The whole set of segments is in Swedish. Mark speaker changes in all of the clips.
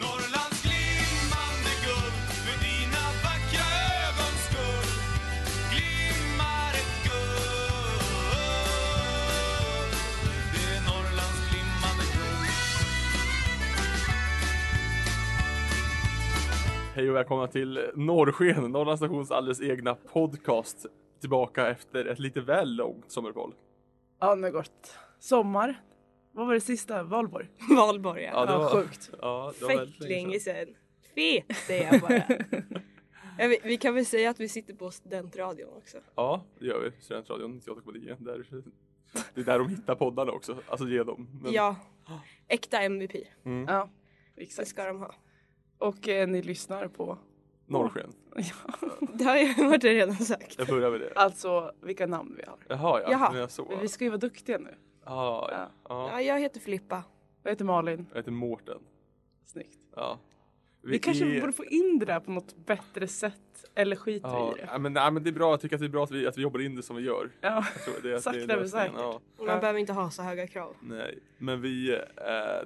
Speaker 1: Norrlands glimmande guld för dina vackra ögons skull glimmar ett guld. Det är Norrlands glimmande guld.
Speaker 2: Hej och välkomna till Norrsken, Norrlands stations alldeles egna podcast. Tillbaka efter ett lite väl långt sommaruppehåll.
Speaker 3: Ja, nu har det gått sommar. Vad var det sista? Valborg?
Speaker 4: Valborg ja.
Speaker 3: Ja, sjukt.
Speaker 2: Ja, det var väldigt länge
Speaker 4: Fäckling i
Speaker 2: sedan.
Speaker 4: sen. Fet säger jag bara. ja, vi, vi kan väl säga att vi sitter på studentradion också.
Speaker 2: Ja, det gör vi. Studentradion 98,9. Där- Det är där de hittar poddarna också. Alltså ge dem. Men- Mm.
Speaker 4: Ja. Äkta MVP.
Speaker 3: Ja,
Speaker 4: Det
Speaker 3: exakt.
Speaker 4: ska de ha.
Speaker 3: Och eh, ni lyssnar på
Speaker 2: Norrsken.
Speaker 4: Det har jag varit redan sagt.
Speaker 2: Jag börjar med det.
Speaker 3: alltså vilka namn vi har.
Speaker 2: Jaha, ja.
Speaker 4: Jaha.
Speaker 2: Men jag såg.
Speaker 3: Men vi ska ju vara duktiga nu.
Speaker 2: Ja, ja. ja.
Speaker 4: Ja, jag heter Filippa.
Speaker 3: Jag heter Malin.
Speaker 2: Jag heter Mårten.
Speaker 3: Snyggt.
Speaker 2: Ja.
Speaker 3: Vi kanske
Speaker 2: är-
Speaker 3: borde få in det där på något bättre sätt. Eller skiter
Speaker 2: Ja,
Speaker 3: vi i det?
Speaker 2: ja, men, nej, men det är bra. Jag tycker att det är bra att vi, att vi jobbar in det som vi gör.
Speaker 3: Ja.
Speaker 2: Jag tror det, är-
Speaker 3: Sakta
Speaker 2: det är
Speaker 3: men
Speaker 2: lösningen,
Speaker 3: säkert.
Speaker 2: Ja.
Speaker 4: Och
Speaker 3: Ja.
Speaker 4: man behöver inte ha så höga krav.
Speaker 2: Nej, men vi, eh,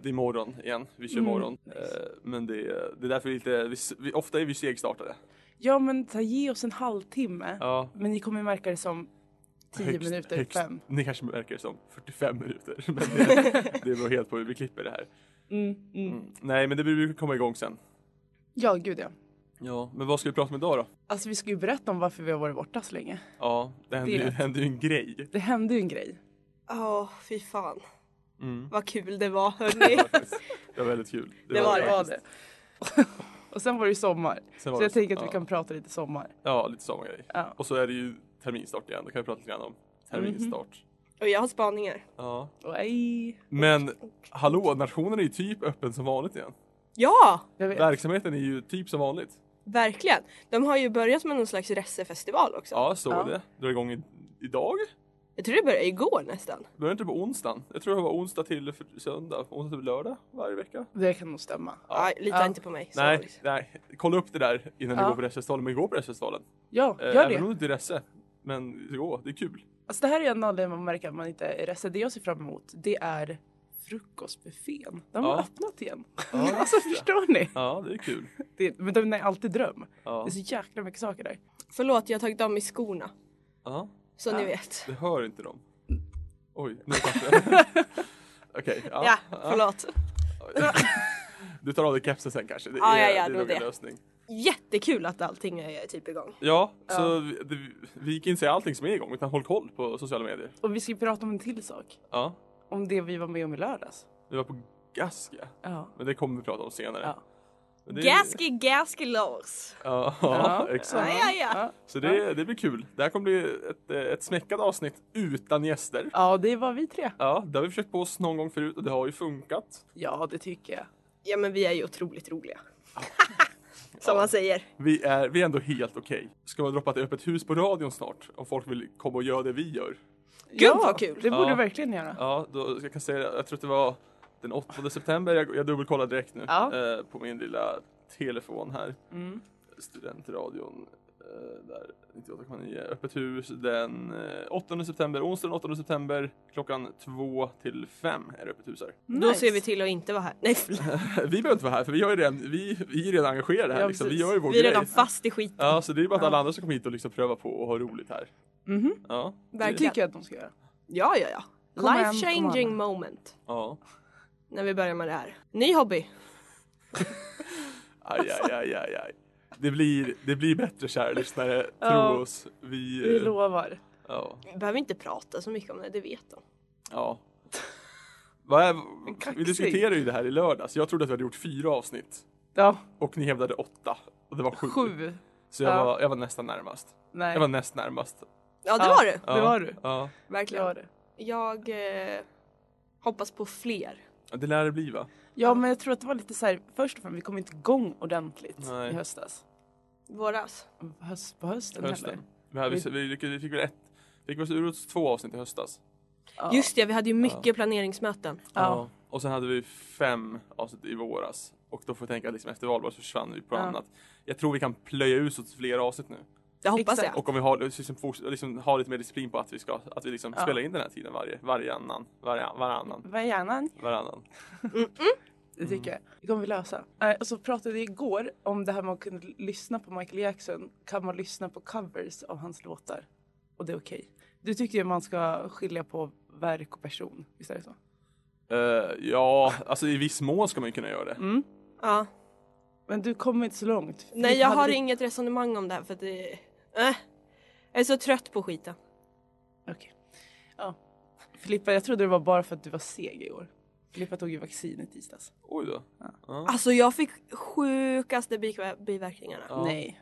Speaker 2: det är morgon igen. Vi kör
Speaker 3: Mm,
Speaker 2: morgon.
Speaker 3: nice.
Speaker 2: Eh, men det, det är därför vi inte, vi, vi, ofta är vi segstartade.
Speaker 3: ja, men ta, ge oss en halvtimme.
Speaker 2: Ja.
Speaker 3: Men ni kommer ju märka det som 10 minuter, fem.
Speaker 2: Ni kanske märker det som 45 minuter. Men det, det beror helt på hur vi klipper det här.
Speaker 3: Mm, mm.
Speaker 2: Mm. Nej, men det brukar komma igång sen.
Speaker 3: Ja, gud ja.
Speaker 2: Ja, men vad ska vi prata om idag då?
Speaker 3: Alltså vi ska ju berätta om varför vi har varit borta så länge.
Speaker 2: Ja, det hände,
Speaker 3: Det
Speaker 2: ju,
Speaker 3: är
Speaker 2: det
Speaker 3: rätt.
Speaker 2: hände ju en grej.
Speaker 3: Det hände ju en grej.
Speaker 4: Åh, fy fan.
Speaker 2: Mm.
Speaker 4: Vad kul det var hörni.
Speaker 2: Det var väldigt kul.
Speaker 4: Det var
Speaker 3: det. Var det. Och sen var det ju sommar.
Speaker 2: Sen var
Speaker 3: Så jag
Speaker 2: det-
Speaker 3: tänker att
Speaker 2: ja.
Speaker 3: vi kan prata lite sommar.
Speaker 2: Ja, lite samma grej.
Speaker 3: Ja.
Speaker 2: Och så är det ju terminstart igen. Då kan vi prata lite grann om terminstart.
Speaker 3: Mhm.
Speaker 4: Och jag har spaningar.
Speaker 2: Ja.
Speaker 3: Och ej.
Speaker 2: Men hallå, nationen är ju typ öppen som vanligt igen.
Speaker 4: Ja!
Speaker 3: Jag vet.
Speaker 2: Verksamheten är ju typ som vanligt.
Speaker 4: Verkligen. De har ju börjat med någon slags resefestival också.
Speaker 2: Ja, så
Speaker 3: Ja.
Speaker 2: är det. Drar igång i, idag.
Speaker 4: Jag tror det började igår nästan.
Speaker 2: Börjar inte på onsdagen? Jag tror det var onsdag till f- söndag. Onsdag till lördag varje vecka.
Speaker 3: Det kan nog stämma.
Speaker 2: Ja.
Speaker 4: Nej, lita
Speaker 3: Ja.
Speaker 4: inte på mig. Så
Speaker 2: nej,
Speaker 4: liksom.
Speaker 2: nej. Kolla upp det där innan
Speaker 3: Ja.
Speaker 2: du går på Ressfestivalen. Men gå på Ressfestivalen.
Speaker 3: Ja,
Speaker 2: Eh,
Speaker 3: gör
Speaker 2: Även om
Speaker 3: det.
Speaker 2: du inte är Resse. Men gå, det är kul.
Speaker 3: Alltså, det här är en anledning man märker att man inte är rest. Det jag ser fram emot det är frukostbuffén. Den har
Speaker 2: Ja.
Speaker 3: öppnat igen.
Speaker 2: Ja,
Speaker 3: Alltså förstår ni?
Speaker 2: ja det är kul.
Speaker 3: Det, men den är alltid dröm.
Speaker 2: Ja.
Speaker 3: Det är så jäkla mycket saker där.
Speaker 4: Förlåt, jag har tagit av mig skorna.
Speaker 2: ja,
Speaker 4: Så
Speaker 3: Ja.
Speaker 4: ni vet.
Speaker 2: det hör inte dem. Oj, nu kanske. Okej,
Speaker 4: Ja, förlåt.
Speaker 2: Du tar av dig kepsen sen kanske. Det är,
Speaker 4: Ja, ja, ja,
Speaker 2: det är
Speaker 4: det var
Speaker 2: nog en
Speaker 4: det.
Speaker 2: lösning.
Speaker 4: Jättekul att allting är typ igång.
Speaker 2: Ja, så vi, det, vi kan inte säga allting som är igång utan håll koll på sociala medier.
Speaker 3: Och vi ska prata om en till sak.
Speaker 2: Ja,
Speaker 3: Om det vi var med om i lördags.
Speaker 2: vi var på Gaska.
Speaker 3: Ja.
Speaker 2: Men det kommer vi prata om senare.
Speaker 3: Ja.
Speaker 2: Men det-
Speaker 4: Gaski gaski Lars.
Speaker 2: Ja, exakt.
Speaker 4: Ja, ja, ja.
Speaker 2: Så det, det blir kul. Det här kommer bli ett, eh, ett smäckat avsnitt utan gäster.
Speaker 3: Ja, det var vi tre.
Speaker 2: Ja, det har vi försökt på oss någon gång förut och det har ju funkat.
Speaker 3: Ja, det tycker jag.
Speaker 4: Ja men vi är ju otroligt roliga. Som man säger.
Speaker 2: Vi är, vi är ändå helt okej. Ska vi droppa ett öppet hus på radion snart? Om folk vill komma och göra det vi gör.
Speaker 3: Gud
Speaker 4: vad kul.
Speaker 3: Det borde
Speaker 2: Ja.
Speaker 3: du verkligen göra.
Speaker 2: Ja, då, jag kan säga det. Jag tror att det var den 8 september. Jag, jag dubbelkollar direkt nu
Speaker 3: Ja.
Speaker 2: eh, på min lilla telefon här.
Speaker 3: Mm.
Speaker 2: Studentradion eh, där 98,9. Öppet hus den eh, 8 september. Onsdag den 8 september klockan 2 till 5 är det öppet hus här.
Speaker 4: Då ser vi till att inte vara här. Nej förlåt.
Speaker 2: Vi behöver inte vara här för vi, har ju redan, vi, vi är redan engagerade här.
Speaker 3: Ja,
Speaker 2: liksom. Vi
Speaker 3: precis.
Speaker 2: gör ju vår
Speaker 4: Vi är
Speaker 2: grej.
Speaker 4: redan fast i skiten.
Speaker 2: Ja, så det är bara att alla andra som kommer hit och liksom prövar på och ha roligt här.
Speaker 3: Mhm.
Speaker 2: Ja, det-
Speaker 3: Det
Speaker 4: Verkligen.
Speaker 3: tycker jag att de ska göra.
Speaker 4: Ja ja ja.
Speaker 3: Kom igen,
Speaker 4: Life
Speaker 3: kom
Speaker 4: changing
Speaker 3: igen.
Speaker 4: moment.
Speaker 2: Ja.
Speaker 4: När vi börjar med det här. Ny hobby.
Speaker 2: Aj, aj, aj, aj, aj. Det blir, det blir bättre kära lyssnare, tro
Speaker 3: Ja.
Speaker 2: oss. Vi,
Speaker 3: Vi
Speaker 2: eh,
Speaker 3: lovar.
Speaker 2: ja,
Speaker 4: Vi behöver inte prata så mycket om det, det vet de.
Speaker 2: ja. Vad är,
Speaker 3: kaxig.
Speaker 2: vi diskuterade ju det här i lördags. Jag trodde att vi hade gjort fyra avsnitt
Speaker 3: Ja,
Speaker 2: och ni hävdade åtta. Och det var sju.
Speaker 3: sju.
Speaker 2: Så jag,
Speaker 3: Ja.
Speaker 2: var, jag var nästan närmast.
Speaker 3: Nej,
Speaker 2: Jag var näst närmast.
Speaker 4: Ja det
Speaker 3: Ja.
Speaker 4: var det.
Speaker 2: Ja,
Speaker 3: Det var du.
Speaker 2: Ja.
Speaker 3: det var
Speaker 4: Verkligen.
Speaker 3: det.
Speaker 4: Jag eh, hoppas på fler.
Speaker 2: Ja, Det lär det bli va?
Speaker 3: Ja, men jag tror att det var lite så här. Först och främst, vi kom inte igång ordentligt
Speaker 2: Nej.
Speaker 3: i höstas.
Speaker 4: Våras.
Speaker 3: Höst, på hösten,
Speaker 2: Hösten.
Speaker 3: heller.
Speaker 2: Vi, hade, vi, vi, lyckades- vi fick väl ett, fick väl ur oss två avsnitt i höstas.
Speaker 3: Ja.
Speaker 4: Just det, vi hade ju mycket planeringsmöten.
Speaker 3: Ja.
Speaker 2: Och sen hade vi fem avsnitt i våras. Och då får jag tänka att liksom efter valborg så försvann vi på
Speaker 3: Ja.
Speaker 2: annat. Jag tror vi kan plöja ut oss åt fler avsnitt nu.
Speaker 4: Det hoppas
Speaker 3: Exakt.
Speaker 4: jag.
Speaker 2: Och om vi har, liksom, forts- liksom, har lite mer disciplin på att vi ska att vi liksom
Speaker 3: Ja.
Speaker 2: spelar in den här tiden varje, varannan, varannan, varannan,
Speaker 3: Vad är hjärnan?
Speaker 2: varannan. Mm.
Speaker 3: Det tycker jag. Det kommer vi lösa. Eh, Och så pratade vi igår om det här med att kunna lyssna på Michael Jackson. Kan man lyssna på covers av hans låtar? Och det är okej. Du tyckte ju man ska skilja på verk och person. Visst är det så?
Speaker 2: Eh, ja, alltså i viss mån ska man ju kunna göra det.
Speaker 3: Mm.
Speaker 4: Ja.
Speaker 3: Men du kommer inte så långt.
Speaker 4: Nej
Speaker 3: Du
Speaker 4: jag
Speaker 3: hade
Speaker 4: har
Speaker 3: ditt-
Speaker 4: inget resonemang om det här för att det... Äh. Jag är så trött på skiten.
Speaker 3: Okej. Ja. Filippa, jag trodde det var bara för att du var seg i år. Filippa tog ju vaccin i tisdags.
Speaker 2: Oj då. Ja.
Speaker 4: Alltså jag fick sjukaste bi- biverkningarna.
Speaker 2: Ja.
Speaker 3: Nej.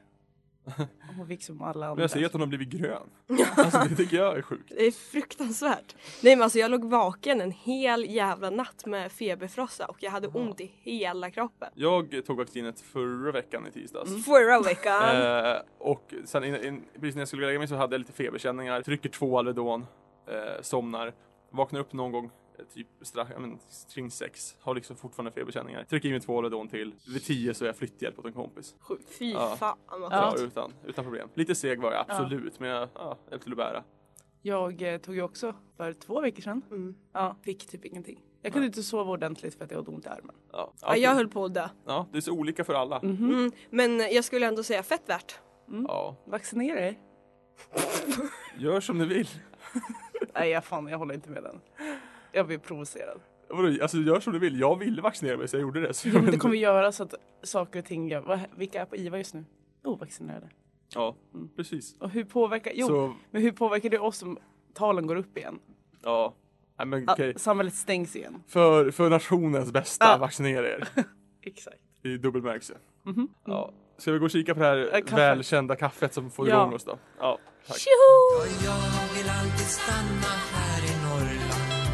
Speaker 3: Hon fick som alla
Speaker 2: Men
Speaker 3: andra.
Speaker 2: jag ser att hon har blivit grön. Alltså det tycker jag är sjukt.
Speaker 4: Det är fruktansvärt. Nej men alltså jag låg vaken en hel jävla natt med feberfrossa och jag hade ont i hela kroppen.
Speaker 2: Jag tog vaccinet förra veckan i tisdags.
Speaker 3: Mm.
Speaker 4: Förra veckan.
Speaker 2: Mm. Eh, och sen in, in, precis när jag skulle gå och lägga mig så hade jag lite feberkänningar, trycker två Alvedon, eh, somnar, vaknar upp någon gång eh, typ strax, ja, men, kring sex, har liksom fortfarande feberkänningar, trycker i mig två Alvedon till, vid tio så är jag flytthjälp åt en kompis.
Speaker 4: Fy
Speaker 2: ja.
Speaker 4: fan vad
Speaker 3: Ja.
Speaker 4: ja.
Speaker 2: Ja. utan, utan problem. Lite seg var jag absolut, men jag ja, hjälpte till att bära.
Speaker 3: Jag eh, tog ju också för två veckor sedan.
Speaker 4: Mm.
Speaker 3: Ja, fick typ ingenting. Jag kunde inte sova ordentligt för att jag hade ont i armen.
Speaker 2: Ja,
Speaker 4: Ja, jag
Speaker 2: alltid-
Speaker 4: höll på att dö.
Speaker 2: ja, det är så olika för alla.
Speaker 4: Mm. Men jag skulle ändå säga fett värt.
Speaker 2: Ja,
Speaker 3: Vaccinera dig?
Speaker 2: gör som ni vill.
Speaker 3: Nej, jag, fan, jag håller inte med den. Jag blir provocerad.
Speaker 2: Vadå, Alltså gör som du vill. Jag ville vaccinera mig så jag gjorde det. Så jag
Speaker 3: Jo, men
Speaker 2: vet
Speaker 3: det
Speaker 2: inte.
Speaker 3: kommer göra så att saker och ting... Vad, vilka är på IVA just nu? Ovaccinerade.
Speaker 2: Ja, precis.
Speaker 3: Och hur påverkar... Jo,
Speaker 2: Så,
Speaker 3: men hur påverkar det oss om talen går upp igen?
Speaker 2: ja. Nej men
Speaker 3: Att
Speaker 2: okej.
Speaker 3: Samhället stängs igen.
Speaker 2: För, för nationens bästa,
Speaker 3: Ja.
Speaker 2: vaccinera er.
Speaker 3: Exakt.
Speaker 2: I dubbel bemärkelse. Ja. Ska vi gå och kika på det här
Speaker 3: Mhm. Äh, kaffe.
Speaker 2: välkända kaffet som får
Speaker 3: Ja.
Speaker 2: igång oss då? Ja, tack.
Speaker 4: Tjoho!
Speaker 1: Jag vill alltid stanna här i Norrland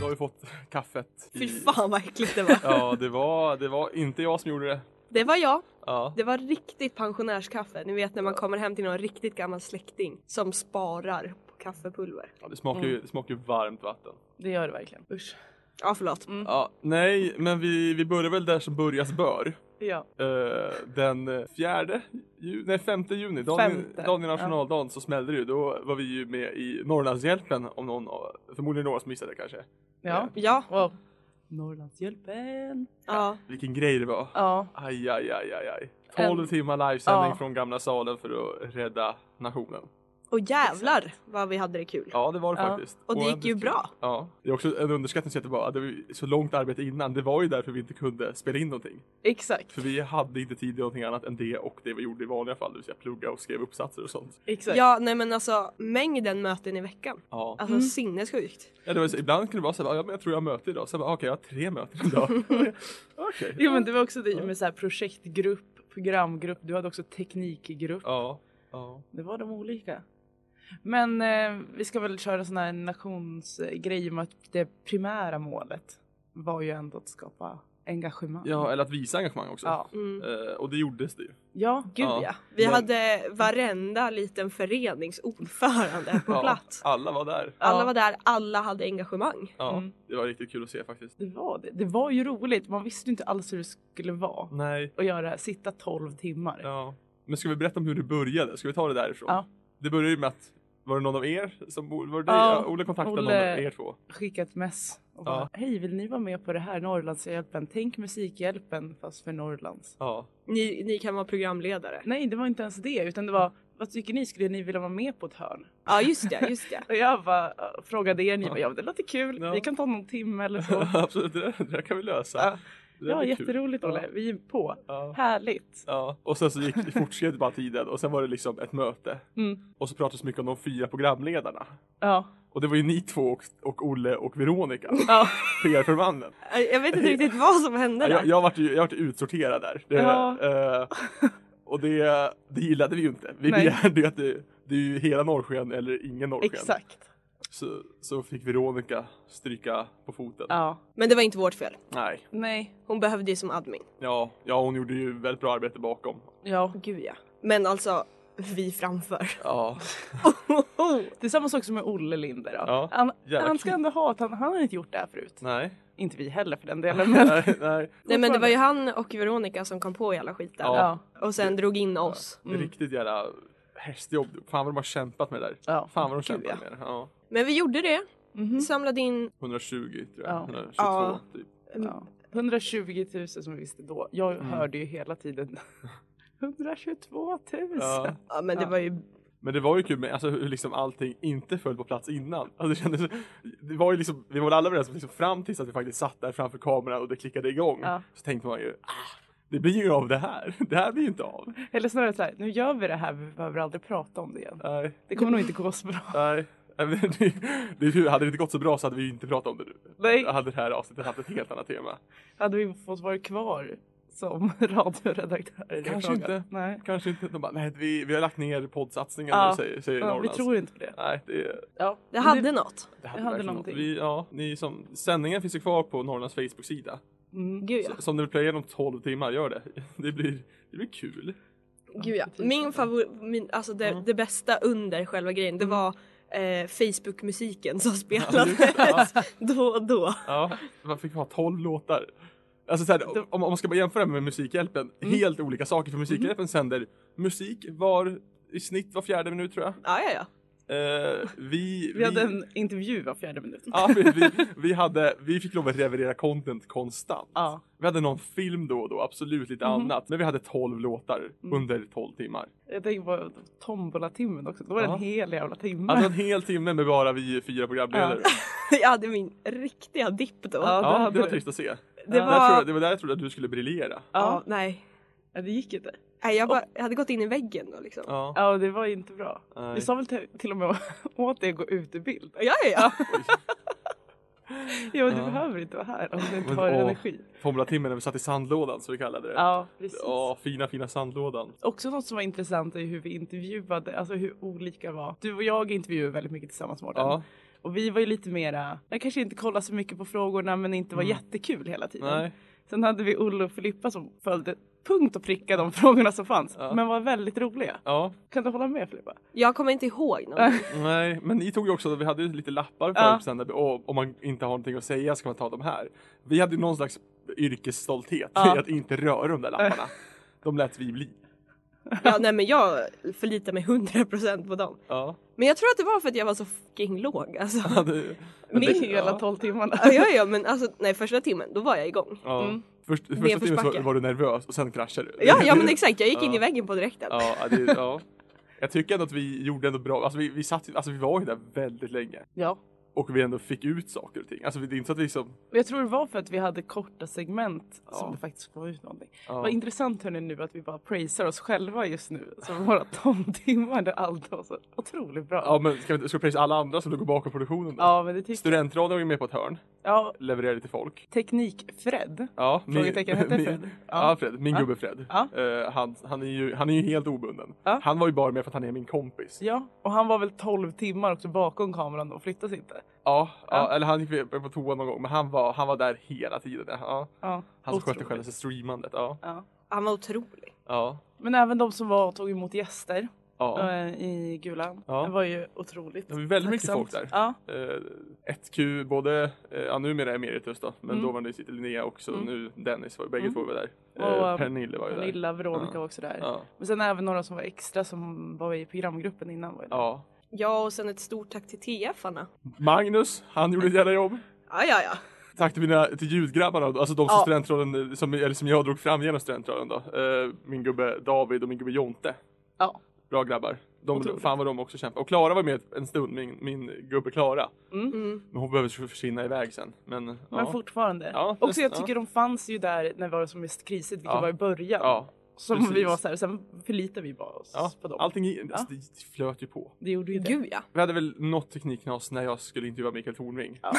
Speaker 2: Då har vi fått kaffet. i-
Speaker 4: Fy fan vad äckligt det var.
Speaker 2: Ja, det var, det var inte jag som gjorde det.
Speaker 4: Det var jag.
Speaker 2: Ja.
Speaker 4: Det var riktigt pensionärskaffe. Ni vet när man kommer hem till någon riktigt gammal släkting som sparar på kaffepulver.
Speaker 2: Ja, det smakar
Speaker 3: Mm.
Speaker 2: ju det smakar ju varmt vatten.
Speaker 3: Det gör det verkligen. Usch.
Speaker 4: Ja förlåt.
Speaker 2: Ja, nej, men vi, vi börjar väl där som börjas bör.
Speaker 3: Ja.
Speaker 2: Eh, den eh, fjärde, ju, nej femte juni, dagen,
Speaker 3: Femte,
Speaker 2: dagen i
Speaker 3: ja.
Speaker 2: nationaldagen så smällde det ju. Då var vi ju med i Norrlandshjälpen om någon, av- förmodligen några som missade det kanske.
Speaker 3: Ja.
Speaker 4: Ja.
Speaker 3: Wow. Norrlandshjälpen.
Speaker 4: Ja.
Speaker 2: Vilken grej det var.
Speaker 3: Ja.
Speaker 2: Aj, aj, aj, aj, aj. 12
Speaker 4: Ehm,
Speaker 2: timmar livesändning
Speaker 3: Ja.
Speaker 2: från gamla salen för att rädda nationen.
Speaker 4: Och jävlar vad vi hade det kul.
Speaker 2: Ja, det var det
Speaker 3: Ja.
Speaker 2: faktiskt.
Speaker 4: Och det gick ju
Speaker 2: kul.
Speaker 4: bra.
Speaker 2: Ja, det är också en underskattning så att det var att det var så långt arbete innan. Det var ju därför vi inte kunde spela in någonting.
Speaker 3: Exakt.
Speaker 2: För vi hade inte tid till någonting annat än det och det vi gjorde i vanliga fall, det vill säga plugga och skriva uppsatser och sånt.
Speaker 3: Exakt.
Speaker 4: Ja nej men alltså mängden möten i veckan.
Speaker 2: Ja,
Speaker 4: Alltså sinnessjukt.
Speaker 2: ja det var så, ibland kunde det vara så här, ja, men jag tror jag har möte idag. Sen bara, okej, jag har tre möten idag. okej.
Speaker 3: Jo men det var också det med så här projektgrupp, programgrupp, du hade också teknikgrupp.
Speaker 2: Ja, ja.
Speaker 3: Det var de olika. Men eh, vi ska väl köra sån här nationsgrej om att det primära målet var ju ändå att skapa engagemang.
Speaker 2: Ja, eller att visa engagemang också.
Speaker 3: ja.
Speaker 4: Mm.
Speaker 2: Eh, och det gjordes det ju.
Speaker 3: Ja, gud
Speaker 2: Ja.
Speaker 3: ja.
Speaker 4: Vi
Speaker 2: Men-
Speaker 4: hade varenda liten föreningsordförande på
Speaker 2: Ja,
Speaker 4: plats.
Speaker 2: Alla var där.
Speaker 4: Alla
Speaker 3: Ja.
Speaker 4: var där, alla hade engagemang.
Speaker 2: Ja,
Speaker 3: Mm.
Speaker 2: det var riktigt kul att se faktiskt.
Speaker 3: Det var det. Det var ju roligt. Man visste ju inte alls hur det skulle vara
Speaker 2: Nej.
Speaker 3: att göra det här. Sitta 12 timmar.
Speaker 2: Ja. Men ska vi berätta om hur det började? Ska vi ta det därifrån?
Speaker 3: Ja.
Speaker 2: Det började ju med att var det någon av er som var det
Speaker 3: Ja,
Speaker 2: ja, Olle kontaktade någon
Speaker 3: Olle.
Speaker 2: av er två?
Speaker 3: Skicka ett mess och
Speaker 2: Ja.
Speaker 3: bara Hej, vill ni vara med på det här Norrlandshjälpen? Tänk Musikhjälpen fast för Norrlands.
Speaker 2: Ja.
Speaker 4: Ni, ni kan vara programledare.
Speaker 3: Nej, det var inte ens det utan det var Vad tycker ni? Skulle ni vilja vara med på ett hörn?
Speaker 4: Ja just det, just det.
Speaker 3: Och jag bara äh, frågade er, ni bara ja det låter kul,
Speaker 2: Ja.
Speaker 3: vi kan ta någon timme eller så.
Speaker 2: Absolut, det där, det där kan vi lösa.
Speaker 3: Ja.
Speaker 2: Det där
Speaker 3: Ja
Speaker 2: blir kul.
Speaker 3: jätteroligt Olle, vi är på.
Speaker 2: Ja.
Speaker 3: Härligt.
Speaker 2: Ja. Och sen så gick, fortskred bara tiden och sen var det liksom ett möte.
Speaker 3: Mm.
Speaker 2: Och så pratades mycket om de fyra programledarna.
Speaker 3: Ja.
Speaker 2: Och det var ju ni två och, och Olle och Veronica,
Speaker 3: Ja.
Speaker 2: PR-förmannen.
Speaker 4: Jag vet inte riktigt vad som hände
Speaker 2: Jag,
Speaker 4: där.
Speaker 2: jag vart ju jag vart utsorterad där. Det,
Speaker 3: Ja.
Speaker 2: eh, och det, det gillade vi ju inte. Vi
Speaker 3: Nej.
Speaker 2: begärde ju att det, det är ju hela norrsken eller ingen norrsken.
Speaker 3: Exakt.
Speaker 2: Så, så fick Veronica stryka på foten.
Speaker 3: Ja.
Speaker 4: Men det var inte vårt fel.
Speaker 2: Nej,
Speaker 3: Nej.
Speaker 4: Hon behövde ju som admin.
Speaker 2: ja, ja hon gjorde ju väldigt bra arbete bakom.
Speaker 3: Ja.
Speaker 4: Gud ja. Men alltså, vi framför.
Speaker 2: Ja.
Speaker 3: Oh, Det är samma sak som med Olle Linder då.
Speaker 2: Ja.
Speaker 3: Han,
Speaker 2: Jävla
Speaker 3: han ska
Speaker 2: kul.
Speaker 3: ändå ha att han, han har inte gjort det här förut.
Speaker 2: Nej.
Speaker 3: Inte vi heller för den delen. Men,
Speaker 2: nej, nej.
Speaker 4: Nej men det var ju han och Veronica som kom på hela skiten.
Speaker 2: Ja. Mm.
Speaker 3: ja.
Speaker 4: Och sen drog in oss.
Speaker 3: Mm.
Speaker 2: Det är Riktigt jävla hästjobb. Fan vad de har kämpat med det där.
Speaker 3: Ja.
Speaker 2: Fan vad de
Speaker 3: Gud,
Speaker 2: kämpat
Speaker 3: ja.
Speaker 2: med det. Ja.
Speaker 4: Men vi gjorde det. Vi samlade in
Speaker 2: 120 tror
Speaker 3: Ja.
Speaker 2: jag. 122
Speaker 4: Ja.
Speaker 2: typ.
Speaker 3: Ja. 120 000 som vi visste då. Jag
Speaker 2: Mm.
Speaker 3: hörde ju hela tiden 122 000.
Speaker 2: Ja.
Speaker 4: Ja men det
Speaker 3: Ja.
Speaker 4: var ju
Speaker 2: Men det var ju kul med alltså, hur liksom allting inte föll på plats innan. Alltså, det, kändes, det var ju liksom, vi var väl alla överens om liksom, fram tills att vi faktiskt satt där framför kameran och det klickade igång.
Speaker 3: Ja.
Speaker 2: Så tänkte man ju, ah, det blir ju av det här. Det här blir ju inte av.
Speaker 3: Eller snarare så här, nu gör vi det här men vi behöver aldrig prata om det igen.
Speaker 2: Nej,
Speaker 3: Det kommer nog inte gå så bra.
Speaker 2: nej. Nej, men Det, det, är ju- hade det inte gått så bra så hade vi ju inte pratat om det nu.
Speaker 3: Nej.
Speaker 2: Hade det här avsnittet haft ett helt annat tema.
Speaker 3: Hade vi fått vara kvar som radioredaktörer? Det är
Speaker 2: Kanske
Speaker 3: frågan.
Speaker 2: inte.
Speaker 3: Nej.
Speaker 2: Kanske inte. De bara, nej, vi, vi har lagt ner poddsatsningen,
Speaker 3: Ja.
Speaker 2: säger, säger
Speaker 3: Ja, vi
Speaker 2: Norrlands.
Speaker 3: tror inte på det.
Speaker 2: Nej, det,
Speaker 3: Ja.
Speaker 4: Det hade något.
Speaker 2: det hade,
Speaker 3: hade
Speaker 2: verkligen något.
Speaker 3: någonting.
Speaker 2: Vi, ja, ni som, sändningen finns ju kvar på Norrlands Facebook-sida.
Speaker 3: Mm.
Speaker 4: Gud ja.
Speaker 2: Så Som du vill playa igenom 12 timmar, gör det. Det blir, det blir kul.
Speaker 4: Gud ja. Min favorit, min, alltså det,
Speaker 2: Mm.
Speaker 4: det bästa under själva grejen det var eh, Facebook-musiken som spelades
Speaker 2: Ja.
Speaker 4: då och då.
Speaker 2: Ja, man fick ha 12 låtar. Alltså så här, om, om man ska bara jämföra med Musikhjälpen,
Speaker 3: Mm.
Speaker 2: helt olika saker för Musikhjälpen sänder musik var i snitt var fjärde minut tror jag.
Speaker 4: Ja, ja, ja.
Speaker 2: Eh, vi,
Speaker 3: Vi hade en intervju var fjärde minut.
Speaker 2: Ja, vi, vi, vi, hade, vi fick lov att leverera content konstant.
Speaker 3: Ja. Mhm.
Speaker 2: Vi hade någon film då och då, absolut lite annat. Men vi hade 12 låtar
Speaker 3: Mm.
Speaker 2: under 12 timmar.
Speaker 3: Jag tänker på tombola-timmen också. Då var det
Speaker 2: Ja.
Speaker 3: en hel jävla timme.
Speaker 2: Alltså en hel timme med bara vi fyra programledare.
Speaker 4: Jag hade min riktiga dipp då.
Speaker 3: Ja. det
Speaker 2: Ja,
Speaker 3: hade
Speaker 2: det var
Speaker 3: du.
Speaker 2: trist att se.
Speaker 4: Det
Speaker 2: Det, där tror
Speaker 4: var...
Speaker 2: jag, det var där jag trodde att du skulle briljera.
Speaker 4: Ja,
Speaker 3: Ja.
Speaker 4: nej.
Speaker 3: Ja, det gick inte.
Speaker 4: nej jag, bara, jag hade gått in i väggen då liksom.
Speaker 2: Ja.
Speaker 3: Ja, och det var inte bra.
Speaker 2: Nej.
Speaker 3: Vi sa väl till, till och med åt dig att gå ut i bild.
Speaker 4: Ja, ja, ja.
Speaker 3: Ja, men du
Speaker 2: Ja.
Speaker 3: behöver inte vara här om du inte
Speaker 2: Men,
Speaker 3: har
Speaker 2: åh.
Speaker 3: energi.
Speaker 2: Tomlatimmen när vi satt i sandlådan som vi kallade det.
Speaker 3: Ja, precis.
Speaker 2: Ja, fina fina sandlådan.
Speaker 3: Också något som var intressant är hur vi intervjuade, alltså hur olika var. Du och jag intervjuade väldigt mycket tillsammans Mårten.
Speaker 2: Ja,
Speaker 3: Och vi var ju lite mera, jag kanske inte kollade så mycket på frågorna men inte var jättekul hela tiden.
Speaker 2: Mm. nej.
Speaker 3: Sen hade vi Olle och Filippa som följde punkt och pricka de frågorna som fanns.
Speaker 2: Ja.
Speaker 3: Men var väldigt roliga.
Speaker 2: Ja,
Speaker 3: Kan du hålla med Filippa?
Speaker 4: Jag kommer inte ihåg något.
Speaker 2: nej, men ni tog ju också, vi hade ju lite lappar förut
Speaker 3: Ja.
Speaker 2: sen där vi, och, om man inte har någonting att säga ska man ta de här. Vi hade ju någon slags yrkesstolthet
Speaker 3: Ja.
Speaker 2: i att inte röra de där lapparna. De lät vi bli.
Speaker 4: Ja, nej, men jag förlitar mig 100% på dem.
Speaker 2: Ja.
Speaker 4: Men jag tror att det var för att jag var så fucking låg alltså.
Speaker 2: Ja, det- men
Speaker 3: Med
Speaker 2: det-
Speaker 3: hela
Speaker 2: ja.
Speaker 3: 12 timmarna.
Speaker 4: Ja, ja, ja, men alltså nej, första timmen då var jag igång.
Speaker 2: Ja.
Speaker 3: Mm.
Speaker 2: Först, första timmen
Speaker 4: Nedförsbacke.
Speaker 2: så var du nervös och sen kraschade du.
Speaker 4: Ja, ja men exakt, jag gick in
Speaker 2: Ja.
Speaker 4: i väggen på direkten.
Speaker 2: Ja, det, ja. Jag tycker ändå att vi gjorde ändå bra, alltså vi, vi satt, ju- alltså vi var ju där väldigt länge.
Speaker 3: Ja.
Speaker 2: Och vi ändå fick ut saker och ting. Alltså det är inte så att vi liksom...
Speaker 3: Och jag tror det var för att vi hade korta segment
Speaker 2: Ja.
Speaker 3: som det faktiskt får ut någonting.
Speaker 2: Ja.
Speaker 3: Vad intressant hörni nu att vi bara praisar oss själva just nu. Alltså våra tomtimmar där allt var så otroligt bra.
Speaker 2: Ja men ska vi, ska vi prisa alla andra som låg bakom produktionen då?
Speaker 3: Ja, men det tycker jag.
Speaker 2: Studentradion var ju med på ett hörn,
Speaker 3: Ja,
Speaker 2: levererade till folk.
Speaker 3: Teknik-Fred.
Speaker 2: Ja,
Speaker 3: Frågetecken, hette
Speaker 2: min-
Speaker 3: Fred?
Speaker 2: Ja.
Speaker 3: Ja.
Speaker 2: Fred, min
Speaker 3: Ja.
Speaker 2: gubbe Fred.
Speaker 3: Ja.
Speaker 2: Eh, han, han, är ju, han är ju helt obunden.
Speaker 3: Ja.
Speaker 2: Han var ju bara med för att han är min kompis. Ja,
Speaker 3: Ja, och han var väl 12 timmar också bakom kameran och flyttades inte.
Speaker 2: ja,
Speaker 3: Ja.
Speaker 2: eller han gick med- på toa någon gång men han var, han var där hela tiden. Ja.
Speaker 3: Ja,
Speaker 2: Han som skötte
Speaker 3: otroligt.
Speaker 2: själva streamandet. Ja.
Speaker 3: Ja.
Speaker 4: Han var otrolig.
Speaker 2: Ja.
Speaker 3: Men även de som var och tog emot gäster
Speaker 2: ja.
Speaker 3: eh, i Gulan.
Speaker 2: Ja.
Speaker 3: Det var ju otroligt.
Speaker 2: Det var ju väldigt mycket
Speaker 3: tacksamt.
Speaker 2: folk där.
Speaker 3: Ja,
Speaker 2: Eh, 1Q, både, eh, ja numera emeritus då, men
Speaker 3: Mm.
Speaker 2: då var det ju Linnea också,
Speaker 3: Mm.
Speaker 2: nu Dennis var ju, bägge
Speaker 3: Mm.
Speaker 2: två var där.
Speaker 3: Och,
Speaker 2: Eh,
Speaker 3: eh,
Speaker 2: Pernille var ju där.
Speaker 3: Pernilla, Veronica
Speaker 2: Ja.
Speaker 3: var också där.
Speaker 2: Ja.
Speaker 3: Men sen även några som var extra som var i programgruppen innan var ju där.
Speaker 2: ja.
Speaker 4: Ja och sen ett stort tack till TF-arna.
Speaker 2: Magnus, han gjorde ett jävla jobb.
Speaker 4: Ja ja ja.
Speaker 2: Tack till mina till ljudgrabbarna, alltså de som,
Speaker 4: Ja.
Speaker 2: studentrollen, eh, som, eller som jag drog fram genom studentrollen då. Eh, min gubbe David och min gubbe Jonte.
Speaker 3: Ja.
Speaker 2: Bra grabbar. De,
Speaker 3: Otroligt.
Speaker 2: fan vad de också kämpar. Och Klara var med en stund, min, min gubbe Klara.
Speaker 4: Mm.
Speaker 2: Men hon behöver försvinna iväg sen. Men,
Speaker 3: Men
Speaker 2: ja.
Speaker 3: fortfarande.
Speaker 2: Ja,
Speaker 3: också jag
Speaker 2: ja.
Speaker 3: tycker de fanns ju där när det var som mest krisigt, vilket
Speaker 2: Ja.
Speaker 3: var i början.
Speaker 2: ja,
Speaker 3: som vi
Speaker 2: precis.
Speaker 3: var så här, sen förlitar vi bara oss
Speaker 2: ja.
Speaker 3: på dem.
Speaker 2: Allting i- alltså, det flöt ju på.
Speaker 3: Det gjorde ju det.
Speaker 4: Gud ja.
Speaker 2: Vi hade väl något teknikknas när jag skulle intervjua Mikael Tornving. Ja.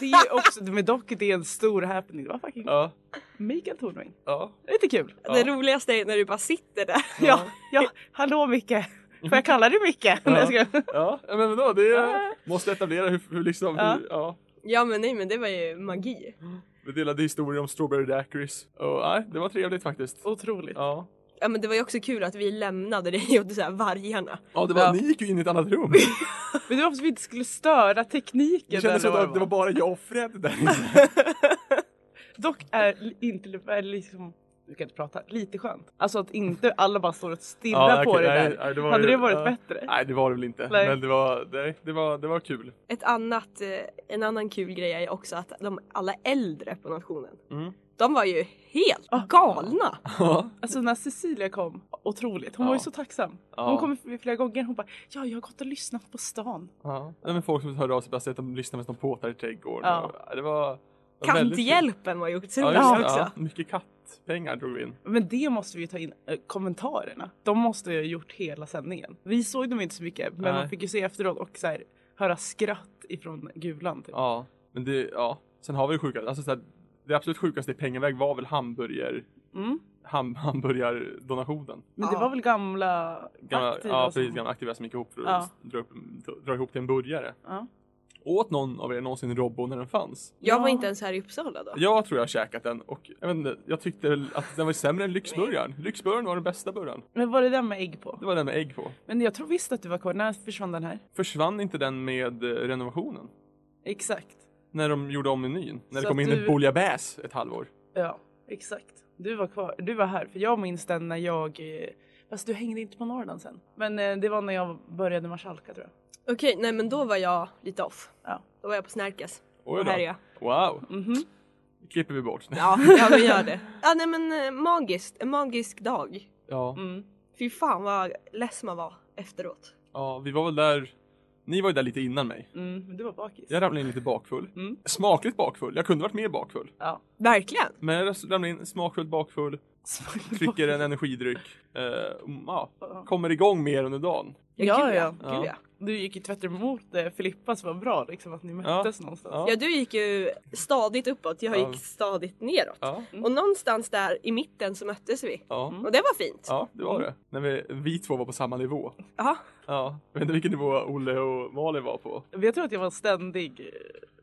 Speaker 3: Det är också, men dock det är en stor happening. Det var fucking
Speaker 2: Ja.
Speaker 3: Mikael Tornving.
Speaker 2: ja.
Speaker 3: Lite kul.
Speaker 4: Det roligaste är när du bara sitter där.
Speaker 3: Ja, ja. hallå Micke. Får jag kalla dig Micke? Nej, jag skojar.
Speaker 2: men vadå, det är, måste etablera hur, hur liksom,
Speaker 3: Ja.
Speaker 2: hur, ja.
Speaker 4: Ja men nej men det var ju magi.
Speaker 2: Vi delade historier om strawberry daiquiris. Och nej, det var trevligt faktiskt.
Speaker 3: Otroligt.
Speaker 2: Ja.
Speaker 4: Ja men det var ju också kul att vi lämnade dig och det så här vargarna.
Speaker 2: Ja, det var,
Speaker 3: Ja.
Speaker 2: ni gick ju in i ett annat rum.
Speaker 3: Men det var för att vi inte skulle störa tekniken.
Speaker 2: Det kändes som
Speaker 3: eller vad
Speaker 2: att det var bara jag och Fred där inne.
Speaker 3: Dock är li- inte är liksom, du kan inte prata, lite skönt. Alltså att inte alla bara står och stirrar
Speaker 2: Ja,
Speaker 3: på
Speaker 2: okej,
Speaker 3: det
Speaker 2: nej,
Speaker 3: där.
Speaker 2: nej, det var
Speaker 3: Hade
Speaker 2: ju-
Speaker 3: det varit
Speaker 2: ja.
Speaker 3: bättre?
Speaker 2: Nej, det var det väl inte.
Speaker 3: Nej.
Speaker 2: Men det var, det, det, var, det var kul.
Speaker 4: Ett annat, eh, en annan kul grej är ju också att de alla äldre på nationen,
Speaker 2: Mm.
Speaker 4: de var ju helt
Speaker 3: Ah.
Speaker 4: galna.
Speaker 2: Ja.
Speaker 3: Alltså när Cecilia kom, otroligt. Hon
Speaker 2: Ja.
Speaker 3: var ju så tacksam.
Speaker 2: Ja.
Speaker 3: Hon kom f- flera gånger. Hon bara, ja jag har gått och lyssnat på stan.
Speaker 2: Ja. Nej, men folk som hörde av sig bara sett att de lyssnade medan de påtar i trädgården.
Speaker 3: Ja.
Speaker 2: Och, det var, det var väldigt kul.
Speaker 4: Kanthjälpen var ju
Speaker 2: Ja,
Speaker 4: otrolig
Speaker 2: just, det,
Speaker 4: också.
Speaker 2: ja. Mycket kattpengar drog vi in.
Speaker 3: Men det måste vi ju ta in, eh, kommentarerna. De måste ju ha gjort hela sändningen. Vi såg dem inte så mycket men
Speaker 2: Nej.
Speaker 3: man fick ju se efteråt och så här, höra skratt ifrån Gulan. Typ.
Speaker 2: Ja, men det, ja. Sen har vi det sjukaste, alltså så här, det absolut sjukaste i pengaväg var väl hamburger,
Speaker 3: Mm.
Speaker 2: ham, hamburgardonationen.
Speaker 3: Men det
Speaker 4: Ja.
Speaker 3: var väl gamla
Speaker 2: Gamla,
Speaker 3: aktiva
Speaker 2: ja,
Speaker 3: som-
Speaker 2: precis, gamla aktiva som gick ihop för att
Speaker 3: Ja.
Speaker 2: dra, upp, dra ihop till en burgare.
Speaker 3: Ja.
Speaker 2: Åt någon av er någonsin Robbo när den fanns?
Speaker 4: Jag var
Speaker 3: Ja.
Speaker 4: inte ens här i Uppsala då.
Speaker 2: Jag tror jag har käkat den och jag, vet inte, jag tyckte väl att den var sämre än lyxburgaren. Lyxburgaren var den bästa burgaren.
Speaker 3: Men var det den med ägg på?
Speaker 2: Det var den med ägg på.
Speaker 3: Men jag tror visst att du var kvar. När försvann den här?
Speaker 2: Försvann inte den med eh, renovationen?
Speaker 3: Exakt.
Speaker 2: När de gjorde om menyn? När
Speaker 3: Så
Speaker 2: det kom
Speaker 3: att
Speaker 2: in
Speaker 3: du-
Speaker 2: ett bouillabaisse ett halvår?
Speaker 3: Ja, exakt. Du var kvar. Du var här. För jag minns den när jag... eh, Fast du hängde inte på Norrland sen. Men eh, det var när jag började marskalka tror jag.
Speaker 4: Okej, nej men då var jag lite off.
Speaker 3: Ja.
Speaker 4: Då var jag på Snärkes.
Speaker 2: Oj
Speaker 4: Och här är jag.
Speaker 2: Wow!
Speaker 3: Mhm.
Speaker 2: klipper vi bort.
Speaker 4: Ja, ja vi gör det. Ja nej men eh, magiskt, en magisk dag.
Speaker 2: Ja.
Speaker 3: Mm.
Speaker 4: Fy fan vad less man var efteråt.
Speaker 2: Ja, vi var väl där. Ni var ju där lite innan mig.
Speaker 3: Mm. Men du var bakis.
Speaker 2: Jag ramlade in lite bakfull.
Speaker 3: Mm.
Speaker 2: Smakligt bakfull. Jag kunde varit mer bakfull.
Speaker 3: Ja.
Speaker 4: Verkligen.
Speaker 2: Men jag ramlade in smakfullt bakfull, trycker en energidryck. Eh, mm, ja,
Speaker 3: Ja.
Speaker 2: kommer igång mer under dagen.
Speaker 3: Ja,
Speaker 4: gud,
Speaker 3: ja.
Speaker 4: Gud, ja.
Speaker 3: Du gick ju tvärt emot eh, Filippas var bra liksom att ni möttes någonstans.
Speaker 2: Ja.
Speaker 4: Ja du gick ju stadigt uppåt, jag
Speaker 2: Ja.
Speaker 4: gick stadigt neråt.
Speaker 2: Ja,
Speaker 4: Och någonstans där i mitten så möttes vi.
Speaker 2: ja,
Speaker 3: Mm.
Speaker 4: Och det var fint.
Speaker 2: ja det var det. När vi, vi två var på samma nivå.
Speaker 4: Ja.
Speaker 2: Ja, jag vet inte vilken nivå Olle och Malin var på.
Speaker 3: Jag tror att jag var ständig, eh,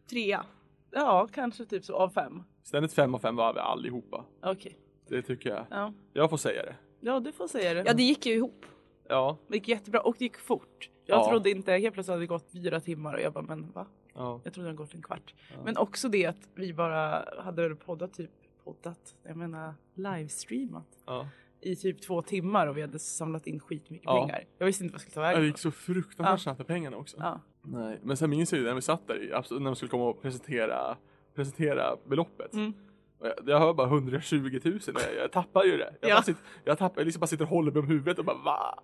Speaker 4: Trea.
Speaker 3: ja kanske typ så av fem.
Speaker 2: Ständigt fem av fem var vi allihopa.
Speaker 3: Okej,
Speaker 2: Det tycker jag.
Speaker 3: ja.
Speaker 2: Jag får säga det.
Speaker 3: Ja du får säga det.
Speaker 4: Ja det gick ju ihop.
Speaker 2: Ja,
Speaker 3: Det gick jättebra och det gick fort. Jag
Speaker 2: Ja.
Speaker 3: trodde inte, helt plötsligt hade det gått fyra timmar och jag bara men va?
Speaker 2: ja.
Speaker 3: Jag trodde det hade gått en kvart.
Speaker 2: Ja.
Speaker 3: Men också det att vi bara hade väl poddat typ poddat, jag menar livestreamat
Speaker 2: ja.
Speaker 3: i typ två timmar och vi hade samlat in skitmycket
Speaker 2: Ja.
Speaker 3: pengar. Jag visste inte vad jag skulle ta
Speaker 2: Ja,
Speaker 3: vägen.
Speaker 2: Det gick så
Speaker 3: Ja.
Speaker 2: fruktansvärt snabbt med pengarna också.
Speaker 3: Ja.
Speaker 2: Nej, men sen minns jag ju när vi satt där, i- absolut, när de skulle komma och presentera, presentera beloppet.
Speaker 3: Mm.
Speaker 2: Och Jag, jag hör bara 120 000 och jag, jag tappar ju det. Jag,
Speaker 3: Ja.
Speaker 2: bara sitter, jag, tappar, jag liksom bara sitter och håller mig om huvudet och bara va?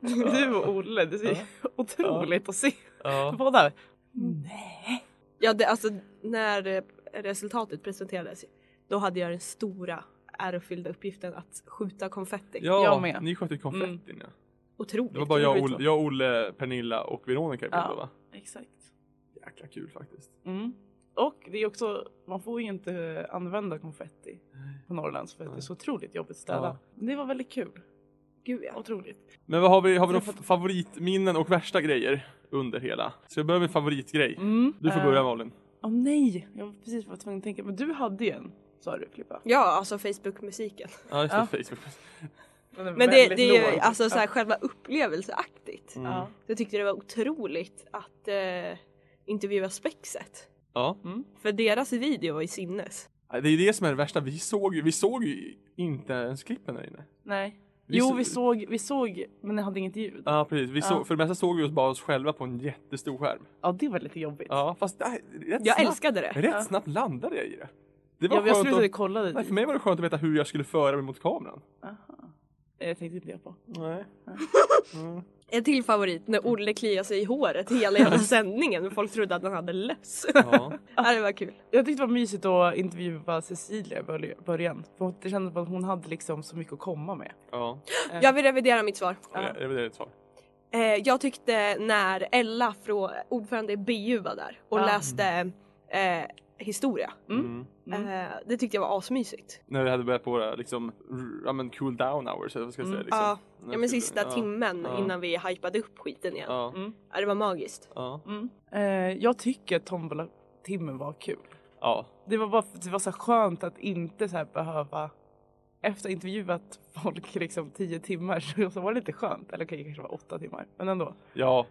Speaker 3: Du och Olle, det är
Speaker 2: Ja.
Speaker 3: otroligt att se
Speaker 2: Ja. Mm.
Speaker 3: båda. Nej.
Speaker 4: Ja det, alltså när eh, resultatet presenterades då hade jag den stora ärofyllda uppgiften att skjuta konfetti.
Speaker 3: Jag med. Mm.
Speaker 2: ni sköt ju konfettin ja.
Speaker 4: Otroligt.
Speaker 2: Det var bara jag,
Speaker 4: roligt.
Speaker 2: Olle, jag, Olle, Pernilla och Veronica i bild,
Speaker 3: Ja.
Speaker 2: va?
Speaker 3: Exakt.
Speaker 2: Jäkla kul faktiskt.
Speaker 3: Mm. Och det är också, man får ju inte använda konfetti på Norrlands för att det är så otroligt jobbigt att städa.
Speaker 2: Ja.
Speaker 3: Men Det var väldigt kul.
Speaker 4: Gud ja.
Speaker 3: Otroligt.
Speaker 2: Men vad har vi, har vi
Speaker 3: Jag
Speaker 2: några f- favoritminnen och värsta grejer under hela? Så jag börjar med favoritgrej.
Speaker 3: Mm.
Speaker 2: Du får
Speaker 3: Eh,
Speaker 2: börja Malin.
Speaker 3: Åh nej, jag var precis var tvungen att tänka. Men du hade ju en, sa du Filippa.
Speaker 4: Ja alltså Facebook-musiken.
Speaker 2: Ja just det,
Speaker 3: ja.
Speaker 2: Facebook.
Speaker 4: Men det, det är ju alltså så här, själva upplevelseaktigt.
Speaker 2: Mm.
Speaker 3: Ja.
Speaker 4: Jag tyckte det var otroligt att eh, intervjua Spexet.
Speaker 2: Ja.
Speaker 3: Mm.
Speaker 4: För deras video var ju sinnes.
Speaker 2: Nej, Äh, Det är ju det som är det värsta. Vi såg ju, vi såg ju inte ens klippen där inne.
Speaker 3: Nej.
Speaker 2: Vi
Speaker 3: Jo,
Speaker 2: så-
Speaker 3: vi såg, vi såg, men det hade inget ljud.
Speaker 2: Ja precis, vi
Speaker 3: Ja.
Speaker 2: såg, för det mesta såg vi oss bara oss själva på en jättestor skärm.
Speaker 3: Ja, det var lite jobbigt.
Speaker 2: Ja fast det här, rätt,
Speaker 4: Jag
Speaker 2: snabbt,
Speaker 4: älskade det.
Speaker 2: rätt snabbt landade jag i det. Det var
Speaker 3: Ja, men jag
Speaker 2: skönt
Speaker 3: slutade
Speaker 2: att,
Speaker 3: kolla det.
Speaker 2: nej, för mig var det skönt att veta hur jag skulle föra mig mot kameran.
Speaker 3: Aha. Det tänkte inte jag på.
Speaker 2: Nej. Mm.
Speaker 4: En till favorit när Olle kliade sig i håret hela jävla sändningen. Folk trodde att han hade löss.
Speaker 2: Ja.
Speaker 4: ja, det var kul.
Speaker 3: Jag tyckte det var mysigt att intervjua Cecilia i börj- början. För det kändes som att hon hade liksom så mycket att komma med.
Speaker 2: Ja.
Speaker 4: Jag vill revidera mitt svar.
Speaker 2: Det det var ditt svar.
Speaker 4: Eh, jag tyckte när Ella, från, ordförande i BU, var där och
Speaker 3: Ja.
Speaker 4: läste eh, historia.
Speaker 3: Mm.
Speaker 4: Eh, det tyckte jag var asmysigt.
Speaker 2: När vi hade börjat på våra liksom, r- ja men cool down hours eller vad ska jag säga.
Speaker 3: Mm.
Speaker 2: Liksom.
Speaker 4: Ja.
Speaker 2: När
Speaker 4: Ja,
Speaker 2: vi
Speaker 4: men
Speaker 2: skulle-
Speaker 4: sista
Speaker 2: ja.
Speaker 4: timmen
Speaker 2: Ja.
Speaker 4: innan vi hypade upp skiten igen.
Speaker 2: Ja.
Speaker 3: Mm.
Speaker 4: Ja, det var magiskt.
Speaker 2: Ja.
Speaker 3: Mm. Eh, jag tycker att tombola-timmen var kul.
Speaker 2: ja.
Speaker 3: Det var bara det var så här skönt att inte så här behöva efter att ha intervjuat folk liksom tio timmar så, så var det lite skönt. Eller okej, det kanske var åtta timmar. Men ändå.
Speaker 2: Ja.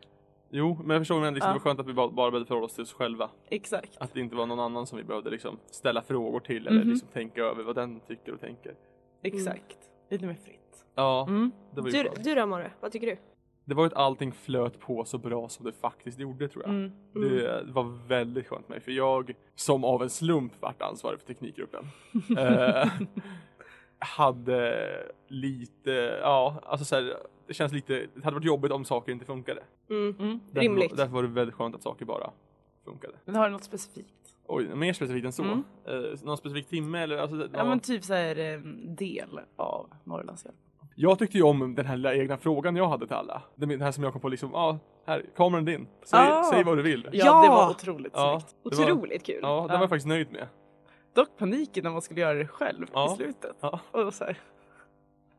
Speaker 2: Jo, men jag förstår men liksom,
Speaker 3: Ja.
Speaker 2: det var skönt att vi bara, bara behövde förhålla oss till oss själva.
Speaker 3: Exakt.
Speaker 2: Att det inte var någon annan som vi behövde liksom ställa frågor till eller
Speaker 3: Mhm.
Speaker 2: liksom tänka över vad den tycker och tänker.
Speaker 3: Exakt. Mm. Lite mer fritt.
Speaker 2: Ja,
Speaker 3: Mm.
Speaker 2: det var ju
Speaker 4: Du,
Speaker 2: skönt.
Speaker 4: du då Amore, vad tycker du?
Speaker 2: Det var ju att allting flöt på så bra som det faktiskt gjorde tror jag.
Speaker 3: Mm.
Speaker 2: Det var väldigt skönt med mig för jag som av en slump vart ansvarig för teknikgruppen. eh, hade lite, ja alltså så här, det känns lite, det hade varit jobbigt om saker inte funkade.
Speaker 4: Mm.
Speaker 3: Mm.
Speaker 2: Därför,
Speaker 4: Rimligt.
Speaker 2: var- därför var det väldigt skönt att saker bara funkade.
Speaker 3: Men har du något specifikt?
Speaker 2: Oj, mer specifikt än så.
Speaker 3: Mm.
Speaker 2: Eh, någon specifik timme eller? Alltså, det-
Speaker 3: Ja, men typ så här eh, del av Norrlandshjälp.
Speaker 2: Jag tyckte ju om den här lilla egna frågan jag hade till alla. Den den här som jag kom på liksom, ja, här, kameran är din. Säg,
Speaker 3: Ah.
Speaker 2: säg vad du vill.
Speaker 3: Ja,
Speaker 4: Ja!
Speaker 3: det var otroligt
Speaker 2: Ja,
Speaker 3: snyggt.
Speaker 2: det var-
Speaker 4: Otroligt kul.
Speaker 2: Ja, den var jag faktiskt nöjd med.
Speaker 3: Dock paniken när man skulle göra det själv
Speaker 2: Ja.
Speaker 3: i slutet.
Speaker 2: Ja.
Speaker 3: Och då så här,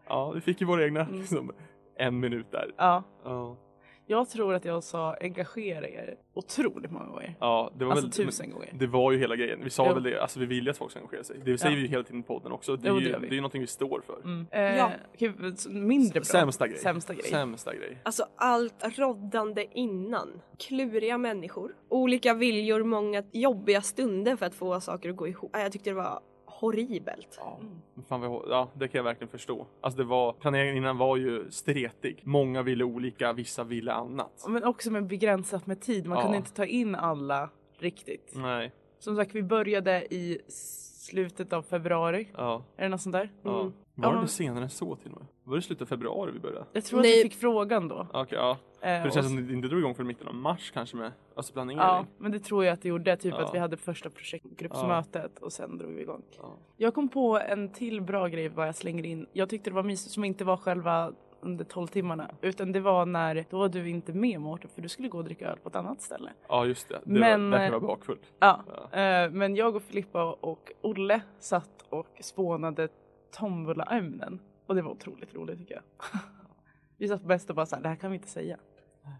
Speaker 2: Ja, vi fick ju våra egna
Speaker 3: Mm.
Speaker 2: liksom, en minut där.
Speaker 3: ja.
Speaker 2: Ja,
Speaker 3: Jag tror att jag sa engagera er otroligt många gånger.
Speaker 2: ja det var
Speaker 3: Alltså
Speaker 2: väl...
Speaker 3: tusen gånger.
Speaker 2: Det var ju hela grejen. Vi sa
Speaker 3: Ja.
Speaker 2: väl det, alltså vi vill ju att folk ska engagera sig. Det säger
Speaker 3: Ja.
Speaker 2: vi ju hela tiden i podden också. Det är
Speaker 3: Jo,
Speaker 2: ju
Speaker 3: det
Speaker 2: det
Speaker 3: gör
Speaker 2: är
Speaker 3: vi.
Speaker 2: ju någonting vi står för.
Speaker 3: Mm.
Speaker 4: Ja.
Speaker 3: Eh, okej, så mindre bra.
Speaker 2: Sämsta grej.
Speaker 3: Sämsta grej.
Speaker 2: Sämsta grej.
Speaker 4: Alltså allt roddande innan. Kluriga människor. Olika viljor, många jobbiga stunder för att få saker att gå ihop. Nej, Jag tyckte det var horribelt.
Speaker 2: Ja,
Speaker 3: Mm.
Speaker 2: men fan vad jag, ja, det kan jag verkligen förstå. Alltså det var, planeringen innan var ju stretig. Många ville olika, vissa ville annat.
Speaker 3: Men också med begränsat med tid. Man
Speaker 2: Ja.
Speaker 3: kunde inte ta in alla riktigt.
Speaker 2: Nej,
Speaker 3: Som sagt, vi började i slutet av februari.
Speaker 2: ja.
Speaker 3: Är det något sånt där?
Speaker 2: ja.
Speaker 4: Mm.
Speaker 2: Var
Speaker 3: Ja,
Speaker 2: det
Speaker 3: men-
Speaker 2: senare än så till och med? Var det slutet av februari vi började?
Speaker 3: Jag tror
Speaker 4: Nej.
Speaker 3: att vi fick frågan då.
Speaker 2: Okej, ja.
Speaker 3: Eh,
Speaker 2: För det
Speaker 3: och
Speaker 2: känns
Speaker 3: s-
Speaker 2: som det inte drog igång förrän mitten av mars kanske med alltså planering.
Speaker 3: Ja, men det tror jag att det gjorde. Typ
Speaker 2: Ja.
Speaker 3: att vi hade första projektgruppsmötet och sen drog vi igång.
Speaker 2: Ja.
Speaker 3: Jag kom på en till bra grej vad jag slänger in. Jag tyckte det var mysigt som inte var själva under 12 timmarna utan det var när då var du inte med Mårten för du skulle gå och dricka öl på ett annat ställe.
Speaker 2: Ja, just det. det
Speaker 3: Men- eh,
Speaker 2: var, därför jag var bakfull.
Speaker 3: Ja,
Speaker 2: Ja.
Speaker 3: eh, men jag och Filippa och Olle satt och spånade tombolaämnen och det var otroligt roligt tycker jag. vi satt på bäst och bara så här, det här kan vi inte säga.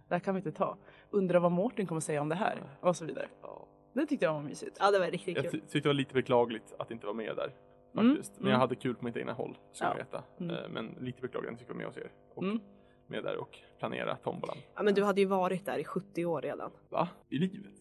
Speaker 3: Det här kan vi inte ta. Undrar vad Mårten kommer säga om det här och så vidare.
Speaker 2: Ja.
Speaker 3: Det tyckte jag var mysigt.
Speaker 4: Ja, det var riktigt
Speaker 2: Jag ty-
Speaker 4: kul.
Speaker 2: tyckte det var lite beklagligt att inte vara med där.
Speaker 3: Mm,
Speaker 2: Faktiskt. Men jag
Speaker 3: mm.
Speaker 2: hade kul på mitt egna håll, ska
Speaker 3: Ja.
Speaker 2: jag veta.
Speaker 3: Mm.
Speaker 2: Eh, Men lite beklagligt att jag fick vara med hos er. Och
Speaker 3: Mm.
Speaker 2: med där och planera tombolan.
Speaker 4: Ja, men du hade ju varit där i 70 år redan.
Speaker 2: Va? I livet?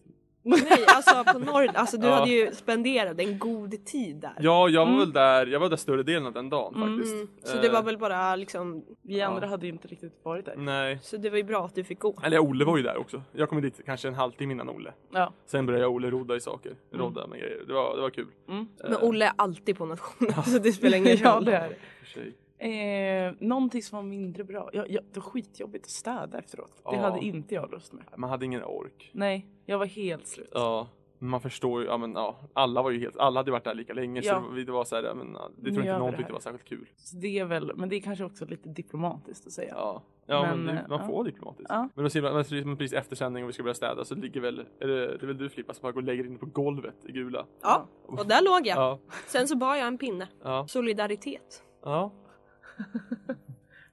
Speaker 4: Nej, alltså på Norrland. Alltså du
Speaker 2: Ja.
Speaker 4: hade ju spenderat en god tid där.
Speaker 2: Ja, jag var
Speaker 3: Mm.
Speaker 2: väl där, jag var där större delen av den dagen
Speaker 3: Mm.
Speaker 2: faktiskt.
Speaker 4: Mm. Så det
Speaker 2: Eh,
Speaker 4: var väl bara liksom,
Speaker 3: Vi andra
Speaker 2: Ja. Mm.
Speaker 3: hade ju inte riktigt varit där.
Speaker 2: Eh, Nej.
Speaker 4: så det var ju bra att du fick gå.
Speaker 2: Eller Olle var ju där också. Jag kom dit kanske en halvtimme innan Olle.
Speaker 3: Ja.
Speaker 2: Sen började jag och Olle rodda i saker. Rodda med grejer. Det var, det var kul.
Speaker 3: Mm.
Speaker 4: Men Olle är alltid på nationen så det spelar ingen
Speaker 3: ja,
Speaker 4: roll.
Speaker 3: det är det.
Speaker 2: För sig.
Speaker 3: Eh, någonting som var mindre bra. Ja, ja, det var skitjobbigt att städa efteråt. Det
Speaker 2: Ja.
Speaker 3: hade inte jag lust med.
Speaker 2: Man hade ingen ork.
Speaker 3: Nej, jag var helt slut.
Speaker 2: Ja. Man förstår ju, ja men ja. Alla var ju helt, alla hade ju varit där lika länge.
Speaker 3: Ja.
Speaker 2: Så det var- det var så här, ja, men, ja, det
Speaker 3: Nu
Speaker 2: tror jag inte
Speaker 3: gör vi
Speaker 2: någon
Speaker 3: det
Speaker 2: tyckte
Speaker 3: här.
Speaker 2: var särskilt kul.
Speaker 3: Så det är väl, men det är kanske också lite diplomatiskt att säga.
Speaker 2: Ja. Ja men,
Speaker 3: Men,
Speaker 2: det,
Speaker 3: eh,
Speaker 2: man
Speaker 3: ja.
Speaker 2: får vara diplomatisk.
Speaker 3: Ja.
Speaker 2: Men då ser man, men precis- men precis efter sändning och vi ska börja städa så ligger väl, är det, det är väl du Filippa som bara går och lägger in på golvet i gula.
Speaker 4: Ja, och där låg jag.
Speaker 2: Ja.
Speaker 4: Sen så bar jag en pinne.
Speaker 2: Ja.
Speaker 4: Solidaritet.
Speaker 2: ja.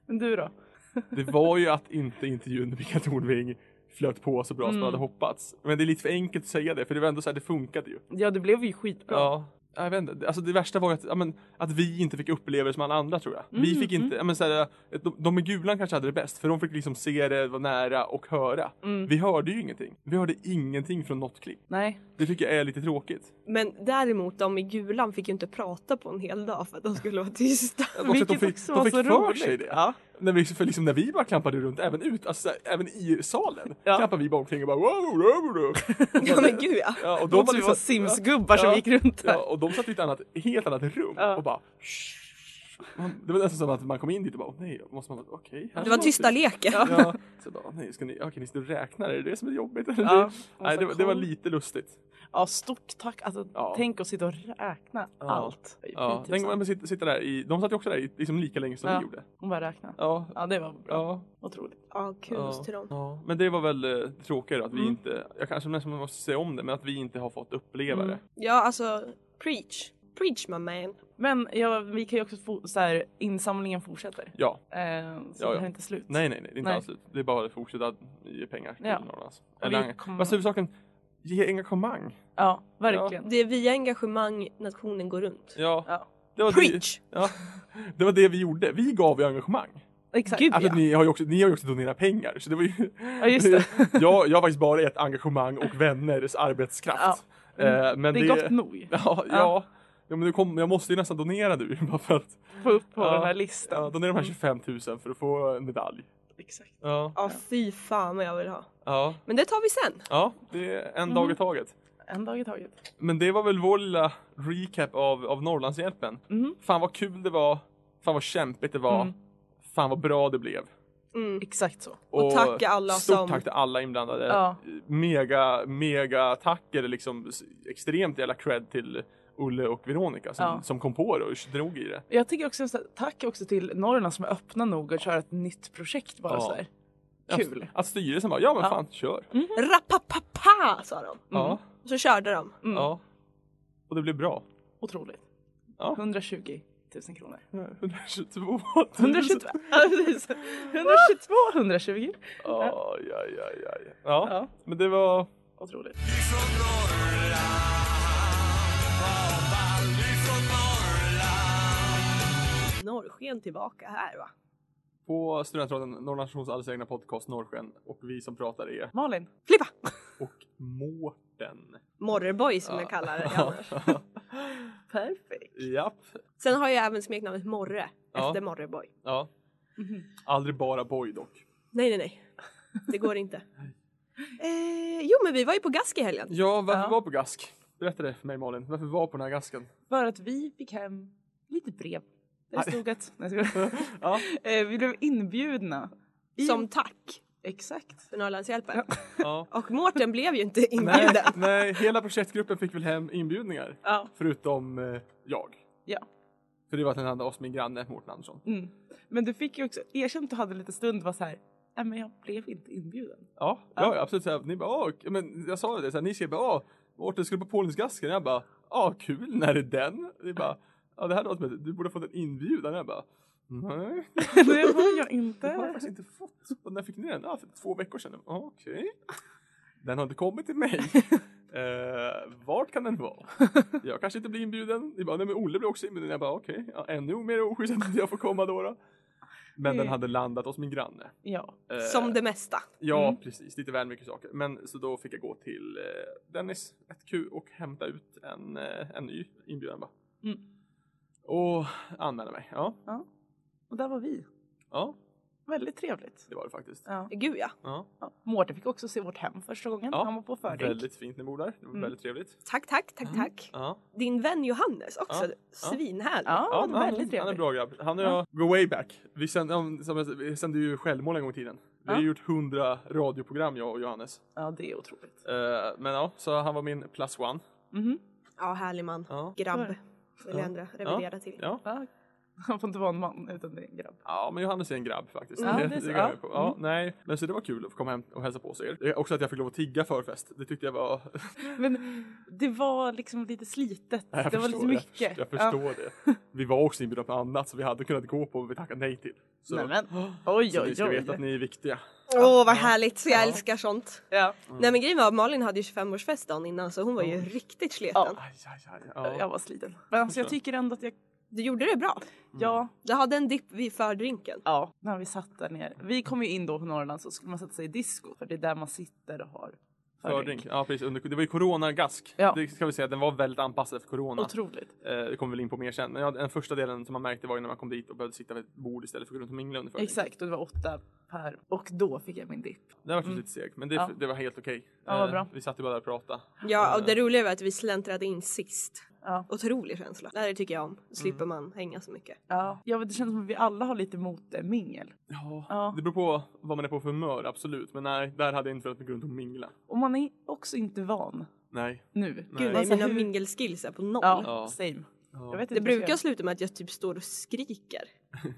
Speaker 3: Men du då?
Speaker 2: Det var ju att inte intervjun med Mikael Tornving flöt på så bra som
Speaker 3: Mm.
Speaker 2: jag hade hoppats. Men det är lite för enkelt att säga det för det var ändå så här, det funkade ju.
Speaker 3: Ja, det blev ju skitbra.
Speaker 2: Ja. Jag vet inte. Alltså det värsta var ju att, ja, men, att vi inte fick uppleva det som alla andra tror jag. vi
Speaker 3: Mm,
Speaker 2: fick inte, ja, men, så här, de, de med gulan kanske hade det bäst för de fick liksom se det, vara nära och höra.
Speaker 3: Mm.
Speaker 2: Vi hörde ju ingenting. Vi hörde ingenting från något klipp.
Speaker 3: Nej,
Speaker 2: Det tycker jag är lite tråkigt.
Speaker 4: Men däremot de i gulan fick ju inte prata på en hel dag för att de skulle vara tysta.
Speaker 2: Och att de
Speaker 3: Vilket
Speaker 2: fick,
Speaker 3: också
Speaker 2: de
Speaker 3: var
Speaker 2: fick
Speaker 3: så
Speaker 2: för
Speaker 3: roligt.
Speaker 2: sig det. När vi, för liksom när vi bara klampade runt, även ut, alltså, så här, även i salen,
Speaker 3: Ja.
Speaker 2: klampade vi bara omkring och bara wow, wow, wow.
Speaker 4: Ja men gud ja.
Speaker 2: Ja, och
Speaker 3: de
Speaker 2: de var
Speaker 3: som var
Speaker 2: liksom,
Speaker 3: simsgubbar
Speaker 2: Ja.
Speaker 3: som gick runt där.
Speaker 2: ja, och de satt i ett annat, helt annat rum
Speaker 3: Ja.
Speaker 2: och bara Man- Det var nästan som att man kom in dit och bara åh nej, måste man, okej. här
Speaker 4: Det var
Speaker 2: ska man
Speaker 4: tysta leken.
Speaker 2: Ja, så bara, åh, nej, ska ni, okej ni står och räknar, är det det som är jobbigt? Eller?
Speaker 3: Ja,
Speaker 2: nej, det, var- det var lite lustigt.
Speaker 3: Ja, stort tack. Alltså,
Speaker 2: Ja.
Speaker 3: tänk att sitta och räkna
Speaker 2: Ja.
Speaker 3: allt.
Speaker 2: Ja, tänk om
Speaker 3: Skittusan.
Speaker 2: man sitter, sitter där i, de satt ju också där i, liksom lika länge som
Speaker 3: typ Ja.
Speaker 2: vi gjorde.
Speaker 3: Hon bara räkna.
Speaker 2: Ja,
Speaker 3: Ja, det var bra.
Speaker 2: ja.
Speaker 3: Otroligt.
Speaker 4: Ja, kudos till dem.
Speaker 2: ja. Men det var väl eh, tråkigt att vi
Speaker 3: Mm.
Speaker 2: inte, jag kanske nästan måste säga om det, men att vi inte har fått uppleva
Speaker 3: Mm.
Speaker 2: det.
Speaker 4: Ja alltså, preach. Preach my man.
Speaker 3: Men ja, vi kan ju också få så här, insamlingen fortsätter.
Speaker 2: Ja,
Speaker 3: Eh, så
Speaker 2: Ja, ja.
Speaker 3: det här är inte slut.
Speaker 2: nej, nej, nej, det är inte
Speaker 3: Nej.
Speaker 2: alls slut. Det är bara att fortsätta ge pengar till
Speaker 3: Ja.
Speaker 2: Norrlands.
Speaker 3: vi
Speaker 2: Eller,
Speaker 3: kommer-
Speaker 2: Fast huvudsaken, ge engagemang.
Speaker 3: Ja, verkligen.
Speaker 4: Det är via engagemang nationen går runt.
Speaker 2: Ja,
Speaker 3: Ja.
Speaker 2: det var det,
Speaker 4: Preach!
Speaker 2: ja, det var det vi gjorde. Vi gav ju engagemang.
Speaker 3: Exakt.
Speaker 4: Gud,
Speaker 2: Alltså,
Speaker 4: ja.
Speaker 2: ni, har ju också, ni har ju också donerat pengar. Så det var ju,
Speaker 3: Ja, just det.
Speaker 2: jag, jag har faktiskt bara gett engagemang och vänners arbetskraft. Eh, men
Speaker 3: Mm. Det är gott nog.
Speaker 2: Ja, ja. ja men du kom, jag måste ju nästan donera nu bara för att
Speaker 3: Få upp på
Speaker 2: Ja.
Speaker 3: den här listan.
Speaker 2: ja, donera de här 25 000 för att få en medalj.
Speaker 3: Exakt.
Speaker 2: Ja,
Speaker 4: Ja fy fan vad jag vill ha.
Speaker 2: ja,
Speaker 4: Men det tar vi sen.
Speaker 2: ja det är en
Speaker 3: Mm.
Speaker 2: dag i taget.
Speaker 3: En dag i taget.
Speaker 2: Men det var väl vår lilla recap av, av Norrlandshjälpen.
Speaker 3: Mhm.
Speaker 2: Fan vad kul det var. Fan vad kämpigt det var.
Speaker 3: Mm.
Speaker 2: Fan vad bra det blev.
Speaker 4: Mm.
Speaker 3: Exakt så.
Speaker 4: Och tack till alla
Speaker 2: stort
Speaker 4: som-
Speaker 2: tack till alla inblandade.
Speaker 3: Ja.
Speaker 2: Mega, mega tacker liksom s- extremt jävla cred till Olle och Veronica som,
Speaker 3: Ja.
Speaker 2: som kom på det och drog i det.
Speaker 3: Jag tycker också så här, tack också till Norrland som är öppna nog att köra ett nytt projekt bara
Speaker 2: Ja.
Speaker 3: så här.
Speaker 2: Att-
Speaker 3: Kul. Mm.
Speaker 2: Att styrelsen bara, ja men
Speaker 3: Ja.
Speaker 2: fan kör.
Speaker 4: Rappapapa sa de.
Speaker 2: Ja,
Speaker 4: Och så körde de.
Speaker 3: Mm.
Speaker 2: ja. Och det blev bra.
Speaker 3: Otroligt.
Speaker 2: Ja.
Speaker 3: 120 000 kronor.
Speaker 2: 122
Speaker 3: 122 122 120.
Speaker 2: Ja, ja, ja, ja, ja. ja,
Speaker 3: Ja.
Speaker 2: men det var...
Speaker 3: Otroligt.
Speaker 1: Ifrån Norrland, vad ball, ifrån Norrland
Speaker 4: Norrsken tillbaka här va.
Speaker 2: På Studentradion, Norrlandsnations alldeles egna podcast Norrsken och vi som pratar är
Speaker 3: Malin.
Speaker 4: Flippa!
Speaker 2: och Mårten.
Speaker 4: Morreboy som jag kallar det annars.
Speaker 3: Perfekt.
Speaker 2: Japp.
Speaker 4: Sen har jag även smeknamnet Morre
Speaker 2: Ja.
Speaker 4: efter Morreboy.
Speaker 2: Ja.
Speaker 3: Mhm.
Speaker 2: Aldrig bara boy dock.
Speaker 4: Nej nej nej. Det går inte. Eh, jo men vi var ju på gask i helgen.
Speaker 2: Ja, varför
Speaker 3: Ja.
Speaker 2: var på gask? Berätta det för mig Malin. Varför var på den här gasken?
Speaker 3: För att vi fick hem lite brev. Där det
Speaker 2: Aj.
Speaker 3: stod att... Nej, jag skojar.
Speaker 2: Ja.
Speaker 3: Eh, Vi blev inbjudna. I-
Speaker 4: Som tack
Speaker 3: Exakt.
Speaker 4: för Norrlandshjälpen.
Speaker 2: ja.
Speaker 4: Och Mårten blev ju inte
Speaker 2: Nej,
Speaker 4: inbjuden.
Speaker 2: nej, hela projektgruppen fick väl hem inbjudningar.
Speaker 3: Ja.
Speaker 2: Förutom eh, jag.
Speaker 3: Ja.
Speaker 2: För det var att den hade oss min granne Mårten Andersson.
Speaker 3: Mm. Men du fick ju också erkänt att du hade lite stund var så här. Nej men jag blev inte inbjuden.
Speaker 2: Ja, ja, ja absolut. Så här, ni bara, "Åh, k- men jag sa ju det, så här, ni skrev bara, "Åh, Mårten skulle på Polensgasken. Jag bara, ja kul, när är den? Ni bara, ja det här låter som att du borde ha fått en inbjudan. Jag bara, nej,
Speaker 3: Det var jag
Speaker 2: det har jag
Speaker 3: inte.
Speaker 2: faktiskt inte fått. Och när fick ni den? Ja, för två veckor sedan. Ja, Okej. Den har inte kommit till mig. Eh, vart kan den vara? Jag kanske inte blir inbjuden. Ni bara, nej men Olle blir också inbjuden. Jag bara, okej, ja, ännu mer oschysst att inte jag får komma då. då. Men den hade landat hos min granne.
Speaker 3: Ja.
Speaker 2: Eh,
Speaker 4: Som det mesta.
Speaker 2: Ja,
Speaker 3: Mm.
Speaker 2: precis. Lite väl mycket saker. Men så då fick jag gå till eh, Dennis 1Q och hämta ut en, eh, en ny inbjudan bara.
Speaker 3: Mm.
Speaker 2: Och anmäla mig. Ja,
Speaker 3: Och där var vi.
Speaker 2: ja,
Speaker 3: Väldigt trevligt.
Speaker 2: det var det faktiskt.
Speaker 3: Ja.
Speaker 4: Gud ja.
Speaker 2: Ja.
Speaker 3: Ja. Mårten fick också se vårt hem första gången.
Speaker 2: Ja.
Speaker 3: Han var på fördrink.
Speaker 2: Väldigt fint ni bor där. Det var
Speaker 3: Mm.
Speaker 2: väldigt trevligt.
Speaker 4: Tack tack tack tack.
Speaker 2: Mm. Ja,
Speaker 4: Din vän Johannes också.
Speaker 2: Ja, ja.
Speaker 4: Svinhärlig.
Speaker 3: Ja,
Speaker 2: ja
Speaker 3: han
Speaker 2: men
Speaker 3: var
Speaker 2: han,
Speaker 3: väldigt
Speaker 2: han är en
Speaker 3: trevlig.
Speaker 2: bra grabb. Han och
Speaker 3: Ja.
Speaker 2: jag go way back. Vi sände, ja, som jag sa, vi sände ju självmål en gång i tiden. Vi har
Speaker 3: Ja.
Speaker 2: gjort hundra radioprogram jag och Johannes.
Speaker 3: Ja, det är otroligt.
Speaker 2: Eh, men ja, så han var min plus one.
Speaker 3: Mhm.
Speaker 4: Ja, härlig man.
Speaker 2: Ja.
Speaker 4: Grabb.
Speaker 3: Ja.
Speaker 4: Vill jag ändra, revidera till.
Speaker 2: ja.
Speaker 3: Ja. Han får inte vara en man utan det är en grabb.
Speaker 2: Ja, men Johannes är en grabb faktiskt.
Speaker 3: Ja, det är så.
Speaker 2: går jag
Speaker 3: Ja.
Speaker 2: på. Ja,
Speaker 3: Mm.
Speaker 2: nej. Men så det var kul att få komma hem och hälsa på sig. Det är Också att jag fick lov att tigga förfest. Det tyckte jag var...
Speaker 3: Men det var liksom lite slitet.
Speaker 2: Nej, jag
Speaker 3: det var
Speaker 2: förstår
Speaker 3: lite
Speaker 2: Jag,
Speaker 3: mycket.
Speaker 2: jag förstår det. Vi var också inbjudna på annat som vi hade kunnat gå på men vi tackade nej till. Så,
Speaker 3: Nej, men. Oj,
Speaker 2: så
Speaker 3: oj,
Speaker 2: ni ska
Speaker 3: oj.
Speaker 2: veta att ni är viktiga.
Speaker 4: Åh vad härligt, så jag älskar sånt.
Speaker 3: Ja.
Speaker 4: Nej men grejen var att Malin hade ju 25-årsfest dagen innan så hon var ju
Speaker 2: Mm.
Speaker 4: riktigt sliten.
Speaker 2: Aj, aj, aj,
Speaker 3: Jag
Speaker 2: ja.
Speaker 3: var sliten. Men alltså, jag
Speaker 2: Förstår. Mm.
Speaker 3: tycker ändå att jag...
Speaker 4: Du gjorde det bra.
Speaker 3: Ja,
Speaker 4: Du hade en dipp vid fördrinken.
Speaker 3: ja, när vi satt där nere. Vi kom ju in då på Norrland så skulle man sätta sig i disco. För det är där man sitter och har
Speaker 2: Fördrink. Ja, precis. Under, det var ju coronagask.
Speaker 3: Ja.
Speaker 2: Det ska vi säga. Den var väldigt anpassad för corona.
Speaker 3: Otroligt.
Speaker 2: Eh, det kommer vi väl in på mer sen. Men ja, den första delen som man märkte var ju när man kom dit och behövde sitta vid ett bord istället för att gå runt och mingla under fördrinken.
Speaker 3: Exakt, och det var åtta per. Och då fick jag min dipp.
Speaker 2: Det var mm.
Speaker 3: Mm.
Speaker 2: lite seg, men det,
Speaker 3: Ja.
Speaker 2: det var helt okej.
Speaker 3: Ja, vad
Speaker 2: Eh,
Speaker 3: bra.
Speaker 2: Vi satt ju bara där och pratade.
Speaker 4: Ja och det roliga var att vi släntrade in sist.
Speaker 3: Ja.
Speaker 4: Otrolig känsla. Det här tycker jag om. Slipper
Speaker 2: Mm.
Speaker 4: man hänga så mycket.
Speaker 3: Ja. ja, men det känns som att vi alla har lite emot eh, mingel.
Speaker 2: Ja.
Speaker 3: Ja.
Speaker 2: Det beror på vad man är på för humör, absolut. Men nej, där hade jag inte velat mig runt och mingla.
Speaker 3: Och man är också inte van
Speaker 2: Nej.
Speaker 3: nu.
Speaker 2: Nej.
Speaker 4: Gud
Speaker 2: Nej,
Speaker 4: vad
Speaker 3: Alltså,
Speaker 4: mina
Speaker 3: hur-
Speaker 4: mingelskills är på noll.
Speaker 3: Ja,
Speaker 2: Ja.
Speaker 3: same.
Speaker 2: Ja.
Speaker 3: Jag vet inte vad jag
Speaker 4: Det
Speaker 3: ska
Speaker 4: brukar
Speaker 3: göra.
Speaker 4: sluta med att jag typ står och skriker.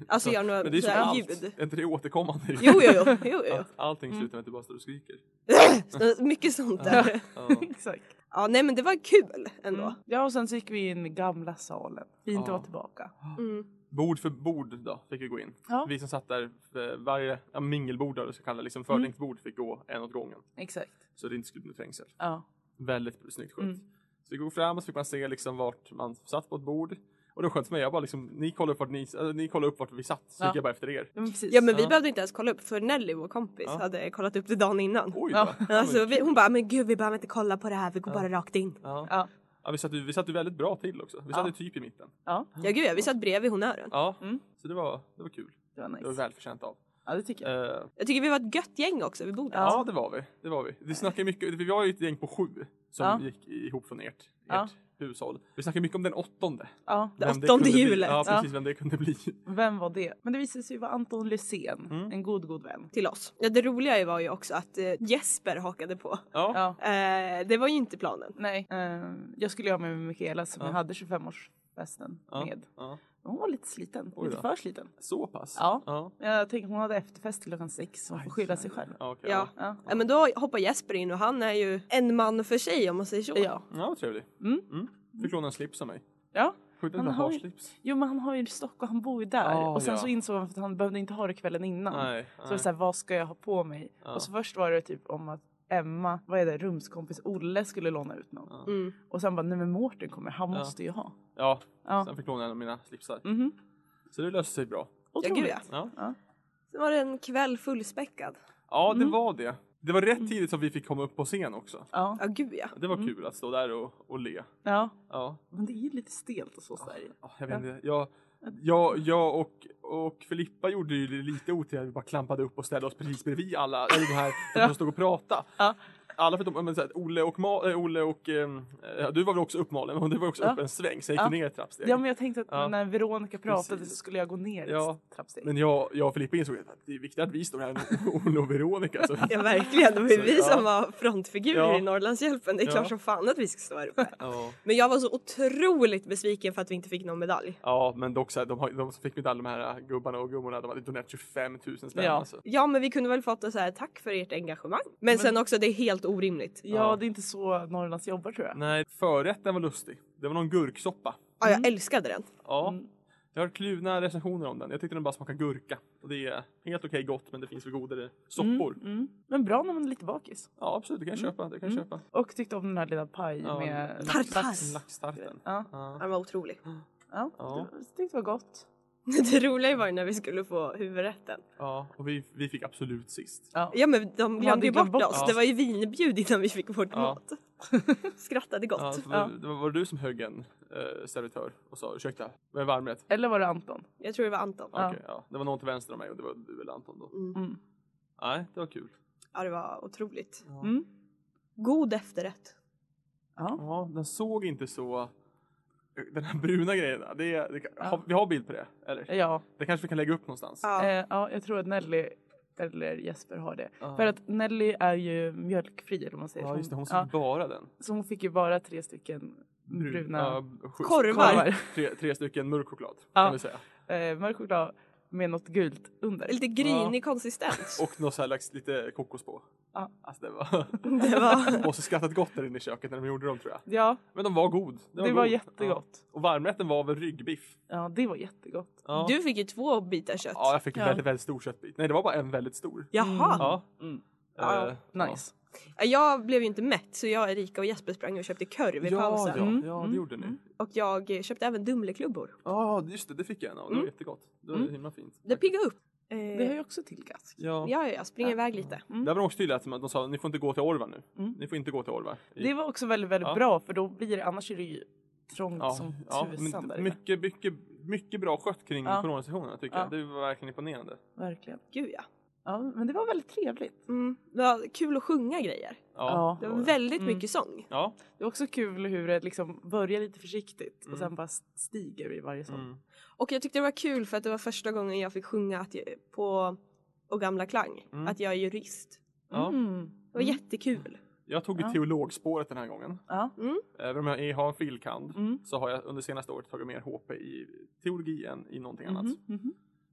Speaker 4: Alltså gör
Speaker 2: Men det är
Speaker 4: några
Speaker 2: som
Speaker 4: sådär
Speaker 2: allt.
Speaker 4: ljud.
Speaker 2: Är inte det återkommande?
Speaker 4: Jo jo jo. jo, Mm. jo.
Speaker 2: Att allting slutar med att du bara står och skriker.
Speaker 4: Så Mycket sånt där.
Speaker 2: Ja.
Speaker 3: Exakt. Mm.
Speaker 4: Ja nej men det var kul ändå.
Speaker 3: Ja, och sen så gick vi in i gamla salen. Fint att
Speaker 2: Ja.
Speaker 3: vara tillbaka.
Speaker 4: Mm.
Speaker 2: Bord för bord då, fick vi gå in.
Speaker 3: Ja.
Speaker 2: Vi som satt där, eh, varje ja, mingelbord eller vad ska kalla det,
Speaker 4: Mm.
Speaker 2: liksom fördrinkningsbord fick gå en åt gången.
Speaker 3: Exakt.
Speaker 2: Så det inte skulle bli trängsel.
Speaker 3: Ja.
Speaker 2: Väldigt snyggt skött.
Speaker 3: Mm.
Speaker 2: Så vi går fram och så fick man se liksom vart man satt på ett bord. Och Och det skönt för mig, jag bara liksom, ni kollar upp vart ni, eller, ni kollar upp vart vi satt, så
Speaker 3: Ja.
Speaker 2: gick jag bara efter er.
Speaker 3: Ja, men precis.
Speaker 4: Ja men vi
Speaker 3: Ja.
Speaker 4: behövde inte ens kolla upp för Nelly, vår kompis,
Speaker 2: Ja.
Speaker 4: hade kollat upp det dagen innan.
Speaker 2: Oj!
Speaker 3: Ja.
Speaker 2: va?
Speaker 4: Men Alltså, vi, hon bara, men gud vi behöver inte kolla på det här, vi går
Speaker 2: Ja.
Speaker 4: bara rakt in.
Speaker 2: Ja.
Speaker 3: Ja.
Speaker 2: Ja, vi, satt, ju- vi satt ju väldigt bra till också. Vi satt
Speaker 3: Ja.
Speaker 2: ju typ i mitten.
Speaker 3: Ja,
Speaker 4: Ja gud ja, vi satt bredvid honören.
Speaker 2: Ja,
Speaker 3: Mm.
Speaker 2: så det var, det var kul.
Speaker 3: det var
Speaker 2: Det var
Speaker 3: nice.
Speaker 2: välförtjänt av.
Speaker 3: Ja, det tycker jag.
Speaker 2: Eh,
Speaker 4: Jag tycker vi var ett gött gäng också vid bordet.
Speaker 2: Ja, det var vi. Det var vi. Vi snackade mycket, vi var ju ett gäng på sju som
Speaker 3: Ja.
Speaker 2: gick ihop från ert, ert
Speaker 3: Ja.
Speaker 2: hushåll. Vi snackade mycket om den åttonde.
Speaker 3: Ja,
Speaker 4: Det
Speaker 2: Vem
Speaker 4: åttonde
Speaker 2: kunde bli.
Speaker 4: hjulet.
Speaker 2: Ja, precis.
Speaker 3: Ja.
Speaker 2: Vem det kunde bli.
Speaker 3: vem var det? Men det visade sig vara Anton Lysén,
Speaker 2: Mm.
Speaker 3: en god, god vän.
Speaker 4: Till oss. Ja, det roliga var ju också att eh, Jesper hakade på.
Speaker 2: Ja.
Speaker 3: Ja,
Speaker 4: Eh, det var ju inte planen.
Speaker 3: nej. Eh, jag skulle göra mig med Mikaela som
Speaker 2: Ja.
Speaker 3: jag hade 25-årsfesten
Speaker 2: Ja.
Speaker 3: med.
Speaker 2: Ja.
Speaker 3: Hon var lite sliten,
Speaker 2: Oj
Speaker 3: lite
Speaker 2: då.
Speaker 3: för sliten.
Speaker 2: Så pass?
Speaker 3: Ja.
Speaker 2: ja.
Speaker 3: Jag tänker hon hade efterfest till klockan sex så hon får skylla sig själv.
Speaker 2: Ja, okay,
Speaker 4: Ja.
Speaker 2: ja.
Speaker 3: Ja.
Speaker 4: Ja, men då hoppar Jesper in och han är ju en man för sig om man säger så.
Speaker 3: ja.
Speaker 2: ja, vad trevlig.
Speaker 3: Mm.
Speaker 2: Fick låna en slips av mig.
Speaker 3: Ja.
Speaker 2: Sjukt att
Speaker 3: Han
Speaker 2: han
Speaker 3: har
Speaker 2: har
Speaker 3: ju-
Speaker 2: slips.
Speaker 3: Jo men han har ju stock och han bor ju där.
Speaker 2: Ja,
Speaker 3: och sen
Speaker 2: ja.
Speaker 3: så insåg han att han behövde inte ha det kvällen innan.
Speaker 2: Nej.
Speaker 3: Så det var
Speaker 2: nej.
Speaker 3: så här, vad ska jag ha på mig?
Speaker 2: Ja.
Speaker 3: Och så först var det typ om att Emma, vad är det, rumskompis Olle skulle låna ut någon.
Speaker 2: Ja.
Speaker 4: Mm.
Speaker 3: Och sen bara, nej men Mårten kommer, han
Speaker 2: Ja.
Speaker 3: måste ju ha.
Speaker 2: ja,
Speaker 3: Ja.
Speaker 2: sen fick låna en av mina slipsar.
Speaker 3: Mhm.
Speaker 2: Så det löste sig bra.
Speaker 4: Ja, gud,
Speaker 3: Otroligt.
Speaker 4: ja.
Speaker 2: Ja,
Speaker 4: Sen var det en kväll fullspäckad.
Speaker 2: ja det
Speaker 3: Mm.
Speaker 2: var det. Det var rätt tidigt som vi fick komma upp på scen också.
Speaker 3: ja.
Speaker 4: Ja gud ja.
Speaker 2: Det var
Speaker 3: Mm.
Speaker 2: kul att stå där och, och le.
Speaker 3: ja.
Speaker 2: Ja.
Speaker 3: Men det är ju lite stelt och så Sverige.
Speaker 2: Ja, Jag vet inte. Jag, jag, jag och, och Filippa gjorde ju det lite otrevligt. Vi bara klampade upp och ställde oss precis bredvid alla. Eller de här de som stod och pratade.
Speaker 3: Ja.
Speaker 2: Alla förutom men, så här, Olle och, Ma, eh, Olle och ehm, eh, du var väl också uppmalen men du var också
Speaker 3: Ja.
Speaker 2: upp en sväng så jag gick
Speaker 3: Ja.
Speaker 2: ner ett trappsteg.
Speaker 3: Ja men jag tänkte att
Speaker 2: Ja.
Speaker 3: när Veronica pratade
Speaker 2: Precis.
Speaker 3: så skulle jag gå ner
Speaker 2: Ja.
Speaker 3: ett trappsteg.
Speaker 2: Men jag, jag och Filippa insåg att det är viktigt att vi står här med Olle och Veronica. Så.
Speaker 4: Ja verkligen, det var ju
Speaker 2: Så,
Speaker 4: vi
Speaker 2: ja.
Speaker 4: som var frontfigurer
Speaker 2: Ja.
Speaker 4: i Norrlandshjälpen. Det är
Speaker 2: Ja.
Speaker 4: klart som fan att vi ska stå här uppe.
Speaker 2: Ja.
Speaker 4: Men jag var så otroligt besviken för att vi inte fick någon medalj.
Speaker 2: ja men dock så här, de, har- de som fick medalj de här gubbarna och gummorna de hade donerat 25 000 spänn.
Speaker 3: Ja.
Speaker 2: Alltså.
Speaker 4: Ja men vi kunde väl fått ett så här tack för ert engagemang. Men,
Speaker 3: Men-
Speaker 4: sen också det är helt orimligt.
Speaker 3: Ja,
Speaker 2: Ja.
Speaker 3: det är inte så Norrlands jobbar tror jag.
Speaker 2: Nej, förrätten var lustig. Det var någon gurksoppa.
Speaker 4: Ja jag älskade den.
Speaker 2: Ja.
Speaker 3: Mm.
Speaker 2: Jag har kluvna recensioner om den. Jag tyckte den bara smakade gurka. Och det är helt okej gott men det finns väl godare soppor.
Speaker 3: Mm, mm. Men bra när man är lite bakis.
Speaker 2: Ja absolut, det kan jag köpa. Det kan jag köpa.
Speaker 3: Och tyckte om den här lilla paj
Speaker 2: Ja,
Speaker 3: med
Speaker 4: Tartar.
Speaker 3: lax.
Speaker 2: Laxstarten.
Speaker 3: Ja,
Speaker 4: Ja,
Speaker 2: Ja.
Speaker 4: Den var otrolig.
Speaker 3: ja.
Speaker 2: Ja.
Speaker 3: Det, tyckte det var gott.
Speaker 4: Det roliga var ju när vi skulle få huvudrätten.
Speaker 2: ja, och vi, vi fick absolut sist.
Speaker 3: Ja.
Speaker 4: Ja men de glömde
Speaker 3: hade
Speaker 4: ju bort
Speaker 3: glömt bort
Speaker 4: oss.
Speaker 2: oss.
Speaker 4: Det var ju vinbjud innan vi fick vårt
Speaker 2: Ja.
Speaker 4: mat. Skrattade gott.
Speaker 2: Ja, så var, det var, var det du som högg en eh, servitör och sa ursäkta, vad är varmrätt?
Speaker 3: Eller var det Anton?
Speaker 4: Jag tror det var Anton.
Speaker 2: Ja.
Speaker 3: Ja.
Speaker 2: okej, ja. Det var någon till vänster om mig och det var du eller Anton då.
Speaker 4: Mm.
Speaker 3: Mm.
Speaker 2: Nej, det var kul.
Speaker 4: Ja det var otroligt.
Speaker 2: Ja,
Speaker 3: Mm.
Speaker 4: God efterrätt.
Speaker 3: Ja.
Speaker 2: ja den såg inte så... Den här bruna grejen, det, är- det, har- vi har bild på det? Eller?
Speaker 3: Ja.
Speaker 2: Det kanske vi kan lägga upp någonstans?
Speaker 4: Ja.
Speaker 3: Eh, ja, jag tror att Nelly eller Jesper har det.
Speaker 2: Ja.
Speaker 3: För att Nelly är ju mjölkfri eller vad man säger.
Speaker 2: Ja
Speaker 3: så
Speaker 2: just det, hon såg
Speaker 3: ja,
Speaker 2: bara den.
Speaker 3: så hon fick ju bara tre stycken bruna
Speaker 2: ja, sju-
Speaker 4: Korvar.
Speaker 2: Tre, tre stycken mörk choklad
Speaker 3: Ja.
Speaker 2: kan vi säga.
Speaker 3: eh, mörk choklad med något gult under.
Speaker 4: Lite grinig konsistens.
Speaker 2: Och någon så här lax, lite kokos på.
Speaker 3: Ja.
Speaker 2: Alltså det var...
Speaker 4: Det var...
Speaker 2: de måste skrattat gott där inne i köket när de gjorde dem tror jag.
Speaker 3: Ja,
Speaker 2: Men de var god.
Speaker 3: det var,
Speaker 2: god.
Speaker 3: jättegott.
Speaker 2: Ja. Och varmrätten var väl ryggbiff?
Speaker 3: Ja, det var jättegott.
Speaker 2: Ja.
Speaker 4: Du fick ju två bitar kött.
Speaker 2: Ja, jag fick en
Speaker 3: Ja.
Speaker 2: väldigt, väldigt stor köttbit. Nej, det var bara en väldigt stor.
Speaker 4: Jaha.
Speaker 2: Ja.
Speaker 3: Mm.
Speaker 4: Ja,
Speaker 2: Eh,
Speaker 3: Nice.
Speaker 4: Jag blev ju inte mätt så jag, Erika och Jesper sprang och köpte
Speaker 2: Ja,
Speaker 4: korv i
Speaker 2: ja,
Speaker 4: pausen.
Speaker 2: ja,
Speaker 3: Mm.
Speaker 2: ja det
Speaker 3: Mm.
Speaker 2: gjorde ni.
Speaker 3: Mm.
Speaker 4: Och jag eh, köpte även Dumleklubbor.
Speaker 2: Ja, just det, det fick jag en av. Det var
Speaker 4: Mm.
Speaker 2: jättegott. Det var
Speaker 3: Mm.
Speaker 2: himla fint.
Speaker 4: Det piggade upp. Eh,
Speaker 3: Det har ju också till gask.
Speaker 2: Ja.
Speaker 4: Ja, ja, jag springer iväg lite. Mm.
Speaker 2: Där var de också tydliga att de sa ni får inte gå till Orvar nu.
Speaker 3: Mm.
Speaker 2: Ni får inte gå till Orvar. I-
Speaker 3: Det var också väldigt, väldigt
Speaker 2: Ja.
Speaker 3: bra för då blir det, annars är det ju trångt som tusan
Speaker 2: men
Speaker 3: där inne.
Speaker 2: mycket, mycket, mycket bra skött kring
Speaker 3: Ja.
Speaker 2: coronasessionerna tycker
Speaker 3: Ja.
Speaker 2: jag. Det var verkligen imponerande.
Speaker 3: Verkligen.
Speaker 4: Gud ja.
Speaker 3: Ja, men det var väldigt trevligt.
Speaker 4: Mm. Det var kul att sjunga grejer.
Speaker 3: Ja.
Speaker 4: Det
Speaker 2: var
Speaker 4: var väldigt
Speaker 3: Mm.
Speaker 4: mycket sång.
Speaker 2: Ja.
Speaker 3: Det var också kul hur det liksom börjar lite försiktigt
Speaker 2: Mm.
Speaker 3: och sen bara stiger i varje sång.
Speaker 2: Mm.
Speaker 4: Och jag tyckte det var kul för att det var första gången jag fick sjunga att jag, på Och gamla klang
Speaker 2: Mm.
Speaker 4: att jag är jurist.
Speaker 2: Ja.
Speaker 3: Mm.
Speaker 4: Det var
Speaker 3: Mm.
Speaker 4: jättekul.
Speaker 2: Jag tog ju
Speaker 3: Ja.
Speaker 2: teologspåret den här gången.
Speaker 3: Ja.
Speaker 2: Även om jag är- har en filkand
Speaker 3: Mm.
Speaker 2: så har jag under senaste året tagit mer HP i teologi än i någonting annat.
Speaker 3: Mhm, mhm.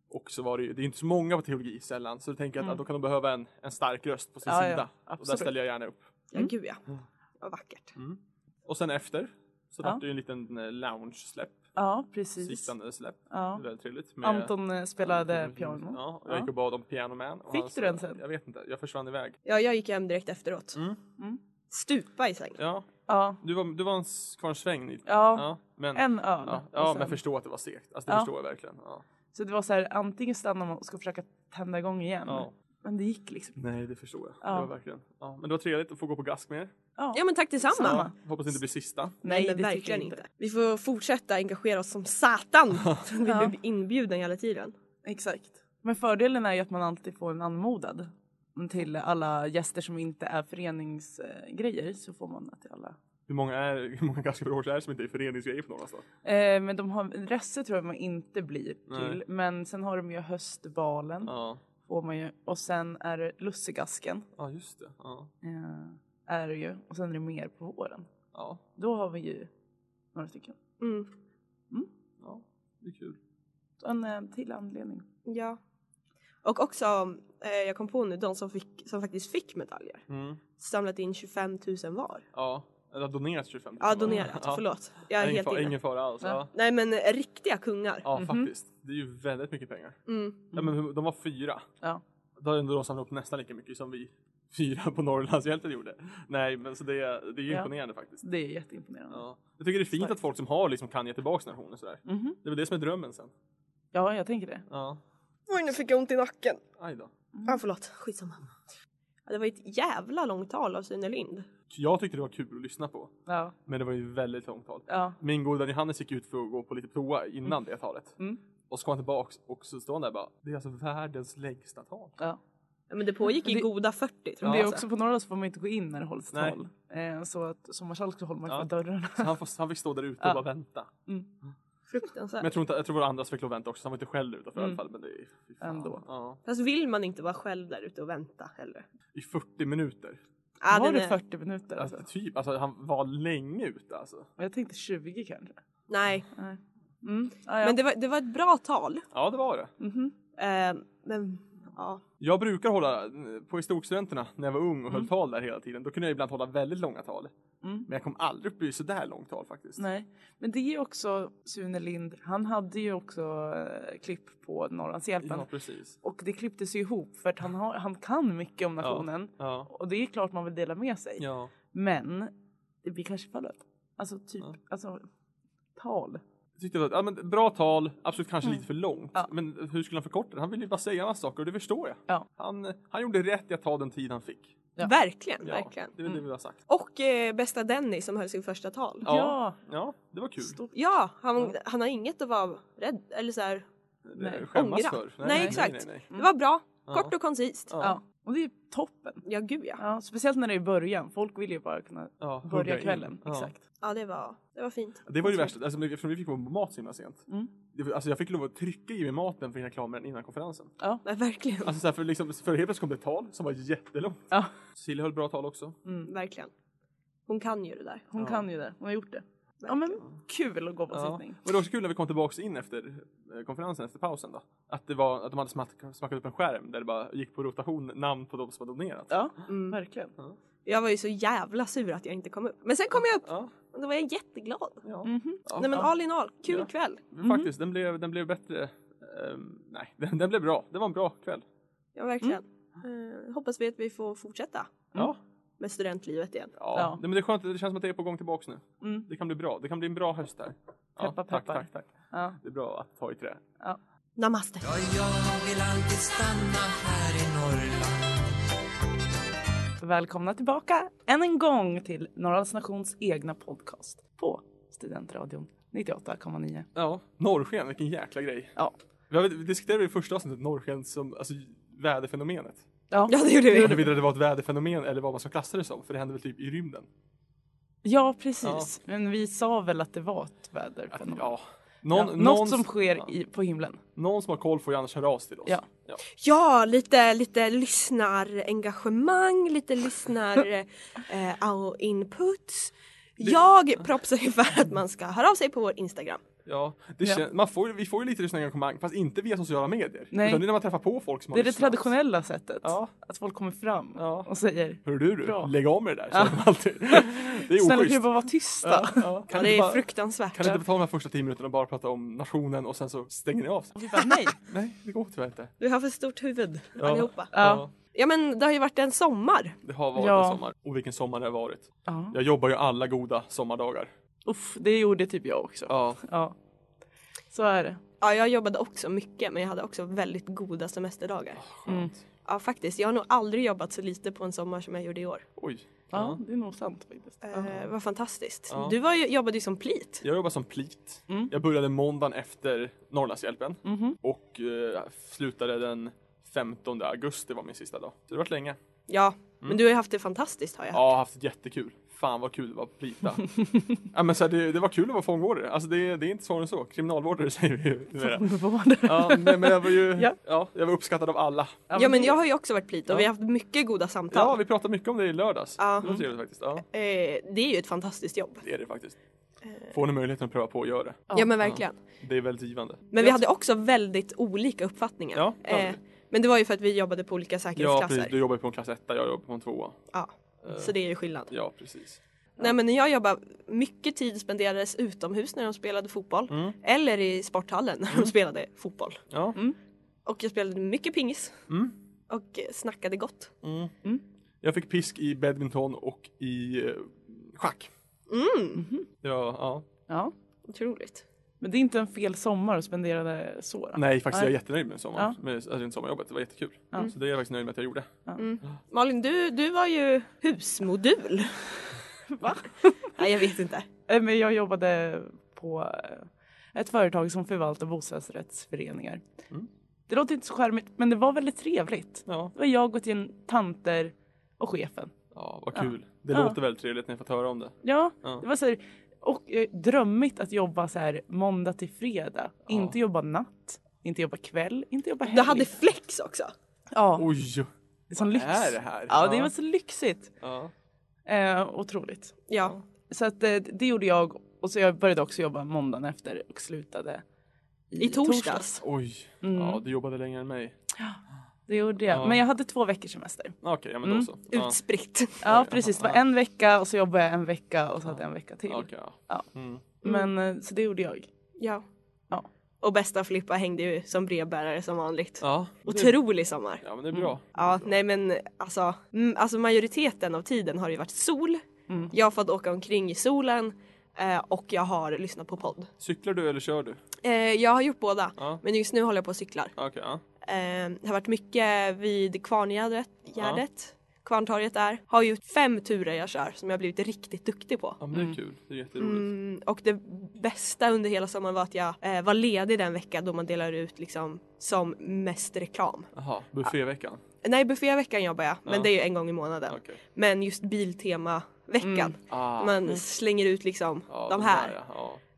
Speaker 2: Och så var det ju, det är inte så många på teologi sällan så då tänker jag att
Speaker 3: Mm.
Speaker 2: ah, då kan de behöva en, en stark röst på sin
Speaker 3: Ja, ja,
Speaker 2: sida. och där
Speaker 3: absolut.
Speaker 2: ställer jag gärna upp.
Speaker 4: Ja,
Speaker 3: Mm.
Speaker 4: gud ja.
Speaker 2: Mm.
Speaker 4: Vad vackert.
Speaker 2: Mm. Och sen efter så
Speaker 3: Ja.
Speaker 2: vart det ju en liten eh, lounge-släpp,
Speaker 3: Ja, precis.
Speaker 2: sittande släpp.
Speaker 3: Ja.
Speaker 2: Väldigt trevligt. med-
Speaker 3: Anton eh, spelade
Speaker 2: Mm.
Speaker 3: piano.
Speaker 2: Ja, och jag gick och bad om Piano Man. och
Speaker 3: Fick
Speaker 2: han
Speaker 3: du
Speaker 2: sa-
Speaker 3: den sen?
Speaker 2: Jag vet inte, jag försvann iväg.
Speaker 4: Ja, jag gick hem direkt efteråt.
Speaker 2: Mm.
Speaker 3: Mm.
Speaker 4: Stupa i sängen.
Speaker 2: Ja,
Speaker 3: Ja.
Speaker 2: Du var, du var en, s- kvar en sväng Nils.
Speaker 3: Ja.
Speaker 2: Ja, men,
Speaker 3: En öl.
Speaker 2: ja,
Speaker 3: och
Speaker 2: ja,
Speaker 3: sen-
Speaker 2: men förstå att det var segt. Alltså det
Speaker 3: Ja.
Speaker 2: förstår jag verkligen. Ja.
Speaker 3: Så det var så här, antingen stannar man och ska försöka tända igång igen.
Speaker 2: Ja.
Speaker 3: Men det gick liksom.
Speaker 2: Nej, det förstår jag.
Speaker 3: Ja.
Speaker 2: Det var verkligen. Ja, men det var trevligt att få gå på gask med er.
Speaker 3: Ja.
Speaker 4: Ja men tack detsamma.
Speaker 3: Samma.
Speaker 2: Hoppas det inte blir sista.
Speaker 4: Nej,
Speaker 3: det
Speaker 4: men
Speaker 3: tycker jag
Speaker 4: verkligen inte. Vi får fortsätta engagera oss som satan. Vi blir
Speaker 3: Ja.
Speaker 4: inbjuden hela tiden.
Speaker 3: Exakt. Men fördelen är ju att man alltid får en anmodad till alla gäster som inte är föreningsgrejer så får man det till alla.
Speaker 2: Hur många, är, hur många gaskbror är det som inte är föreningsgrejer på några stad?
Speaker 3: Eh, men de har, Resse tror jag man inte blir till
Speaker 2: Nej.
Speaker 3: men sen har de ju höstvalen
Speaker 2: Ja.
Speaker 3: får man ju och sen är det lussegasken
Speaker 2: ja, just det. Ja.
Speaker 3: eh, är det ju och sen är det mer på våren.
Speaker 2: Ja.
Speaker 3: Då har vi ju några stycken.
Speaker 4: Mm.
Speaker 2: ja, det är kul.
Speaker 3: En eh, till anledning.
Speaker 4: Ja. Och också, eh, jag kom på nu, de som, fick, som faktiskt fick medaljer
Speaker 2: Mm.
Speaker 4: samlat in 25 000 var.
Speaker 2: Ja, eller har donerat 25 000
Speaker 4: Ja, donerat. Förlåt. Jag är
Speaker 2: ingen,
Speaker 4: helt
Speaker 2: fara,
Speaker 4: inne.
Speaker 2: ingen fara alls.
Speaker 3: Nej.
Speaker 2: Ja,
Speaker 4: Nej men eh, riktiga kungar.
Speaker 2: ja
Speaker 3: Mhm.
Speaker 2: faktiskt. Det är ju väldigt mycket pengar.
Speaker 4: Mm.
Speaker 2: Ja, men hur- de var fyra.
Speaker 3: Ja.
Speaker 2: Då har ändå de samlat upp nästan lika mycket som vi fyra på Norrlandshjälten gjorde. Nej, men så det, är- det är ju
Speaker 3: Ja.
Speaker 2: imponerande faktiskt.
Speaker 3: Det är jätteimponerande.
Speaker 2: Ja. Jag tycker det är fint
Speaker 3: Starkt.
Speaker 2: att folk som har liksom kan ge tillbaka sina horn och sådär.
Speaker 3: Mhm.
Speaker 2: Det är väl det som är drömmen sen.
Speaker 3: Ja, jag tänker det.
Speaker 2: Ja.
Speaker 4: Oj nu fick jag ont i nacken.
Speaker 2: Aj då.
Speaker 4: Ja förlåt, skitsamma. Mm. Ja, det var ju ett jävla långt tal av Sune Lind.
Speaker 2: Jag tyckte det var kul att lyssna på.
Speaker 3: Ja,
Speaker 2: Men det var ju väldigt långt tal.
Speaker 3: ja,
Speaker 2: Min goda vän Johannes gick ut för att gå på lite toa innan det talet.
Speaker 3: Mm.
Speaker 2: Och så kom han tillbaks och så står han där bara. Det är alltså världens längsta tal.
Speaker 3: ja.
Speaker 4: Ja, Men det pågick i
Speaker 3: Det-
Speaker 4: goda 40 tror
Speaker 3: Men
Speaker 4: jag.
Speaker 3: det är
Speaker 4: alltså.
Speaker 3: också på Norrland så får man inte gå in när det hålls
Speaker 2: Nej.
Speaker 3: tal. Eh, så att sommarsalk så håller man
Speaker 2: Ja.
Speaker 3: ja. för dörrarna.
Speaker 2: Så han, får, han fick stå där ute
Speaker 3: Ja.
Speaker 2: och bara vänta.
Speaker 4: Fruktansvärt.
Speaker 2: Men jag tror, inte, jag tror våra andra fick lov att vänta också. Så han var inte själv där utanför i alla
Speaker 3: Mm.
Speaker 2: fall. Men det är, fy fan.
Speaker 3: Ändå.
Speaker 2: Ja.
Speaker 4: Fast vill man inte vara själv där ute och vänta heller?
Speaker 2: I 40 minuter.
Speaker 4: Ja,
Speaker 3: var
Speaker 4: den
Speaker 3: det
Speaker 4: är...
Speaker 3: 40 minuter alltså?
Speaker 2: Alltså, typ, alltså, han var länge ute alltså.
Speaker 3: Jag tänkte 20 kanske.
Speaker 4: Nej,
Speaker 3: Nej. Mm. Ah, ja.
Speaker 4: men det var, det var ett bra tal.
Speaker 2: Ja det var det.
Speaker 3: Mhm.
Speaker 4: Eh, men ja,
Speaker 2: Jag brukar hålla eh, på historikstudenterna när jag var ung och höll tal där hela tiden. Då kunde jag ibland hålla väldigt långa tal.
Speaker 3: Mm.
Speaker 2: Men jag kom aldrig upp i sådär långt tal faktiskt.
Speaker 3: Nej. Men det är också Sune Lind, han hade ju också eh, klipp på Norrlandshjälpen.
Speaker 2: Ja precis.
Speaker 3: Och det klipptes ju ihop för att han, har, han kan mycket om nationen.
Speaker 2: Ja.
Speaker 3: Och det är klart man vill dela med sig.
Speaker 2: ja.
Speaker 3: Men det blir kanske för lätt. Alltså typ,
Speaker 2: Ja.
Speaker 3: alltså tal.
Speaker 2: tyckte att, ja, men bra tal, absolut kanske lite för långt.
Speaker 3: Mm. Ja.
Speaker 2: Men hur skulle han förkorta det? Han ville ju bara säga en massa saker och det förstår jag.
Speaker 3: Ja.
Speaker 2: Han, han gjorde rätt i att ta den tid han fick.
Speaker 3: Ja.
Speaker 4: verkligen,
Speaker 2: Ja,
Speaker 4: verkligen.
Speaker 2: Det är väl det vi har sagt.
Speaker 4: Och eh, bästa Denny som höll sin första tal.
Speaker 2: Ja.
Speaker 3: Ja.
Speaker 2: Ja, det var kul.
Speaker 3: Stort.
Speaker 4: Ja, han, han har inget att vara rädd eller så här.
Speaker 2: Nej.
Speaker 3: Nej.
Speaker 2: Eh, Skämmas
Speaker 4: Ångra.
Speaker 2: för.
Speaker 4: Nej, exakt.
Speaker 2: Nej, nej, nej.
Speaker 4: Det var bra,
Speaker 2: Mm. Ja.
Speaker 4: kort och koncist. Ja,
Speaker 2: Ja.
Speaker 3: Ja. Och det är toppen.
Speaker 4: gud ja.
Speaker 3: Ja, speciellt när det är i början. Folk vill ju bara kunna
Speaker 2: Ja, hugga
Speaker 3: börja
Speaker 2: in.
Speaker 3: kvällen.
Speaker 2: Ja.
Speaker 3: Exakt.
Speaker 4: Ja, det var, det var fint.
Speaker 2: Det var ju det värsta, alltså, eftersom vi fick vår mat så himla sent.
Speaker 3: Mm.
Speaker 2: Det var- Alltså jag fick lov att trycka i mig maten för att hinna klara med den innan konferensen.
Speaker 4: Nej, verkligen,
Speaker 2: Alltså så här, för, liksom, för helt plötsligt kom det ett tal som var jättelångt.
Speaker 3: Ja.
Speaker 2: Cecilia höll bra tal också.
Speaker 3: Mm.
Speaker 4: verkligen. Hon kan ju det där.
Speaker 3: Hon
Speaker 2: Ja.
Speaker 3: kan ju det. Hon har gjort det. Ja men kul att gå på
Speaker 2: Ja.
Speaker 3: sittning.
Speaker 2: Och det var också kul när vi kom tillbaka in efter eh, konferensen, efter pausen då. Att, det var, att de hade smack, smackat upp en skärm där det bara gick på rotation namn på de som hade donerat.
Speaker 3: Ja,
Speaker 4: Mm.
Speaker 3: verkligen.
Speaker 4: Jag var ju så jävla sur att jag inte kom upp. Men sen kom jag upp
Speaker 2: Ja,
Speaker 4: och då var jag jätteglad.
Speaker 2: ja.
Speaker 3: Mhm.
Speaker 2: ja.
Speaker 4: Nej men all in all, kul
Speaker 2: Ja.
Speaker 4: kväll.
Speaker 3: Mm.
Speaker 2: Faktiskt, den blev, den blev bättre. Ehm, nej, den, den blev bra. Det var en bra kväll.
Speaker 4: Ja verkligen.
Speaker 2: Mm.
Speaker 4: Eh, hoppas vi att vi får fortsätta
Speaker 2: Ja.
Speaker 4: med studentlivet igen.
Speaker 2: Ja.
Speaker 3: Ja.
Speaker 2: Det, men det är skönt, det känns som att det är på gång tillbaks nu.
Speaker 3: Mm.
Speaker 2: Det kan bli bra. Det kan bli en bra höst här. Ja,
Speaker 3: Peppar,
Speaker 2: tack,
Speaker 3: peppar.
Speaker 2: tack, tack.
Speaker 3: Ja.
Speaker 2: Det är bra att ta i trä.
Speaker 4: Namaste.
Speaker 1: Ja, jag vill alltid stanna här i Norrland
Speaker 3: Välkomna tillbaka än en gång till Norrlands Nations egna podcast på Studentradion 98,9.
Speaker 2: Ja, norrsken, vilken jäkla grej.
Speaker 3: Ja.
Speaker 2: Vi, har, vi diskuterade i första avsnittet norrsken som alltså, väderfenomenet.
Speaker 4: Ja det gjorde vi.
Speaker 2: Huruvida det var ett väderfenomen eller vad man ska klassa det som. För det händer väl typ i rymden.
Speaker 3: Ja, precis. Men vi sa väl att det var ett väder. På någon.
Speaker 2: Ja.
Speaker 3: Ja,
Speaker 2: Någon, någon,
Speaker 3: Något som
Speaker 2: ja.
Speaker 3: sker i, på himlen.
Speaker 2: någon som har koll får ju annars höra av sig till oss.
Speaker 3: Ja.
Speaker 4: Ja, lite, lite lyssnarengagemang, lite eh, lyssnar-inputs. jag propsar ju för att man ska höra av sig på vår Instagram.
Speaker 2: ja. Det
Speaker 3: Ja.
Speaker 2: kän- Man får, ju- vi får ju lite lyssnarengagemang fast inte via sociala medier.
Speaker 3: Nej.
Speaker 2: Utan det är när man träffar på folk som
Speaker 3: Det är
Speaker 2: har
Speaker 3: det
Speaker 2: lyssnat.
Speaker 3: traditionella sättet.
Speaker 2: Ja.
Speaker 3: Att folk kommer fram
Speaker 2: Ja.
Speaker 3: och säger
Speaker 2: Hör du, du
Speaker 3: Bra.
Speaker 2: lägg av med det där.
Speaker 3: Ja.
Speaker 2: säger de alltid. Det är
Speaker 3: Snälla kan du
Speaker 2: oschysst.
Speaker 3: bara vara tysta?
Speaker 2: Ja.
Speaker 4: Ja,
Speaker 2: Kan
Speaker 4: det
Speaker 2: ni
Speaker 4: är
Speaker 2: bara,
Speaker 4: fruktansvärt.
Speaker 2: kan ni inte ta de här första tio minuterna och bara prata om nationen och sen så stänger ni av?
Speaker 3: Vi bara, nej.
Speaker 2: Nej, det går tyvärr inte.
Speaker 4: Du har för stort huvud
Speaker 2: Ja.
Speaker 4: allihopa.
Speaker 3: Ja.
Speaker 4: Ja men det har ju varit en sommar.
Speaker 2: Det har varit
Speaker 3: Ja.
Speaker 2: en sommar. Och vilken sommar det har varit.
Speaker 3: Ja.
Speaker 2: Jag jobbar ju alla goda sommardagar.
Speaker 3: Uff, det gjorde typ jag också.
Speaker 2: Ja.
Speaker 3: Ja. Så är det.
Speaker 4: Ja jag jobbade också mycket men jag hade också väldigt goda semesterdagar.
Speaker 3: Mm.
Speaker 4: Ja faktiskt, jag har nog aldrig jobbat så lite på en sommar som jag gjorde i år.
Speaker 2: Oj.
Speaker 3: Ja, det är nog sant faktiskt.
Speaker 4: Eh, Vad fantastiskt.
Speaker 2: Ja.
Speaker 4: Du var ju, jobbade ju som plit.
Speaker 2: Jag jobbar som plit.
Speaker 3: Mm.
Speaker 2: Jag började måndagen efter Norrlandshjälpen
Speaker 3: Mhm.
Speaker 2: och eh, slutade den 15 augusti var min sista dag. Så det har varit länge.
Speaker 4: Ja, men du har ju haft det fantastiskt har jag.
Speaker 2: Ja, jag har haft det jättekul. Fan vad kul det var att plita. ja, men så här, det, det var kul att vara fångvårdare. Alltså det, det är inte svårare än så. Kriminalvårdare säger vi ju numera. Ja, men, men jag var ju ja.
Speaker 3: Ja.
Speaker 2: jag var uppskattad av alla.
Speaker 4: Ja men jag har ju också varit plit och
Speaker 2: Ja.
Speaker 4: vi har haft mycket goda samtal.
Speaker 2: Ja, vi pratade mycket om det i lördags.
Speaker 4: Ja.
Speaker 2: Det var trevligt faktiskt. Ja,
Speaker 4: Eh, det är ju ett fantastiskt jobb.
Speaker 2: det är det faktiskt.
Speaker 4: Eh.
Speaker 2: Får ni möjligheten att pröva på och gör det.
Speaker 4: Ja, men verkligen.
Speaker 2: Det är väldigt givande.
Speaker 4: Men vi hade också väldigt olika uppfattningar. Eh,
Speaker 2: Ja, det hade vi.
Speaker 4: men det var ju för att vi jobbade på olika
Speaker 2: Ja,
Speaker 4: säkerhetsklasser.
Speaker 2: precis. Du jobbar ju på en klass 1, jag jobbar på en 2.
Speaker 4: Ja, så det är ju skillnad.
Speaker 2: Ja, precis.
Speaker 4: Nej men när jag jobbade, mycket tid spenderades utomhus när de spelade fotboll.
Speaker 2: Mm.
Speaker 4: Eller i sporthallen när de spelade fotboll.
Speaker 2: Ja.
Speaker 4: Och jag spelade mycket pingis.
Speaker 2: Mm.
Speaker 4: Och eh, snackade gott. Mm.
Speaker 2: Jag fick pisk i badminton och i eh, schack.
Speaker 4: Mm,
Speaker 2: Ja, ja.
Speaker 3: Ja.
Speaker 4: otroligt.
Speaker 3: Men det är inte en fel sommar att spendera det så. då.
Speaker 2: Nej, faktiskt jag är jättenöjd med, sommar,
Speaker 3: Ja.
Speaker 2: med alltså, inte sommarjobbet. Det var jättekul.
Speaker 3: Ja.
Speaker 2: Så det är jag faktiskt nöjd med att jag gjorde.
Speaker 4: Malin, du, du var ju husmodul. Va? Nej, jag vet inte.
Speaker 3: Eh, Men jag jobbade på eh, ett företag som förvaltar bostadsrättsföreningar.
Speaker 2: Mm.
Speaker 3: Det låter inte så charmigt men det var väldigt trevligt.
Speaker 2: Ja,
Speaker 3: Det var jag och till tanter och chefen.
Speaker 2: ja vad
Speaker 3: Ja.
Speaker 2: kul. Det
Speaker 3: Ja.
Speaker 2: låter väldigt trevligt när jag fått höra om det.
Speaker 3: Ja,
Speaker 2: Ja.
Speaker 3: det var så här, och eh, drömmigt att jobba så här måndag till fredag.
Speaker 2: Ja.
Speaker 3: Inte jobba natt, inte jobba kväll, inte jobba helg.
Speaker 4: Du hade flex också.
Speaker 3: ja,
Speaker 2: Oj!
Speaker 3: det är sån lyx.
Speaker 2: är det här?
Speaker 3: Ja,
Speaker 2: Ja.
Speaker 3: det var så lyxigt.
Speaker 2: Ja.
Speaker 3: Eh, otroligt.
Speaker 4: Ja,
Speaker 3: Så att, eh, det gjorde jag och så jag började också jobba måndagen efter och slutade
Speaker 4: i torsdags.
Speaker 2: Oj!
Speaker 3: Mm.
Speaker 2: Ja, du jobbade längre än mig.
Speaker 3: Det gjorde jag.
Speaker 2: Ja.
Speaker 3: Men jag hade två veckors semester.
Speaker 2: Okej, ja men då
Speaker 3: Mm.
Speaker 2: så. Ja.
Speaker 4: Utspritt.
Speaker 3: Ja precis, det var
Speaker 2: ja.
Speaker 3: en vecka och så jobbade jag en vecka och så hade jag en vecka till.
Speaker 2: Okej, ja.
Speaker 3: Ja.
Speaker 2: Mm.
Speaker 3: Men eh, så det gjorde jag.
Speaker 4: Ja.
Speaker 3: Ja.
Speaker 4: Och bästa Filippa hängde ju som brevbärare som vanligt.
Speaker 2: ja. Det,
Speaker 4: Otrolig sommar.
Speaker 2: ja, men det är bra.
Speaker 3: Mm.
Speaker 4: Ja, nej men alltså, mm, alltså majoriteten av tiden har det ju varit sol.
Speaker 3: Mm.
Speaker 4: Jag har fått åka omkring i solen eh, och jag har lyssnat på podd.
Speaker 2: Cyklar du eller kör du?
Speaker 4: Eh, jag har gjort båda,
Speaker 2: Ja.
Speaker 4: men just nu håller jag på och cyklar.
Speaker 2: Okej, ja.
Speaker 4: Eh, det har varit mycket vid Kvarngärdet. Gärdet. Kvarntorget där. Har ju fem turer jag kör som jag blivit riktigt duktig på.
Speaker 2: ja men det är kul. Det är jätteroligt.
Speaker 4: Mm, och det bästa under hela sommaren var att jag eh, var ledig den vecka då man delar ut liksom som mest reklam.
Speaker 2: Jaha, bufféveckan.
Speaker 4: Nej, bufféveckan jobbar jag, men
Speaker 2: Ja.
Speaker 4: det är ju en gång i månaden.
Speaker 2: Okej.
Speaker 4: Men just Biltema-veckan,
Speaker 2: Ah.
Speaker 4: man slänger ut liksom
Speaker 2: ja,
Speaker 4: de
Speaker 2: de
Speaker 4: här.
Speaker 2: Där, ja.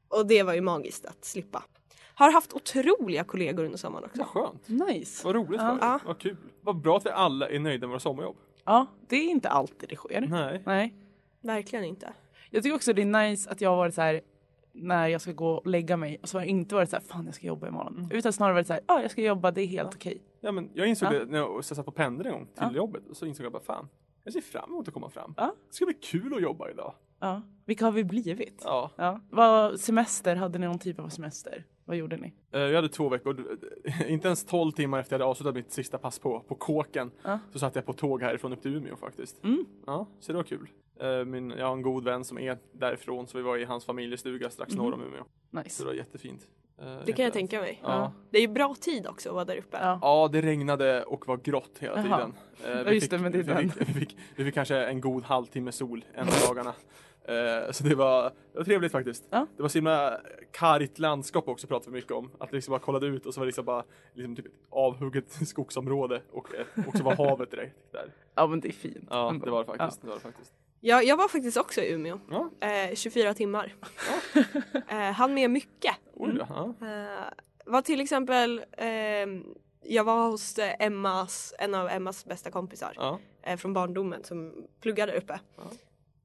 Speaker 2: ja.
Speaker 4: Och det var ju magiskt att slippa. Har haft otroliga kollegor under sommaren också.
Speaker 2: Vad skönt.
Speaker 3: Nice.
Speaker 2: Vad roligt för
Speaker 4: Ja.
Speaker 2: dig. Vad kul. Vad bra att vi alla är nöjda med våra sommarjobb.
Speaker 3: Ja, det är inte alltid det sker.
Speaker 2: Nej.
Speaker 3: Nej.
Speaker 4: Verkligen inte.
Speaker 3: Jag tycker också det är nice att jag har varit så här när jag ska gå och lägga mig och så har jag inte varit så här fan jag ska jobba imorgon. Utan snarare varit så här ja jag ska jobba det är helt okej.
Speaker 2: Mm. Ja, men jag insåg
Speaker 3: Ja.
Speaker 2: det när jag satt på pendeln en gång till jobbet och så insåg jag bara fan, jag ser fram emot att komma fram.
Speaker 3: Ja.
Speaker 2: Det ska bli kul att jobba idag.
Speaker 3: Ja. Vilka har vi blivit? Ja.
Speaker 2: Ja.
Speaker 3: Vad semester, hade ni någon typ av semester? Vad gjorde ni?
Speaker 2: Eh, Jag hade två veckor, inte ens 12 timmar efter jag hade avslutat mitt sista pass på, på kåken
Speaker 3: Ja.
Speaker 2: så satt jag på tåg härifrån upp till Umeå faktiskt.
Speaker 3: Mm.
Speaker 2: Ja, så det var kul. Eh, Min, jag har en god vän som är därifrån så vi var i hans familjestuga strax norr om Umeå. Så
Speaker 3: Nice.
Speaker 2: det var jättefint. Eh,
Speaker 4: Det kan jag
Speaker 2: jättehärligt.
Speaker 4: tänka mig.
Speaker 2: Ja.
Speaker 4: Det är ju bra tid också att vara där uppe.
Speaker 3: Ja.
Speaker 2: Ja, det regnade och var grått hela
Speaker 3: Jaha.
Speaker 2: tiden. Eh,
Speaker 3: Ja, just det, men det är
Speaker 2: vi
Speaker 3: den.
Speaker 2: fick, vi, fick, vi fick kanske en god halvtimme sol en av dagarna. Eh, så det var, det var trevligt faktiskt.
Speaker 3: Ja.
Speaker 2: Det var så himla kargt landskap också pratade vi mycket om. Att vi liksom bara kollade ut och så var det liksom bara liksom typ ett avhugget skogsområde och, ett- och så var havet direkt där.
Speaker 3: Ja men det är fint.
Speaker 2: Ja,
Speaker 3: ändå.
Speaker 2: det var det faktiskt. Det var det faktiskt.
Speaker 4: Jag, jag var faktiskt också i Umeå.
Speaker 2: Ja.
Speaker 4: Eh, 24 timmar. eh, han med mycket.
Speaker 2: Oj,
Speaker 3: Mm.
Speaker 2: ja. ja.
Speaker 4: Eh, var till exempel, ehm, jag var hos eh, Emmas, en av Emmas bästa kompisar
Speaker 2: ja.
Speaker 4: eh, från barndomen som pluggade där uppe.
Speaker 2: Ja.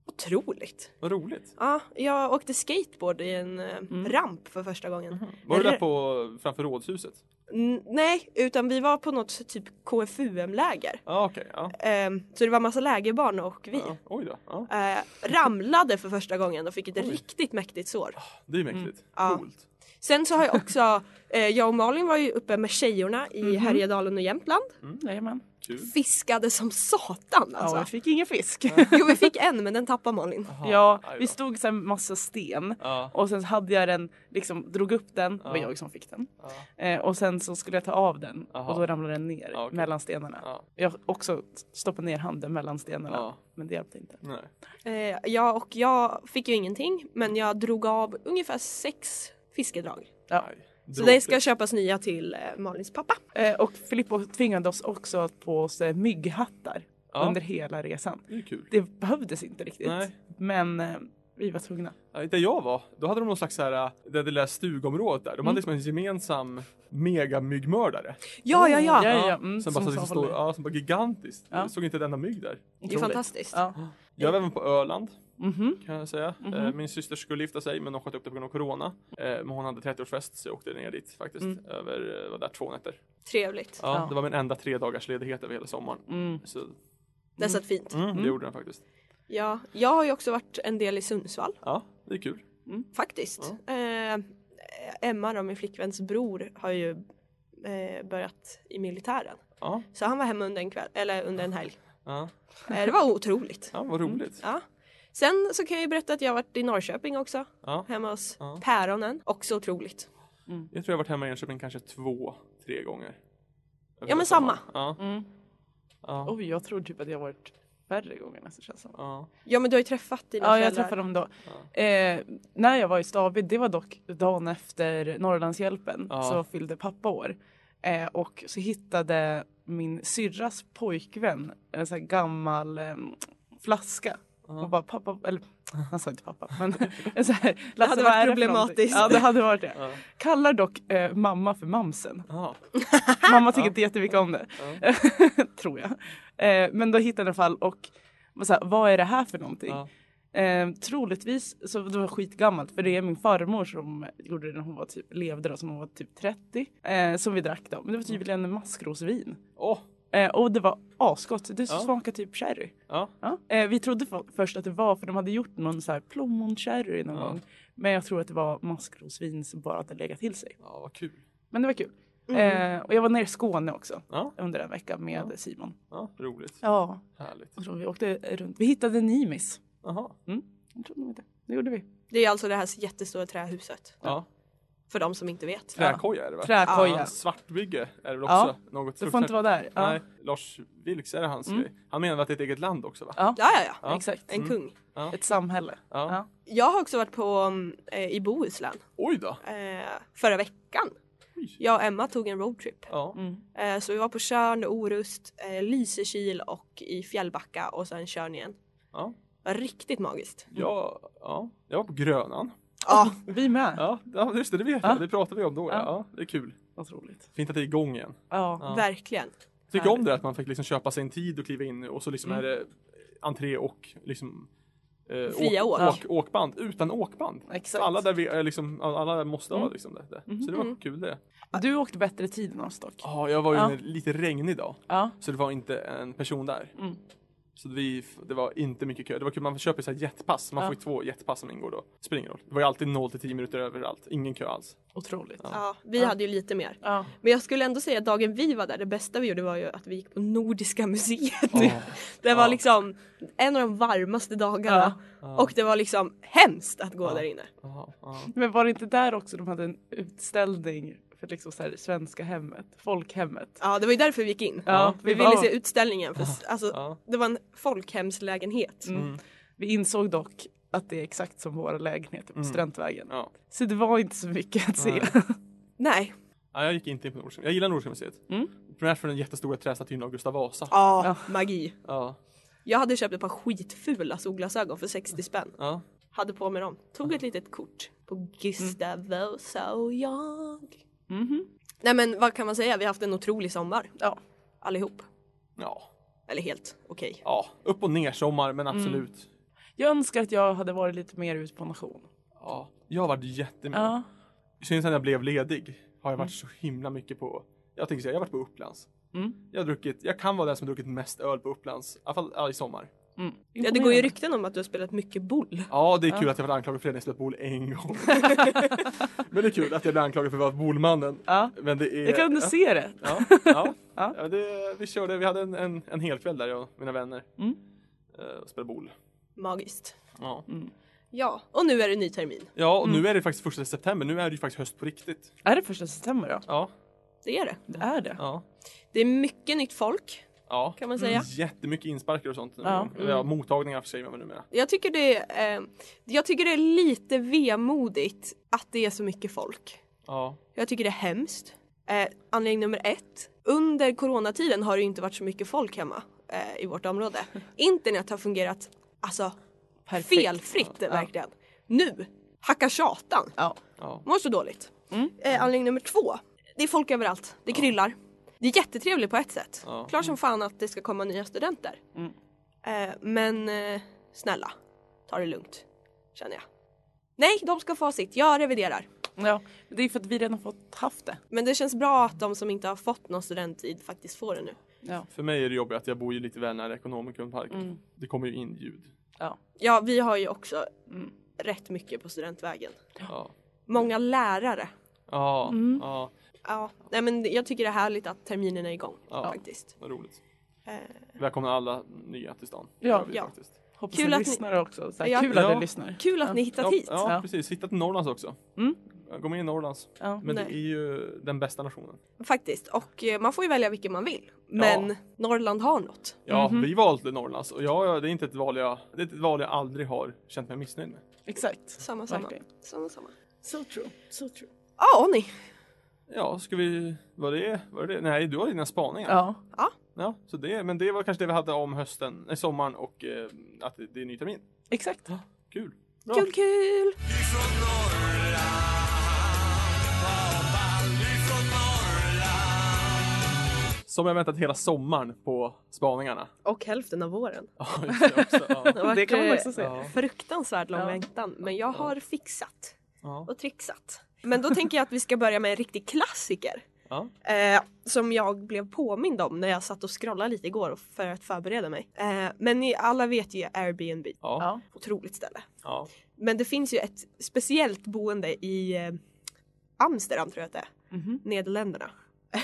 Speaker 4: Otroligt!
Speaker 2: Vad roligt.
Speaker 4: Ja, jag åkte skateboard i en eh,
Speaker 2: Mm.
Speaker 4: ramp för första gången.
Speaker 2: Var du
Speaker 4: Eller-
Speaker 2: där på, framför rådhuset?
Speaker 4: N- nej, utan vi var på något typ KFUM-läger.
Speaker 2: Ja, okej. ja.
Speaker 4: Ehm, så det var massa lägerbarn och vi.
Speaker 2: ja. Oj då. Ja.
Speaker 4: Eh, ramlade för första gången och fick ett riktigt mäktigt sår.
Speaker 2: Det är mäktigt.
Speaker 4: Ja.
Speaker 2: Coolt.
Speaker 4: Sen så har jag också, eh, jag och Malin var ju uppe med tjejorna i
Speaker 3: Mhm.
Speaker 4: Härjedalen och Jämtland.
Speaker 3: Mm, Jajamän.
Speaker 2: Kul.
Speaker 4: Fiskade som satan
Speaker 3: Ja,
Speaker 4: alltså.
Speaker 3: vi fick ingen fisk.
Speaker 4: Jo vi fick en men den tappade Malin.
Speaker 2: Aha,
Speaker 3: Ja,
Speaker 2: aj då.
Speaker 3: vi stod så här massa sten
Speaker 2: Ja,
Speaker 3: och sen så hade jag den, liksom drog upp den, det var
Speaker 2: Ja.
Speaker 3: jag som fick den.
Speaker 2: ja,
Speaker 3: Eh, och sen så skulle jag ta av den
Speaker 2: Aha.
Speaker 3: och då ramlade den ner
Speaker 2: Ja, okej.
Speaker 3: mellan stenarna.
Speaker 2: ja,
Speaker 3: Jag också stoppade ner handen mellan stenarna
Speaker 2: ja.
Speaker 3: men det hjälpte inte.
Speaker 2: Nej.
Speaker 4: Eh, jag och jag fick ju ingenting men jag drog av ungefär sex fiskedrag.
Speaker 3: Ja.
Speaker 2: Aj.
Speaker 4: Så det ska
Speaker 2: Dråpligt.
Speaker 4: köpas nya till eh, Malins pappa.
Speaker 3: Eh, och Filippo tvingade oss också att på oss eh, mygghattar
Speaker 2: ja.
Speaker 3: under hela resan.
Speaker 2: Det är kul.
Speaker 3: Det behövdes inte riktigt
Speaker 2: Nej.
Speaker 3: men eh, vi var tvungna.
Speaker 2: Ja, Där jag var, då hade de någon slags så här, äh, det där lilla stugområdet där. De hade liksom
Speaker 3: Mm.
Speaker 2: en gemensam megamyggmördare.
Speaker 4: Ja, ja, ja.
Speaker 3: Ja, ja, ja. Mm,
Speaker 2: som
Speaker 3: som
Speaker 2: bara, som
Speaker 3: som håller.
Speaker 2: stor, ja, som bara gigantiskt.
Speaker 3: Ja.
Speaker 2: Jag såg inte ett enda mygg där.
Speaker 4: Det är fantastiskt.
Speaker 3: Ja.
Speaker 2: Jag var även på Öland
Speaker 3: Mhm.
Speaker 4: Mm-hmm.
Speaker 2: kan jag säga.
Speaker 3: Mhm.
Speaker 2: Eh, Min syster skulle gifta sig men de sköt upp det på grund av corona. Eh, Men hon hade 30-årsfest så jag åkte ner dit faktiskt.
Speaker 3: Mm.
Speaker 2: Över, eh, var där två nätter.
Speaker 4: Trevligt.
Speaker 2: Ja,
Speaker 3: Ja.
Speaker 2: Det var min enda tre dagars ledighet över hela sommaren.
Speaker 3: Mm.
Speaker 2: Så
Speaker 4: Det satt fint.
Speaker 2: mm,
Speaker 3: Mm.
Speaker 2: det gjorde den faktiskt.
Speaker 4: Ja, jag har ju också varit en del i Sundsvall.
Speaker 2: Ja, det är kul.
Speaker 4: Faktiskt. Eh, Emma då, min flickväns bror, har ju eh, börjat i militären.
Speaker 2: Ja,
Speaker 4: Så han var hemma under en kväll, eller under en helg.
Speaker 2: ja.
Speaker 4: Eh, det var otroligt.
Speaker 2: ja vad
Speaker 3: Mm.
Speaker 2: roligt.
Speaker 4: Ja. Sen så kan jag ju berätta att jag har varit i Norrköping också.
Speaker 2: Ja.
Speaker 4: Hemma hos
Speaker 2: Ja.
Speaker 4: päronen. Också otroligt.
Speaker 2: Jag tror jag har varit hemma i Enköping kanske två, tre gånger. Över
Speaker 4: Ja, men
Speaker 2: hela sommaren. Ja,
Speaker 3: Mm.
Speaker 2: ja,
Speaker 3: Oj, jag tror typ att jag har varit färre gånger nästan känns det som.
Speaker 2: ja.
Speaker 4: Ja men du har ju träffat dina
Speaker 3: Ja, jag
Speaker 4: föräldrar.
Speaker 3: träffade dem då. Eh, när jag var i Stavid, det var dock dagen efter Norrlandshjälpen,
Speaker 2: Ja.
Speaker 3: så fyllde pappa år. Eh, och så hittade min syrras pojkvän en sån här gammal eh, flaska. Och bara pappa, eller han sa inte pappa men en sån här, det
Speaker 4: hade varit problematiskt.
Speaker 3: Ja det hade varit det.
Speaker 2: Ja.
Speaker 3: Kallar dock eh, mamma för mamsen.
Speaker 2: Ja.
Speaker 3: Mamma tycker inte jättemycket om det.
Speaker 2: Ja.
Speaker 3: Tror jag. Eh, men då hittade jag i alla fall och var så här, vad är det här för någonting?
Speaker 2: Ja.
Speaker 3: Eh, troligtvis, så det var skitgammalt för det är min farmor som gjorde det när hon var typ, levde då, som hon var typ 30. Eh, som vi drack då. Men det var
Speaker 2: Mm.
Speaker 3: tydligen en maskrosvin.
Speaker 2: Åh,
Speaker 3: Eh, och det var asgott, det
Speaker 2: Ja.
Speaker 3: smakade typ sherry.
Speaker 2: ja.
Speaker 3: Ja. Eh, vi trodde för, först att det var för de hade gjort någon så här plommonsherry någon
Speaker 2: Ja.
Speaker 3: gång. Men jag tror att det var maskrosvin som bara hade legat till sig.
Speaker 2: ja, vad kul.
Speaker 3: Men det var kul.
Speaker 4: Mm.
Speaker 3: Eh, och jag var nere i Skåne också
Speaker 2: Ja.
Speaker 3: under en vecka med
Speaker 2: Ja.
Speaker 3: Simon.
Speaker 2: Ja, roligt.
Speaker 3: Ja.
Speaker 2: Härligt.
Speaker 3: Och så vi åkte runt. Vi hittade Nimis.
Speaker 2: Jaha.
Speaker 3: Jag trodde nog inte. Det gjorde vi.
Speaker 4: Det är alltså det här jättestora trähuset.
Speaker 2: Ja.
Speaker 4: För de som inte vet.
Speaker 2: Träkoja är det va?
Speaker 3: Träkoja.
Speaker 2: Ja, Svartbygge är det väl
Speaker 3: Ja.
Speaker 2: också? Något
Speaker 3: Du får
Speaker 2: fruktansvärt-
Speaker 3: inte vara där. Ja.
Speaker 2: Nej, Lars Vilks är det hans
Speaker 3: Mm.
Speaker 2: grej. Han menar att det är ett eget land också va?
Speaker 3: Ja.
Speaker 4: Ja, ja, ja.
Speaker 2: Ja.
Speaker 3: Exakt. Mm.
Speaker 4: En kung.
Speaker 3: Ett samhälle.
Speaker 2: Ja.
Speaker 3: Ja.
Speaker 4: Jag har också varit på, mm, eh, i Bohuslän.
Speaker 2: Oj då!
Speaker 4: eh, förra veckan.
Speaker 2: Oj.
Speaker 4: Jag och Emma tog en roadtrip.
Speaker 2: Ja.
Speaker 3: Mm.
Speaker 4: Eh, så vi var på Tjörn, Orust, eh, Lysekil och i Fjällbacka och sen Tjörn igen.
Speaker 2: Ja.
Speaker 4: Det var Riktigt magiskt.
Speaker 2: Jag, ja, jag var på Grönan.
Speaker 4: Ja,
Speaker 3: Vi med.
Speaker 2: Ja, ja just det, det vet
Speaker 3: Ja.
Speaker 2: jag. Det pratade vi om då. Ja.
Speaker 3: Ja.
Speaker 2: Ja, det är kul.
Speaker 3: Vad roligt.
Speaker 2: Fint att det är igång igen.
Speaker 3: Ja.
Speaker 2: Ja.
Speaker 4: verkligen.
Speaker 2: Jag tycker om
Speaker 3: Härligt.
Speaker 2: det där att man fick liksom köpa sin tid och kliva in nu och så liksom
Speaker 3: Mm.
Speaker 2: är det entré och liksom eh,
Speaker 4: Fria
Speaker 2: åk,
Speaker 4: åk.
Speaker 2: åk, åkband utan åkband. Så
Speaker 3: Exakt.
Speaker 2: alla där vi, eh, liksom, alla där måste ha
Speaker 3: Mm.
Speaker 2: liksom det. det. Så det var
Speaker 4: Mhm.
Speaker 2: kul det.
Speaker 3: Du åkte bättre tid än oss dock.
Speaker 2: Ja, jag var ju
Speaker 3: Ja.
Speaker 2: en lite regnig dag.
Speaker 3: Ja.
Speaker 2: Så det var inte en person där.
Speaker 3: Mm.
Speaker 2: Så vi, f- det var inte mycket kö. Det var kul, man köper så här jetpass. Man
Speaker 3: Ja.
Speaker 2: får ju två jetpass som ingår då. Det spelar ingen roll. Det var ju alltid 0 till 10 minuter överallt. Ingen kö alls.
Speaker 3: Otroligt.
Speaker 2: Ja.
Speaker 4: Ja, vi
Speaker 3: Ja.
Speaker 4: hade ju lite mer.
Speaker 3: Ja.
Speaker 4: Men jag skulle ändå säga att dagen vi var där, det bästa vi gjorde var ju att vi gick på Nordiska museet. Det var
Speaker 2: Ja.
Speaker 4: liksom en av de varmaste dagarna.
Speaker 2: Ja.
Speaker 4: Och det var liksom hemskt att gå
Speaker 2: Ja.
Speaker 4: där inne.
Speaker 2: Ja, ja.
Speaker 3: Men var det inte där också de hade en utställning för liksom så här, svenska hemmet, folkhemmet?
Speaker 4: Ja, det var ju därför vi gick in.
Speaker 3: Ja,
Speaker 4: Vi
Speaker 3: det
Speaker 4: ville
Speaker 3: var-
Speaker 4: se utställningen. För, s- alltså,
Speaker 2: Ja.
Speaker 4: det var en folkhemslägenhet.
Speaker 3: Mm. Vi insåg dock att det är exakt som våra lägenheter på
Speaker 2: Mm.
Speaker 3: Strandvägen.
Speaker 2: Ja.
Speaker 3: Så det var inte så mycket att se.
Speaker 2: Nej.
Speaker 4: Nej.
Speaker 2: ja, jag gick inte in på Nordiska. Jag gillar Nordiska museet.
Speaker 3: Mm.
Speaker 2: Primärt för den jättestora trästatyn av Gustav Vasa.
Speaker 4: Ja,
Speaker 3: Ja.
Speaker 4: magi.
Speaker 2: Ja,
Speaker 4: Jag hade köpt ett par skitfula solglasögon för 60 spänn.
Speaker 2: ja.
Speaker 4: Hade på mig dem. Tog ett litet kort på Gustav Vasa och jag.
Speaker 3: Mhm.
Speaker 4: Nej men vad kan man säga? Vi har haft en otrolig sommar.
Speaker 3: Ja.
Speaker 4: Allihop.
Speaker 2: ja.
Speaker 4: Eller helt okej.
Speaker 2: ja. Upp och ner sommar, men
Speaker 3: Mm.
Speaker 2: absolut.
Speaker 3: Jag önskar att jag hade varit lite mer ut på nation.
Speaker 2: Ja. Jag har varit jättemycket.
Speaker 3: Ja.
Speaker 2: Sen sen jag blev ledig har jag varit så himla mycket på, jag tänker säga, jag har varit på Upplands.
Speaker 3: Mm.
Speaker 2: Jag har druckit, jag kan vara den som har druckit mest öl på Upplands, i alla fall ja, i sommar.
Speaker 3: Mm.
Speaker 4: Ja, det går ju rykten om att du har spelat mycket boll.
Speaker 2: Ja, det är kul att jag varit anklagad för det när jag spelat boll en gång. Men det är kul att jag blir anklagad för att vara bollmannen.
Speaker 3: Ja.
Speaker 2: Men det är...
Speaker 3: Jag kan ändå
Speaker 2: ja,
Speaker 3: se det.
Speaker 2: ja, ja.
Speaker 3: Ja.
Speaker 2: ja det, vi körde, vi hade en, en, en hel kväll där jag och mina vänner.
Speaker 3: Mm.
Speaker 2: eh, Och spelade boll.
Speaker 4: Magiskt.
Speaker 2: Ja.
Speaker 4: Ja, och nu är det ny termin.
Speaker 2: ja, och nu är det faktiskt första september. Nu är det ju faktiskt höst på riktigt.
Speaker 3: Är det första september då?
Speaker 2: Ja,
Speaker 4: Det är det.
Speaker 3: Det är det.
Speaker 2: ja,
Speaker 4: Det är mycket nytt folk
Speaker 2: ja.
Speaker 4: kan man säga.
Speaker 2: Jättemycket insparkar och sånt. nu.
Speaker 3: Ja.
Speaker 2: Ja, mottagningar för sig man numera.
Speaker 4: Jag tycker, det är, eh, jag tycker det är lite vemodigt att det är så mycket folk.
Speaker 2: Ja.
Speaker 4: Jag tycker det är hemskt. Eh, anledning nummer ett. Under coronatiden har det ju inte varit så mycket folk hemma eh, i vårt område. Internet har fungerat alltså,
Speaker 3: Perfekt.
Speaker 4: felfritt verkligen. Nu hackar tjatan.
Speaker 3: Ja.
Speaker 2: Ja.
Speaker 4: Mår så dåligt.
Speaker 2: Mm.
Speaker 4: Eh, anledning nummer två. Det är folk överallt. Det kryllar. Det är jättetrevligt på ett sätt.
Speaker 2: Ja. Mm.
Speaker 4: Klart som fan att det ska komma nya studenter. Eh, men eh, snälla, ta det lugnt. Känner jag. Nej, de ska få ha sitt. Jag reviderar.
Speaker 3: ja. Det är för att vi redan fått haft det.
Speaker 4: Men det känns bra att de som inte har fått någon studenttid faktiskt får det nu.
Speaker 3: Ja.
Speaker 2: För mig är det jobbigt att jag bor ju lite väl nära Ekonomikumparken.
Speaker 4: Mm.
Speaker 2: Det kommer ju in ljud.
Speaker 3: Ja.
Speaker 4: Ja, vi har ju också
Speaker 2: Mm.
Speaker 4: rätt mycket på studentvägen.
Speaker 2: Ja.
Speaker 4: Många lärare.
Speaker 2: Ja,
Speaker 4: Mm.
Speaker 2: ja,
Speaker 4: Ja, nej men jag tycker det är härligt att terminen är igång
Speaker 2: Ja.
Speaker 4: faktiskt.
Speaker 2: vad roligt.
Speaker 4: Eh,
Speaker 2: Välkomna alla nya till stan.
Speaker 3: Ja.
Speaker 2: Gör vi
Speaker 4: Ja.
Speaker 2: faktiskt.
Speaker 3: Hoppas
Speaker 4: Kul
Speaker 3: ni
Speaker 4: att ni-
Speaker 3: lyssnar också. Så här,
Speaker 4: Ja.
Speaker 3: Kul att
Speaker 2: Ja.
Speaker 3: ni lyssnar.
Speaker 4: kul att ni hittat
Speaker 2: Ja,
Speaker 4: hit.
Speaker 2: ja,
Speaker 3: Ja.
Speaker 2: precis. Hittat till Norrlands också.
Speaker 3: Mm.
Speaker 2: Gå med i Norrlands.
Speaker 3: Ja.
Speaker 2: Men det
Speaker 4: Nej.
Speaker 2: är ju den bästa nationen.
Speaker 4: Faktiskt. Och eh, man får ju välja vilken man vill. Men Norrland har något.
Speaker 2: Ja, vi valde Norrlands och jag, det är inte ett val jag, det är ett val jag aldrig har känt mig missnöjd med.
Speaker 3: Exakt.
Speaker 4: Samma, samma.
Speaker 3: Verkligen.
Speaker 4: Samma, samma.
Speaker 3: So true. So true.
Speaker 4: Ja, ni.
Speaker 2: Ja, ska vi, vad det, vad det? Nej, du har dina spaningar.
Speaker 3: Ja.
Speaker 2: Ja, så det, men det var kanske det vi hade om hösten, nej, sommaren och eh, att det, det är ny termin.
Speaker 3: Exakt.
Speaker 2: Kul! Bra.
Speaker 4: Kul, kul.
Speaker 1: Ifrån Norrland, vad ball ifrån Norrland
Speaker 2: Som jag väntat hela sommaren på spaningarna.
Speaker 4: Och hälften av våren.
Speaker 2: Ja, just det också. Ja.
Speaker 4: har
Speaker 3: Det kan man
Speaker 4: varit,
Speaker 3: också
Speaker 4: eh,
Speaker 3: säga.
Speaker 2: Ja.
Speaker 4: Fruktansvärt lång
Speaker 3: Ja.
Speaker 4: väntan. Men jag har fixat
Speaker 2: Ja.
Speaker 4: och trixat. Men då tänker jag att vi ska börja med en riktig klassiker.
Speaker 2: Ja.
Speaker 4: Eh, som jag blev påmind om när jag satt och scrollade lite igår för att förbereda mig. Eh, men ni alla vet ju Airbnb.
Speaker 2: Ja.
Speaker 3: Ja.
Speaker 4: Otroligt ställe.
Speaker 2: Ja.
Speaker 4: Men det finns ju ett speciellt boende i eh, Amsterdam tror jag att det är.
Speaker 3: Mhm.
Speaker 4: Nederländerna.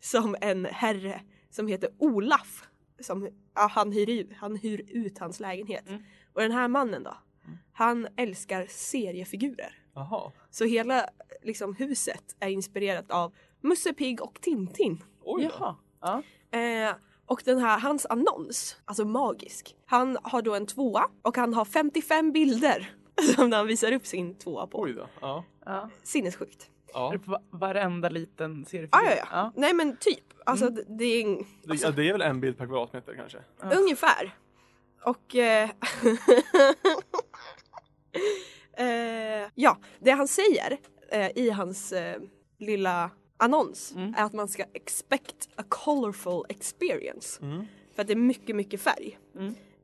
Speaker 4: som en herre som heter Olaf. Som, ja, han, hyr, ju- han hyr ut hans lägenhet. Och den här mannen då. Han älskar seriefigurer.
Speaker 2: Jaha.
Speaker 4: Så hela liksom, huset är inspirerat av Musse Pigg och Tintin.
Speaker 2: Oj då.
Speaker 3: Jaha. Ja.
Speaker 4: Eh, och den här, hans annons, alltså magisk. Han har då en tvåa och han har 55 bilder som han visar upp sin tvåa på.
Speaker 2: Oj då. Ja.
Speaker 3: ja.
Speaker 4: Sinnessjukt.
Speaker 2: Ja.
Speaker 3: Är det på va- varenda liten
Speaker 4: Ah,
Speaker 3: seriefigur?
Speaker 4: ja, ja, ja. Nej men typ. Alltså d- det är en,
Speaker 2: Det, ja, det är väl en bild per kvadratmeter kanske?
Speaker 4: ungefär. Och... Eh, eh, ja, det han säger eh, i hans eh, lilla annons är att man ska expect a colorful experience. För att det är mycket, mycket färg.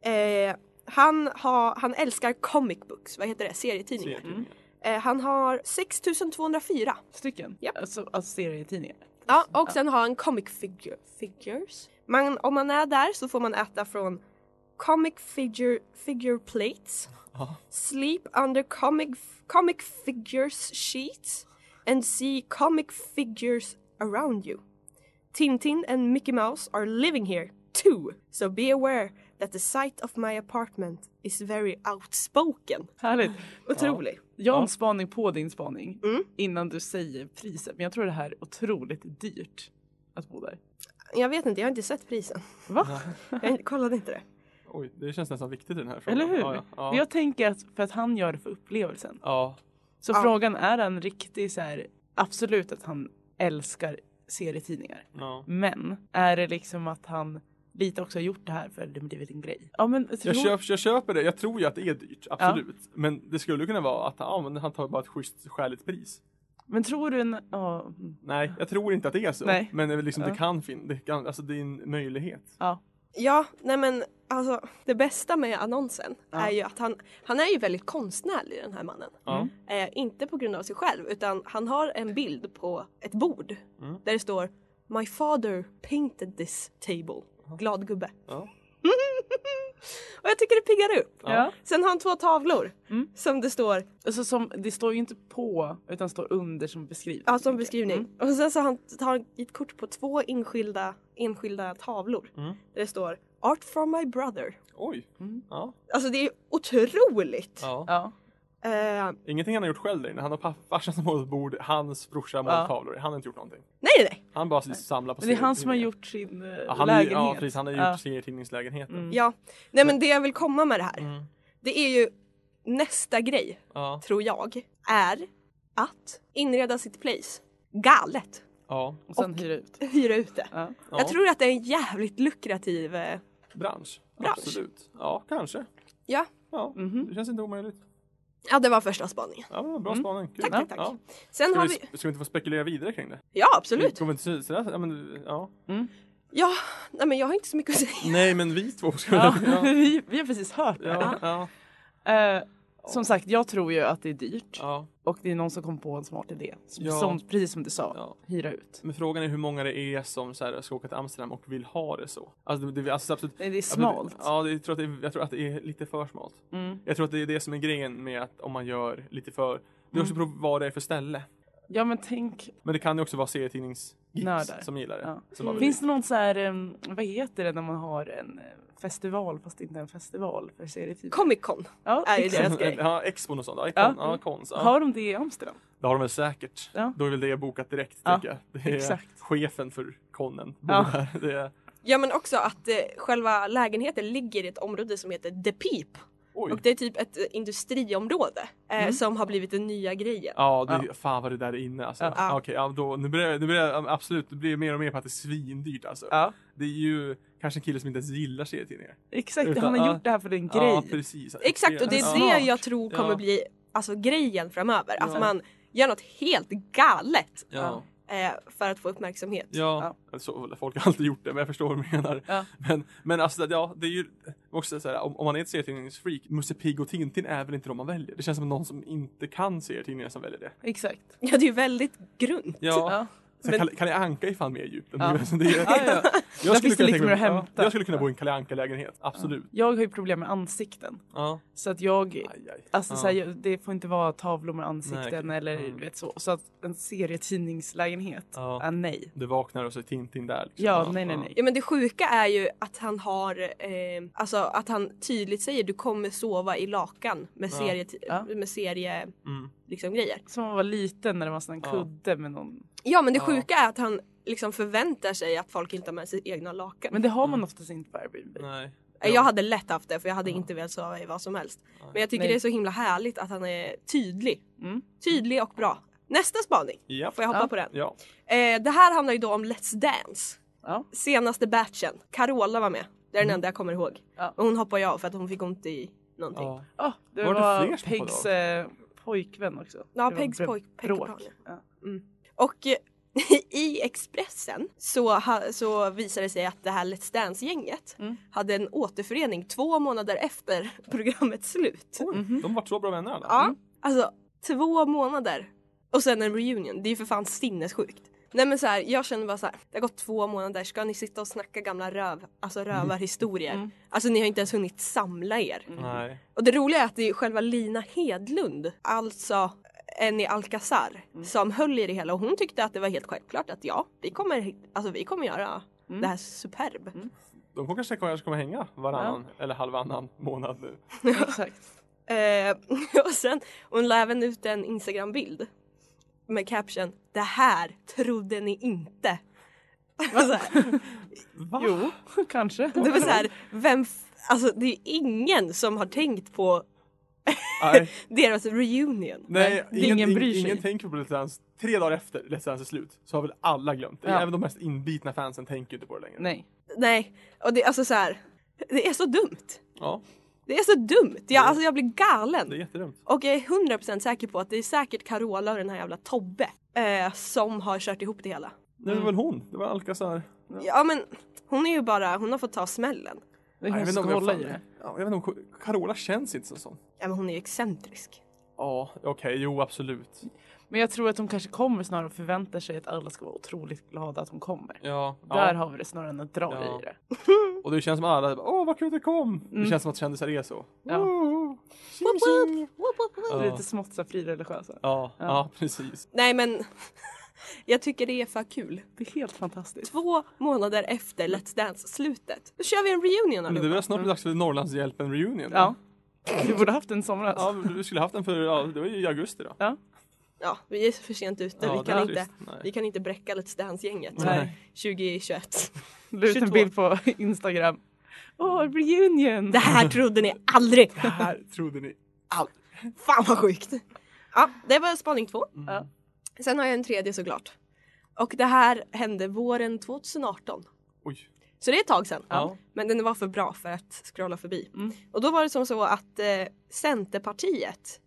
Speaker 4: Eh, han, har, han älskar comic books, vad heter det, serietidningar.
Speaker 2: Serietidningar.
Speaker 4: Eh, han har 6204.
Speaker 3: Stycken?
Speaker 4: Japp.
Speaker 3: Alltså, alltså serietidningar?
Speaker 4: Alltså, Ja, och sen har han comic figure, figures. Man, om man är där så får man äta från comic figure, figure plates,
Speaker 2: Ja.
Speaker 4: sleep under comic, comic figures sheets and see comic figures around you. Tintin and Mickey Mouse are living here too, so be aware that the site of my apartment is very outspoken.
Speaker 3: Härligt.
Speaker 4: Otrolig.
Speaker 3: Jag har en spaning på din spaning innan du säger priset. Men jag tror det här är otroligt dyrt att bo där.
Speaker 4: Jag vet inte, jag har inte sett prisen.
Speaker 3: Va?
Speaker 4: Jag kollade inte det.
Speaker 2: Oj, det känns nästan viktigt i den här frågan.
Speaker 3: Eller hur?
Speaker 2: Ja, ja. ja.
Speaker 3: Jag tänker att för att han gör det för upplevelsen.
Speaker 2: ja.
Speaker 3: Så frågan är en riktig så här, absolut att han älskar serietidningar.
Speaker 2: ja.
Speaker 3: Men är det liksom att han lite också har gjort det här för att det har blivit en grej? Ja men tror-
Speaker 2: Jag, köp, jag köper det. Jag tror ju att det är dyrt, absolut. Men det skulle kunna vara att ja, men han tar bara ett schysst skäligt pris.
Speaker 3: Men tror du en... Ja,
Speaker 2: Nej, jag tror inte att det är så.
Speaker 3: Nej.
Speaker 2: Men det, är väl liksom, det kan finnas. Det, kan- alltså, det är en möjlighet.
Speaker 3: ja.
Speaker 4: Ja, nej men alltså det bästa med annonsen är ju att han, han är ju väldigt konstnärlig den här mannen.
Speaker 3: Mm.
Speaker 2: Ja.
Speaker 4: Eh, inte på grund av sig själv utan han har en bild på ett bord där det står My father painted this table. Glad gubbe.
Speaker 2: Ja.
Speaker 4: Och jag tycker det piggar upp.
Speaker 2: Ja.
Speaker 4: Sen har han två tavlor
Speaker 3: Mm.
Speaker 4: som det står
Speaker 3: Alltså som, det står ju inte på utan står under som beskrivning.
Speaker 4: Ja, som
Speaker 3: tänker jag.
Speaker 4: beskrivning.
Speaker 3: Mm.
Speaker 4: Och sen så har han tar ett kort på två enskilda, enskilda tavlor.
Speaker 2: Mm.
Speaker 4: Där det står Art from my brother.
Speaker 2: Oj.
Speaker 3: Mm.
Speaker 2: Ja.
Speaker 4: Alltså det är otroligt!
Speaker 2: ja.
Speaker 3: Ja.
Speaker 4: Eh,
Speaker 2: Ingenting han har gjort själv där inne. Han har pa- farsan som målat bord, hans brorsa har
Speaker 3: Ja.
Speaker 2: målat tavlor. Han har inte gjort någonting.
Speaker 4: nej nej nej!
Speaker 2: Han bara samlar på
Speaker 3: Men det är han som har
Speaker 2: serietidningar.
Speaker 3: gjort sin eh,
Speaker 2: ja, han, är ju-
Speaker 3: lägenhet.
Speaker 2: ja, precis, han har gjort
Speaker 3: Ja.
Speaker 2: serietidningslägenheten.
Speaker 3: Mm.
Speaker 4: Ja. Nej men det jag vill komma med det här.
Speaker 2: Mm.
Speaker 4: Det är ju nästa grej,
Speaker 2: Ja.
Speaker 4: tror jag, är att inreda sitt place. Galet!
Speaker 2: Ja.
Speaker 3: Och sen hyra ut.
Speaker 4: Hyra ut det.
Speaker 3: Ja.
Speaker 2: ja.
Speaker 4: Jag tror att det är en jävligt lukrativ... eh,
Speaker 2: Bransch.
Speaker 4: Bransch.
Speaker 2: Absolut. Ja, kanske.
Speaker 4: Ja.
Speaker 2: Ja,
Speaker 3: Mhm.
Speaker 2: det känns inte omöjligt.
Speaker 4: Ja det var första spaningen.
Speaker 2: Ja, bra
Speaker 3: Mm.
Speaker 2: spaning. Kul.
Speaker 4: Tack,
Speaker 2: ja.
Speaker 4: tack, tack.
Speaker 2: Ja.
Speaker 4: Sen
Speaker 2: Ska,
Speaker 4: har
Speaker 2: vi,
Speaker 4: vi...
Speaker 2: ska vi inte få spekulera vidare kring det?
Speaker 4: Ja absolut!
Speaker 2: Kommer inte så- sådär, ja, men, ja.
Speaker 4: Ja, nej men jag har inte så mycket att säga.
Speaker 2: Nej, men vi två skulle...
Speaker 3: Ja.
Speaker 2: Ja. Ja.
Speaker 3: vi, vi har precis hört det.
Speaker 2: Ja. Ja.
Speaker 3: här. Eh, som sagt, jag tror ju att det är dyrt
Speaker 2: Ja.
Speaker 3: och det är någon som kom på en smart idé. Som,
Speaker 2: Ja.
Speaker 3: som, precis som du sa,
Speaker 2: Ja.
Speaker 3: hyra ut.
Speaker 2: Men frågan är hur många det är som så här, ska åka till Amsterdam och vill ha det så. Alltså, det, det, alltså absolut,
Speaker 3: Nej, Det är smalt.
Speaker 2: Ja, det, jag, tror att det, är- jag tror att det är lite för smalt.
Speaker 3: Mm.
Speaker 2: Jag tror att det är det som är grejen med att om man gör lite för... Det är också
Speaker 3: Mm.
Speaker 2: beror på vad det är för ställe.
Speaker 3: Ja men tänk,
Speaker 2: Men det kan ju också vara serietidningsgeeks
Speaker 3: Nördar.
Speaker 2: som gillar det.
Speaker 3: Ja.
Speaker 2: Som bara vill-
Speaker 3: finns det någon så här, em, vad heter det när man har en eh, festival fast inte en festival för serietidningar?
Speaker 4: Comic Con.
Speaker 3: Ja,
Speaker 4: är det
Speaker 3: exakt.
Speaker 4: deras grej.
Speaker 2: Ja, expon och sånt. Ja,
Speaker 3: Ja.
Speaker 2: kon, ja. kons. Ja.
Speaker 3: Har de det i Amsterdam?
Speaker 2: Det har de väl säkert.
Speaker 3: Ja.
Speaker 2: Då är väl det bokat direkt,
Speaker 3: Ja,
Speaker 2: tänker jag. Det är
Speaker 3: exakt.
Speaker 2: chefen för konen.
Speaker 3: Ja.
Speaker 2: Ja. Det är,
Speaker 4: Ja men också att eh, själva lägenheten ligger i ett område som heter The Peep.
Speaker 2: oj.
Speaker 4: Och det är typ ett eh, industriområde eh,
Speaker 3: Mm.
Speaker 4: som har blivit den nya grejen.
Speaker 2: Ja, det, fan vad det där är inne alltså.
Speaker 3: Ja.
Speaker 2: Ja. Okej, ja, då, nu börjar, nu börjar jag- absolut, det blir mer och mer på att det är svindyrt alltså.
Speaker 3: Ja.
Speaker 2: Det är ju kanske en kille som inte ens gillar serietidningar.
Speaker 3: Exakt,
Speaker 2: Utan-
Speaker 3: han har
Speaker 2: ja.
Speaker 3: gjort det här för en grej.
Speaker 2: Ja, precis.
Speaker 4: Exakt och det är
Speaker 2: Ja.
Speaker 4: det
Speaker 3: Smart.
Speaker 4: jag tror kommer
Speaker 2: Ja.
Speaker 4: bli alltså, grejen framöver. Att
Speaker 2: Ja.
Speaker 4: man gör något helt galet
Speaker 2: Ja.
Speaker 4: eh, för att få uppmärksamhet.
Speaker 2: Ja, Så, folk har alltid gjort det men jag förstår vad du menar.
Speaker 3: Ja.
Speaker 2: Men, men alltså ja, det är ju också så här, om, om man är ett serietidningsfreak, Musse Pigg och Tintin är väl inte de man väljer? Det känns som någon som inte kan serietidningar som väljer det.
Speaker 3: Exakt.
Speaker 4: Ja det är ju väldigt grunt.
Speaker 2: Ja.
Speaker 3: Ja.
Speaker 2: Sen
Speaker 3: Men-
Speaker 2: Kalle, Kalle Anka är fan mer djupt än
Speaker 3: Ja.
Speaker 2: du. Alltså, det är,
Speaker 3: Ja, ja.
Speaker 2: Jag,
Speaker 3: finns det lite
Speaker 2: tänka
Speaker 3: mer
Speaker 2: mig-
Speaker 3: att hämta.
Speaker 2: ja, jag skulle kunna bo i en Kalle Anka-lägenhet, absolut.
Speaker 3: Jag har ju problem med ansikten.
Speaker 2: Ja.
Speaker 3: Så att jag,
Speaker 2: Aj, aj.
Speaker 3: alltså
Speaker 2: ja.
Speaker 3: så här, jag- det får inte vara tavlor med ansikten
Speaker 2: Nej,
Speaker 3: eller
Speaker 2: mm.
Speaker 3: du vet så. Så att en serietidningslägenhet,
Speaker 2: Ja.
Speaker 3: ah, nej.
Speaker 2: Du vaknar och så är Tintin där. Liksom.
Speaker 3: Ja, nej, nej, nej.
Speaker 4: Ja men det sjuka är ju att han har, eh, alltså att han tydligt säger du kommer sova i lakan med
Speaker 2: Ja.
Speaker 4: serie,
Speaker 3: Ja.
Speaker 4: med serie
Speaker 2: Mm.
Speaker 4: liksom, grejer.
Speaker 3: Som man var liten när det var sån en
Speaker 2: Ja.
Speaker 3: kudde med någon.
Speaker 4: Ja men det
Speaker 2: Ja.
Speaker 4: sjuka är att han liksom förväntar sig att folk inte har med sig egna lakan.
Speaker 3: Men det har man oftast inte på Airbnb.
Speaker 2: Mm. nej.
Speaker 4: Eh, jag hade lätt haft det för jag hade
Speaker 2: Ja.
Speaker 4: inte velat sova i vad som helst.
Speaker 2: Nej.
Speaker 4: Men jag tycker
Speaker 3: Nej.
Speaker 4: det är så himla härligt att han är tydlig.
Speaker 3: Mm.
Speaker 4: Tydlig och bra. Nästa spaning.
Speaker 2: Japp.
Speaker 4: Får jag hoppa
Speaker 3: Ja.
Speaker 4: på den?
Speaker 2: Ja.
Speaker 4: Eh, det här handlar ju då om Let's Dance.
Speaker 3: Ja.
Speaker 4: Senaste batchen. Carola var med. Det är den
Speaker 2: Mm.
Speaker 4: enda jag kommer ihåg.
Speaker 3: Ja.
Speaker 4: Och hon hoppade ju av för att hon fick ont i någonting.
Speaker 2: Ja.
Speaker 3: Ah, det
Speaker 2: Var
Speaker 3: var,
Speaker 2: det fler som
Speaker 3: Pegs
Speaker 2: hoppade
Speaker 3: eh, pojkvän också.
Speaker 4: Ja,
Speaker 3: Det var
Speaker 4: Pegs
Speaker 3: br-
Speaker 4: pojk,
Speaker 3: bråk.
Speaker 4: pojkpartner.
Speaker 3: Ja.
Speaker 4: Och eh, i Expressen så, ha- så visade det sig att det här Let's Dance-gänget
Speaker 3: Mm.
Speaker 4: hade en återförening två månader efter programmets slut.
Speaker 2: Oj,
Speaker 3: Mhm,
Speaker 2: De vart så bra vänner alla.
Speaker 4: Ja,
Speaker 3: Mm.
Speaker 4: alltså två månader och sen en reunion. Det är ju för fan sinnessjukt. Nej men så här, jag känner bara så här, det har gått två månader, ska ni sitta och snacka gamla röv, alltså rövarhistorier?
Speaker 3: Mm.
Speaker 4: Alltså ni har inte ens hunnit samla er.
Speaker 2: Mm. Nej.
Speaker 4: Och det roliga är att det är själva Lina Hedlund, alltså en i Alcazar,
Speaker 3: Mm.
Speaker 4: som höll i det hela och hon tyckte att det var helt självklart att ja, vi kommer, alltså, vi kommer göra
Speaker 3: Mm.
Speaker 4: det här superb.
Speaker 2: De kommer kanske kanske kommer hänga varannan eller halvannan månad nu.
Speaker 3: Exakt.
Speaker 4: Eh, och sen, hon la även ut en Instagram-bild med caption Det här trodde ni inte. Och så här,
Speaker 2: Va?
Speaker 3: Jo, kanske.
Speaker 4: det var så här, vem f- alltså det är ingen som har tänkt på
Speaker 2: Nej,
Speaker 4: deras reunion.
Speaker 2: nej
Speaker 3: Nej, ingen bryr sig.
Speaker 2: Ingen tänker på Let's Dance. Tre dagar efter Let's Dance är slut så har väl alla glömt det.
Speaker 3: Ja. Mm.
Speaker 2: Även de mest inbitna fansen tänker inte på det längre.
Speaker 3: Nej.
Speaker 4: Nej, och det, alltså så här, det är så dumt.
Speaker 2: Ja,
Speaker 4: Det är så dumt! Jag, alltså jag blir
Speaker 2: det är
Speaker 4: galen.
Speaker 2: jättedumt.
Speaker 4: Och jag är 100% säker på att det är säkert Carola och den här jävla Tobbe eh, som har kört ihop det hela.
Speaker 2: Det
Speaker 3: Mm.
Speaker 2: var väl hon? Det var Alcazar.
Speaker 4: Ja men hon är ju bara, hon har fått ta smällen.
Speaker 3: Det är
Speaker 2: Nej,
Speaker 3: hon som
Speaker 2: om
Speaker 3: ska
Speaker 2: jag
Speaker 3: hålla i
Speaker 2: fan-
Speaker 3: det.
Speaker 2: Ja, jag vet inte om Carola känns inte som sån.
Speaker 4: Ja men hon är ju excentrisk.
Speaker 2: Ja, okej, jo absolut.
Speaker 3: Men jag tror att de kanske kommer snarare och förväntar sig att alla ska vara otroligt glada att de kommer.
Speaker 2: Ja,
Speaker 3: Där
Speaker 2: ja.
Speaker 3: har vi det snarare än att dra
Speaker 2: Ja.
Speaker 3: i det.
Speaker 2: och det känns som alla bara, åh vad kul att du kom. Det
Speaker 3: Mm.
Speaker 2: känns som att kändisar är så.
Speaker 3: Ja.
Speaker 2: Woo! Tjing, tjing.
Speaker 4: Woop, woop, woop.
Speaker 2: Ja.
Speaker 3: Lite smått så här frireligiösa.
Speaker 2: Ja,
Speaker 3: Ja.
Speaker 2: ja, precis.
Speaker 4: Nej men jag tycker det är för kul.
Speaker 3: Det är helt fantastiskt.
Speaker 4: Två månader efter Let's Dance-slutet, då kör vi en reunion
Speaker 2: Men det
Speaker 4: allihopa.
Speaker 2: börjar snart bli dags för Norrlandshjälpen reunion.
Speaker 3: Ja. Du borde haft en somras.
Speaker 2: Ja, men du skulle haft den för, ja, det var ju i augusti då.
Speaker 4: Ja, vi är för sent ute.
Speaker 2: Ja,
Speaker 4: vi,
Speaker 2: det är
Speaker 4: kan inte,
Speaker 2: trist. Nej.
Speaker 4: vi kan inte bräcka Let's Dance-gänget
Speaker 3: Nej.
Speaker 4: 2021.
Speaker 3: La ut en
Speaker 4: 22.
Speaker 3: bild på Instagram. Åh, reunion!
Speaker 4: Det här trodde ni aldrig!
Speaker 2: Det här trodde ni.
Speaker 4: Fan vad sjukt! Ja, det var spaning två.
Speaker 2: Mm.
Speaker 3: Ja.
Speaker 4: Sen har jag en tredje såklart. Och det här hände våren 2018.
Speaker 2: Oj.
Speaker 4: Så det är ett tag sedan.
Speaker 2: Ja.
Speaker 4: Men den var för bra för att scrolla förbi.
Speaker 3: Mm.
Speaker 4: Och då var det som så att eh, Centerpartiet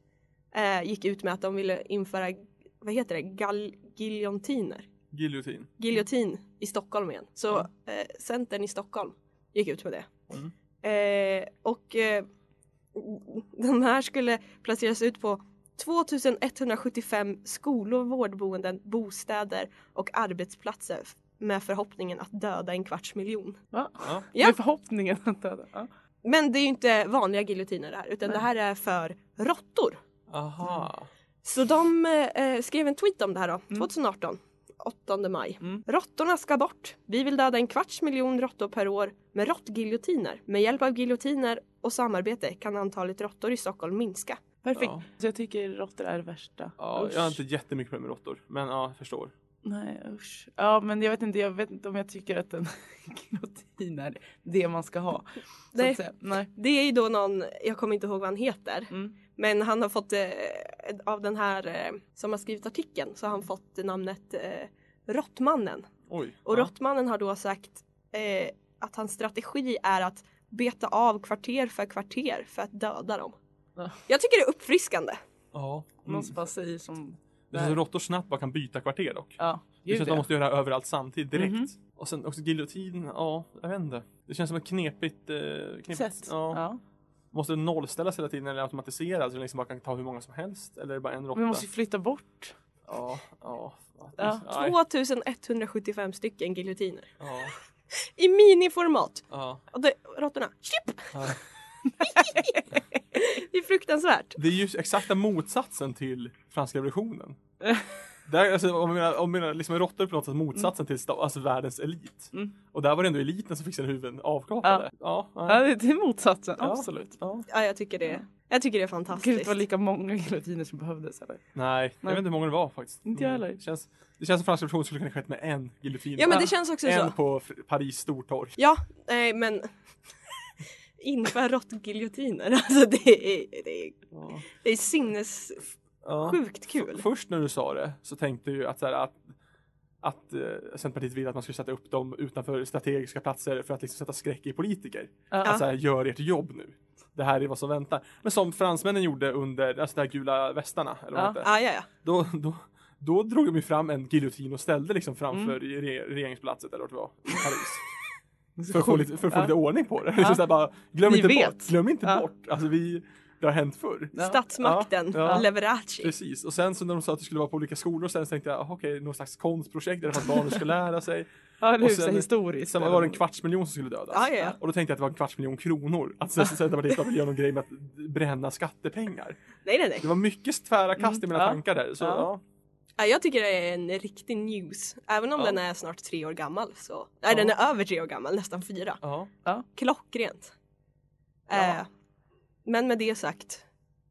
Speaker 4: eh, gick ut med att de ville införa, vad heter det, Gal- giljotiner.
Speaker 2: Giljotin.
Speaker 4: Giljotin i Stockholm igen. Så eh, Centern i Stockholm gick ut med det.
Speaker 2: Mm.
Speaker 4: Eh, och eh, den här skulle placeras ut på 2175 skolor, vårdboenden, bostäder och arbetsplatser med förhoppningen att döda en kvarts miljon.
Speaker 3: Va?
Speaker 2: Ja.
Speaker 4: Ja.
Speaker 3: Med förhoppningen att döda. Ja.
Speaker 4: Men det är ju inte vanliga giljotiner det här utan det här är för råttor.
Speaker 2: Aha.
Speaker 4: Så de eh, skrev en tweet om det här då, 2018. 8 maj.
Speaker 3: Mm.
Speaker 4: Råttorna ska bort. Vi vill döda en kvarts miljon råttor per år med råttgiljotiner. Med hjälp av giljotiner och samarbete kan antalet råttor i Stockholm minska.
Speaker 3: Perfekt.
Speaker 2: Ja.
Speaker 3: Så jag tycker råttor är det värsta.
Speaker 2: Ja,
Speaker 3: usch.
Speaker 2: jag har inte jättemycket problem med råttor, men ja, jag förstår.
Speaker 3: Nej, usch. Ja, men jag vet inte, jag vet inte om jag tycker att en giljotin är det man ska ha. Så
Speaker 4: Nej.
Speaker 3: att säga. Nej.
Speaker 4: Det är ju då någon, jag kommer inte ihåg vad han heter,
Speaker 3: Mm.
Speaker 4: men han har fått eh, av den här eh, som har skrivit artikeln så har han fått namnet eh, Råttmannen.
Speaker 2: Oj.
Speaker 4: Och
Speaker 2: ja.
Speaker 4: Råttmannen har då sagt eh, att hans strategi är att beta av kvarter för kvarter för att döda dem.
Speaker 3: Ja.
Speaker 4: Jag tycker det är uppfriskande.
Speaker 2: Ja. Mm.
Speaker 3: Någon som bara säger som...
Speaker 2: Det känns som råttor snabbt bara kan byta kvarter dock.
Speaker 3: Ja,
Speaker 2: Det känns
Speaker 3: gud
Speaker 2: att man
Speaker 3: ja.
Speaker 2: måste göra det här överallt samtidigt direkt.
Speaker 3: Mhm.
Speaker 2: Och sen också giljotin, ja, jag vet inte. Det känns som ett knepigt... Eh, knepigt
Speaker 3: Sätt.
Speaker 2: Ja.
Speaker 3: Ja.
Speaker 2: Måste det nollställas hela tiden eller automatiseras så den liksom bara kan ta hur många som helst? Eller är det bara en råtta?
Speaker 3: Vi måste ju flytta bort.
Speaker 2: Ja, ja. ja.
Speaker 3: Ja.
Speaker 2: Nej,
Speaker 4: 2175 stycken giljotiner.
Speaker 2: ja,
Speaker 4: I miniformat.
Speaker 2: ja,
Speaker 4: Och det- Råttorna, chip!
Speaker 2: ja.
Speaker 4: Det är fruktansvärt.
Speaker 2: Det är ju exakta motsatsen till franska revolutionen. Där, alltså, om man menar, om man menar liksom råttor är på något sätt motsatsen till sta- alltså, världens elit.
Speaker 3: Mm.
Speaker 2: Och där var det ändå eliten som fick sina huvuden avkapade. Ja. Ja,
Speaker 3: Ja, det är motsatsen.
Speaker 2: Ja.
Speaker 3: Absolut.
Speaker 2: ja.
Speaker 4: Ja, jag tycker det, jag tycker det är
Speaker 3: Gud, det
Speaker 4: fantastiskt.
Speaker 3: var lika många giljotiner som behövdes. Eller?
Speaker 2: Nej, jag
Speaker 3: Nej.
Speaker 2: vet inte hur många det var faktiskt.
Speaker 3: Inte jag
Speaker 2: Mm.
Speaker 3: heller.
Speaker 2: Det känns, det känns som franska revolutionen skulle kunna skett med en giljotin.
Speaker 4: Ja, men det känns också
Speaker 2: en
Speaker 4: så.
Speaker 2: på F- Paris stortorg.
Speaker 4: Ja, nej men inför råttgiljotiner. Alltså det är, det är,
Speaker 2: Ja.
Speaker 4: det är sinnessjukt
Speaker 2: Ja.
Speaker 4: kul.
Speaker 2: Först när du sa det så tänkte jag ju att, så här, att att eh, Centerpartiet vill att man skulle sätta upp dem utanför strategiska platser för att liksom sätta skräck i politiker.
Speaker 3: Ja.
Speaker 2: Att så här, gör ert jobb nu. Det här är vad som väntar. Men som fransmännen gjorde under alltså, de här gula västarna. Eller vad
Speaker 3: Ja.
Speaker 2: det hette.
Speaker 4: Ah, ja, ja.
Speaker 2: då, då, då drog de ju fram en giljotin och ställde liksom framför re, regeringsplatset eller vart det var i Paris. för att få lite, för att få
Speaker 3: Ja.
Speaker 2: lite ordning på det. Så här bara, glöm
Speaker 3: Ni
Speaker 2: inte bort,
Speaker 3: vet.
Speaker 2: glöm inte
Speaker 3: Ja.
Speaker 2: bort. Alltså vi, det har hänt förr.
Speaker 3: Ja.
Speaker 4: Statsmakten,
Speaker 2: Ja, ja.
Speaker 4: Leverace.
Speaker 2: Precis, och sen så när de sa att det skulle vara på olika skolor sen så tänkte jag aha, okej, någon slags konstprojekt där det fanns barnen skulle lära sig.
Speaker 3: Ja, eller
Speaker 2: Och
Speaker 3: hur? Så
Speaker 2: sen-
Speaker 3: här historiskt.
Speaker 2: Sen var det en kvarts miljon som skulle dödas.
Speaker 4: Ja, ja, ja.
Speaker 2: Och då tänkte jag att det var en kvarts miljon kronor. Att sen- sen Centerpartiet bara göra någon grej med att bränna skattepengar.
Speaker 4: Nej, nej, nej.
Speaker 2: Det var mycket tvära kast i mina
Speaker 3: Ja.
Speaker 2: tankar där. Så,
Speaker 3: Ja.
Speaker 2: ja.
Speaker 4: Ja, jag tycker det är en riktig news. Även om
Speaker 2: Ja.
Speaker 4: den är snart tre år gammal. Så... Nej, den är över tre år gammal, nästan fyra.
Speaker 2: Ja.
Speaker 4: Klockrent. Eh, men med det sagt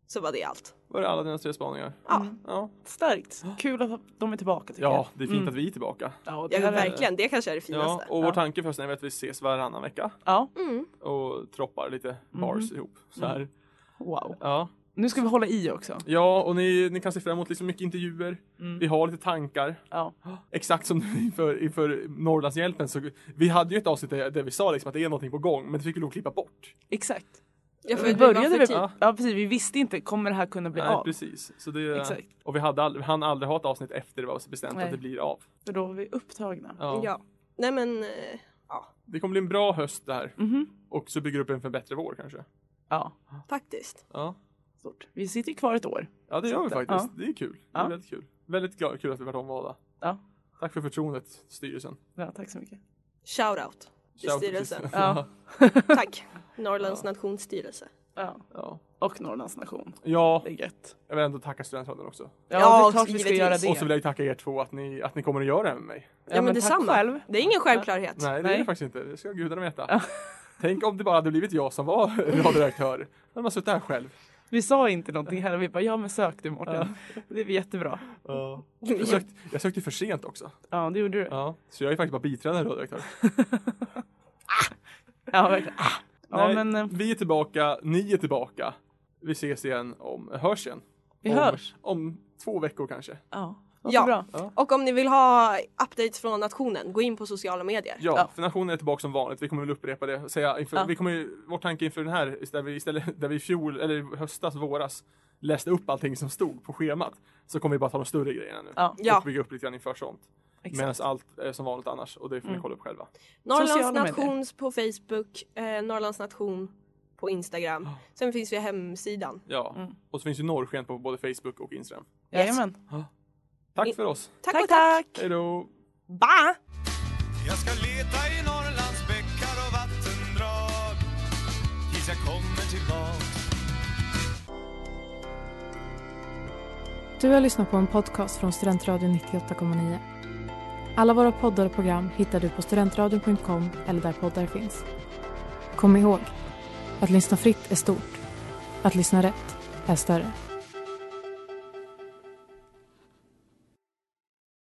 Speaker 4: så var det allt.
Speaker 2: Var det alla dina tre spaningar?
Speaker 4: Ja,
Speaker 2: Ja,
Speaker 3: Starkt. Kul att de är tillbaka tycker
Speaker 2: ja det är fint
Speaker 3: Mm.
Speaker 2: att vi är tillbaka.
Speaker 3: jag. Ja, det
Speaker 4: jag,
Speaker 3: här är-
Speaker 4: verkligen. Det kanske är det
Speaker 2: Ja,
Speaker 4: finaste.
Speaker 2: och vår tanke för hösten är att vi ses varannan vecka
Speaker 3: Ja,
Speaker 4: Mm.
Speaker 2: och troppar lite bars ihop. Så här.
Speaker 3: wow.
Speaker 2: Ja.
Speaker 3: Nu ska vi hålla i också.
Speaker 2: ja, och ni, ni kan se fram emot liksom mycket intervjuer. Vi har lite tankar.
Speaker 3: Ja.
Speaker 2: Exakt som nu inför, inför Norrlandshjälpen så vi hade ju ett avsnitt där, där vi sa liksom att det är någonting på gång men det fick vi nog klippa bort.
Speaker 3: Exakt.
Speaker 4: Ja, för
Speaker 3: Vi
Speaker 4: det var för
Speaker 3: började vi,
Speaker 4: tid.
Speaker 3: ja. ja, precis. Vi visste inte, kommer det här kunna bli
Speaker 2: Nej,
Speaker 3: av?
Speaker 2: precis. Så det,
Speaker 3: Exakt.
Speaker 2: Och vi hade aldrig, han aldrig ha ett avsnitt efter det var bestämt
Speaker 3: Nej.
Speaker 2: att det blir av.
Speaker 3: För då var vi upptagna.
Speaker 2: Ja.
Speaker 4: Ja. Nej men, eh,
Speaker 2: Det kommer bli en bra höst det här
Speaker 3: Mhm.
Speaker 2: och så bygger upp en för en bättre vår kanske.
Speaker 3: Ja,
Speaker 4: faktiskt.
Speaker 2: Ja,
Speaker 3: stort. Vi sitter ju kvar ett år.
Speaker 2: ja det gör vi
Speaker 3: Så att-
Speaker 2: faktiskt. Det är kul. Det är
Speaker 3: Ja.
Speaker 2: väldigt kul. Väldigt glad, kul att vi vart omvalda.
Speaker 3: Ja.
Speaker 2: Tack för förtroendet, styrelsen.
Speaker 3: Ja, tack så mycket.
Speaker 4: Shout out till
Speaker 2: Shout-
Speaker 4: styrelsen.
Speaker 3: Ja.
Speaker 4: Tack. Norrlands nationsstyrelse.
Speaker 3: ja.
Speaker 2: ja.
Speaker 3: Och Norrlands nation.
Speaker 2: Ja,
Speaker 3: Det är gött.
Speaker 2: jag vill ändå tacka studentradion också.
Speaker 3: Ja,
Speaker 4: Ja,
Speaker 3: det är klart vi ska
Speaker 4: givetvis.
Speaker 3: göra det.
Speaker 2: Och så vill jag ju tacka er två att ni, att ni kommer att göra det här med mig.
Speaker 4: Ja, men, detsamma.
Speaker 3: Tack själv.
Speaker 4: Det är ingen självklarhet.
Speaker 2: Nej, det är
Speaker 3: Nej.
Speaker 2: det faktiskt inte. Det ska gudarna veta. Tänk om det bara hade blivit jag som var radioredaktör. Då hade man suttit här själv.
Speaker 3: Vi sa inte någonting här och vi bara ja men sök du Mårten. Det är jättebra.
Speaker 2: Jag sökte, jag sökte för sent också.
Speaker 3: Ja det gjorde du. Ja,
Speaker 2: Ja. Så jag är faktiskt bara biträdande radioredaktör.
Speaker 3: verkligen. Ah. Ja
Speaker 2: Nej,
Speaker 3: men eh,
Speaker 2: Vi är tillbaka, ni är tillbaka. Vi ses igen om, hörs igen.
Speaker 3: vi
Speaker 2: om,
Speaker 3: hörs.
Speaker 2: Om två veckor kanske.
Speaker 3: Ja.
Speaker 4: Ja.
Speaker 3: Ja. Bra.
Speaker 4: Och om ni vill ha updates från nationen, gå in på sociala medier.
Speaker 2: Ja,
Speaker 3: Ja.
Speaker 2: för nationen är tillbaka som vanligt. Vi kommer väl upprepa det. och Säga inför,
Speaker 3: Ja.
Speaker 2: vi kommer, ju- vår tanke inför den här, där vi istället, där vi i fjol, eller i höstas, våras, läste upp allting som stod på schemat. Så kommer vi bara ta de större grejerna nu.
Speaker 3: Ja.
Speaker 4: Ja.
Speaker 2: Och bygga upp lite grann inför sånt.
Speaker 3: Exakt.
Speaker 2: Medan allt är som vanligt annars. Och det får ni kolla upp själva.
Speaker 4: Norrlands
Speaker 3: Sociala medier.
Speaker 4: nations på Facebook, eh, Norrlands nation på Instagram. Sen finns vi hemsidan.
Speaker 2: Ja. Och så finns ju norrsken på både Facebook och Instagram.
Speaker 3: Jajamän.
Speaker 2: Tack för oss.
Speaker 4: Tack, och tack!
Speaker 2: Hej då!
Speaker 4: Bye!
Speaker 1: Jag ska leta i Norrlands bäckar och vattendrag tills jag kommer tillbaka
Speaker 5: Du har lyssnat på en podcast från Studentradion 98,9. Alla våra poddar och program hittar du på studentradion.com eller där poddar finns. Kom ihåg, att lyssna fritt är stort. Att lyssna rätt är större.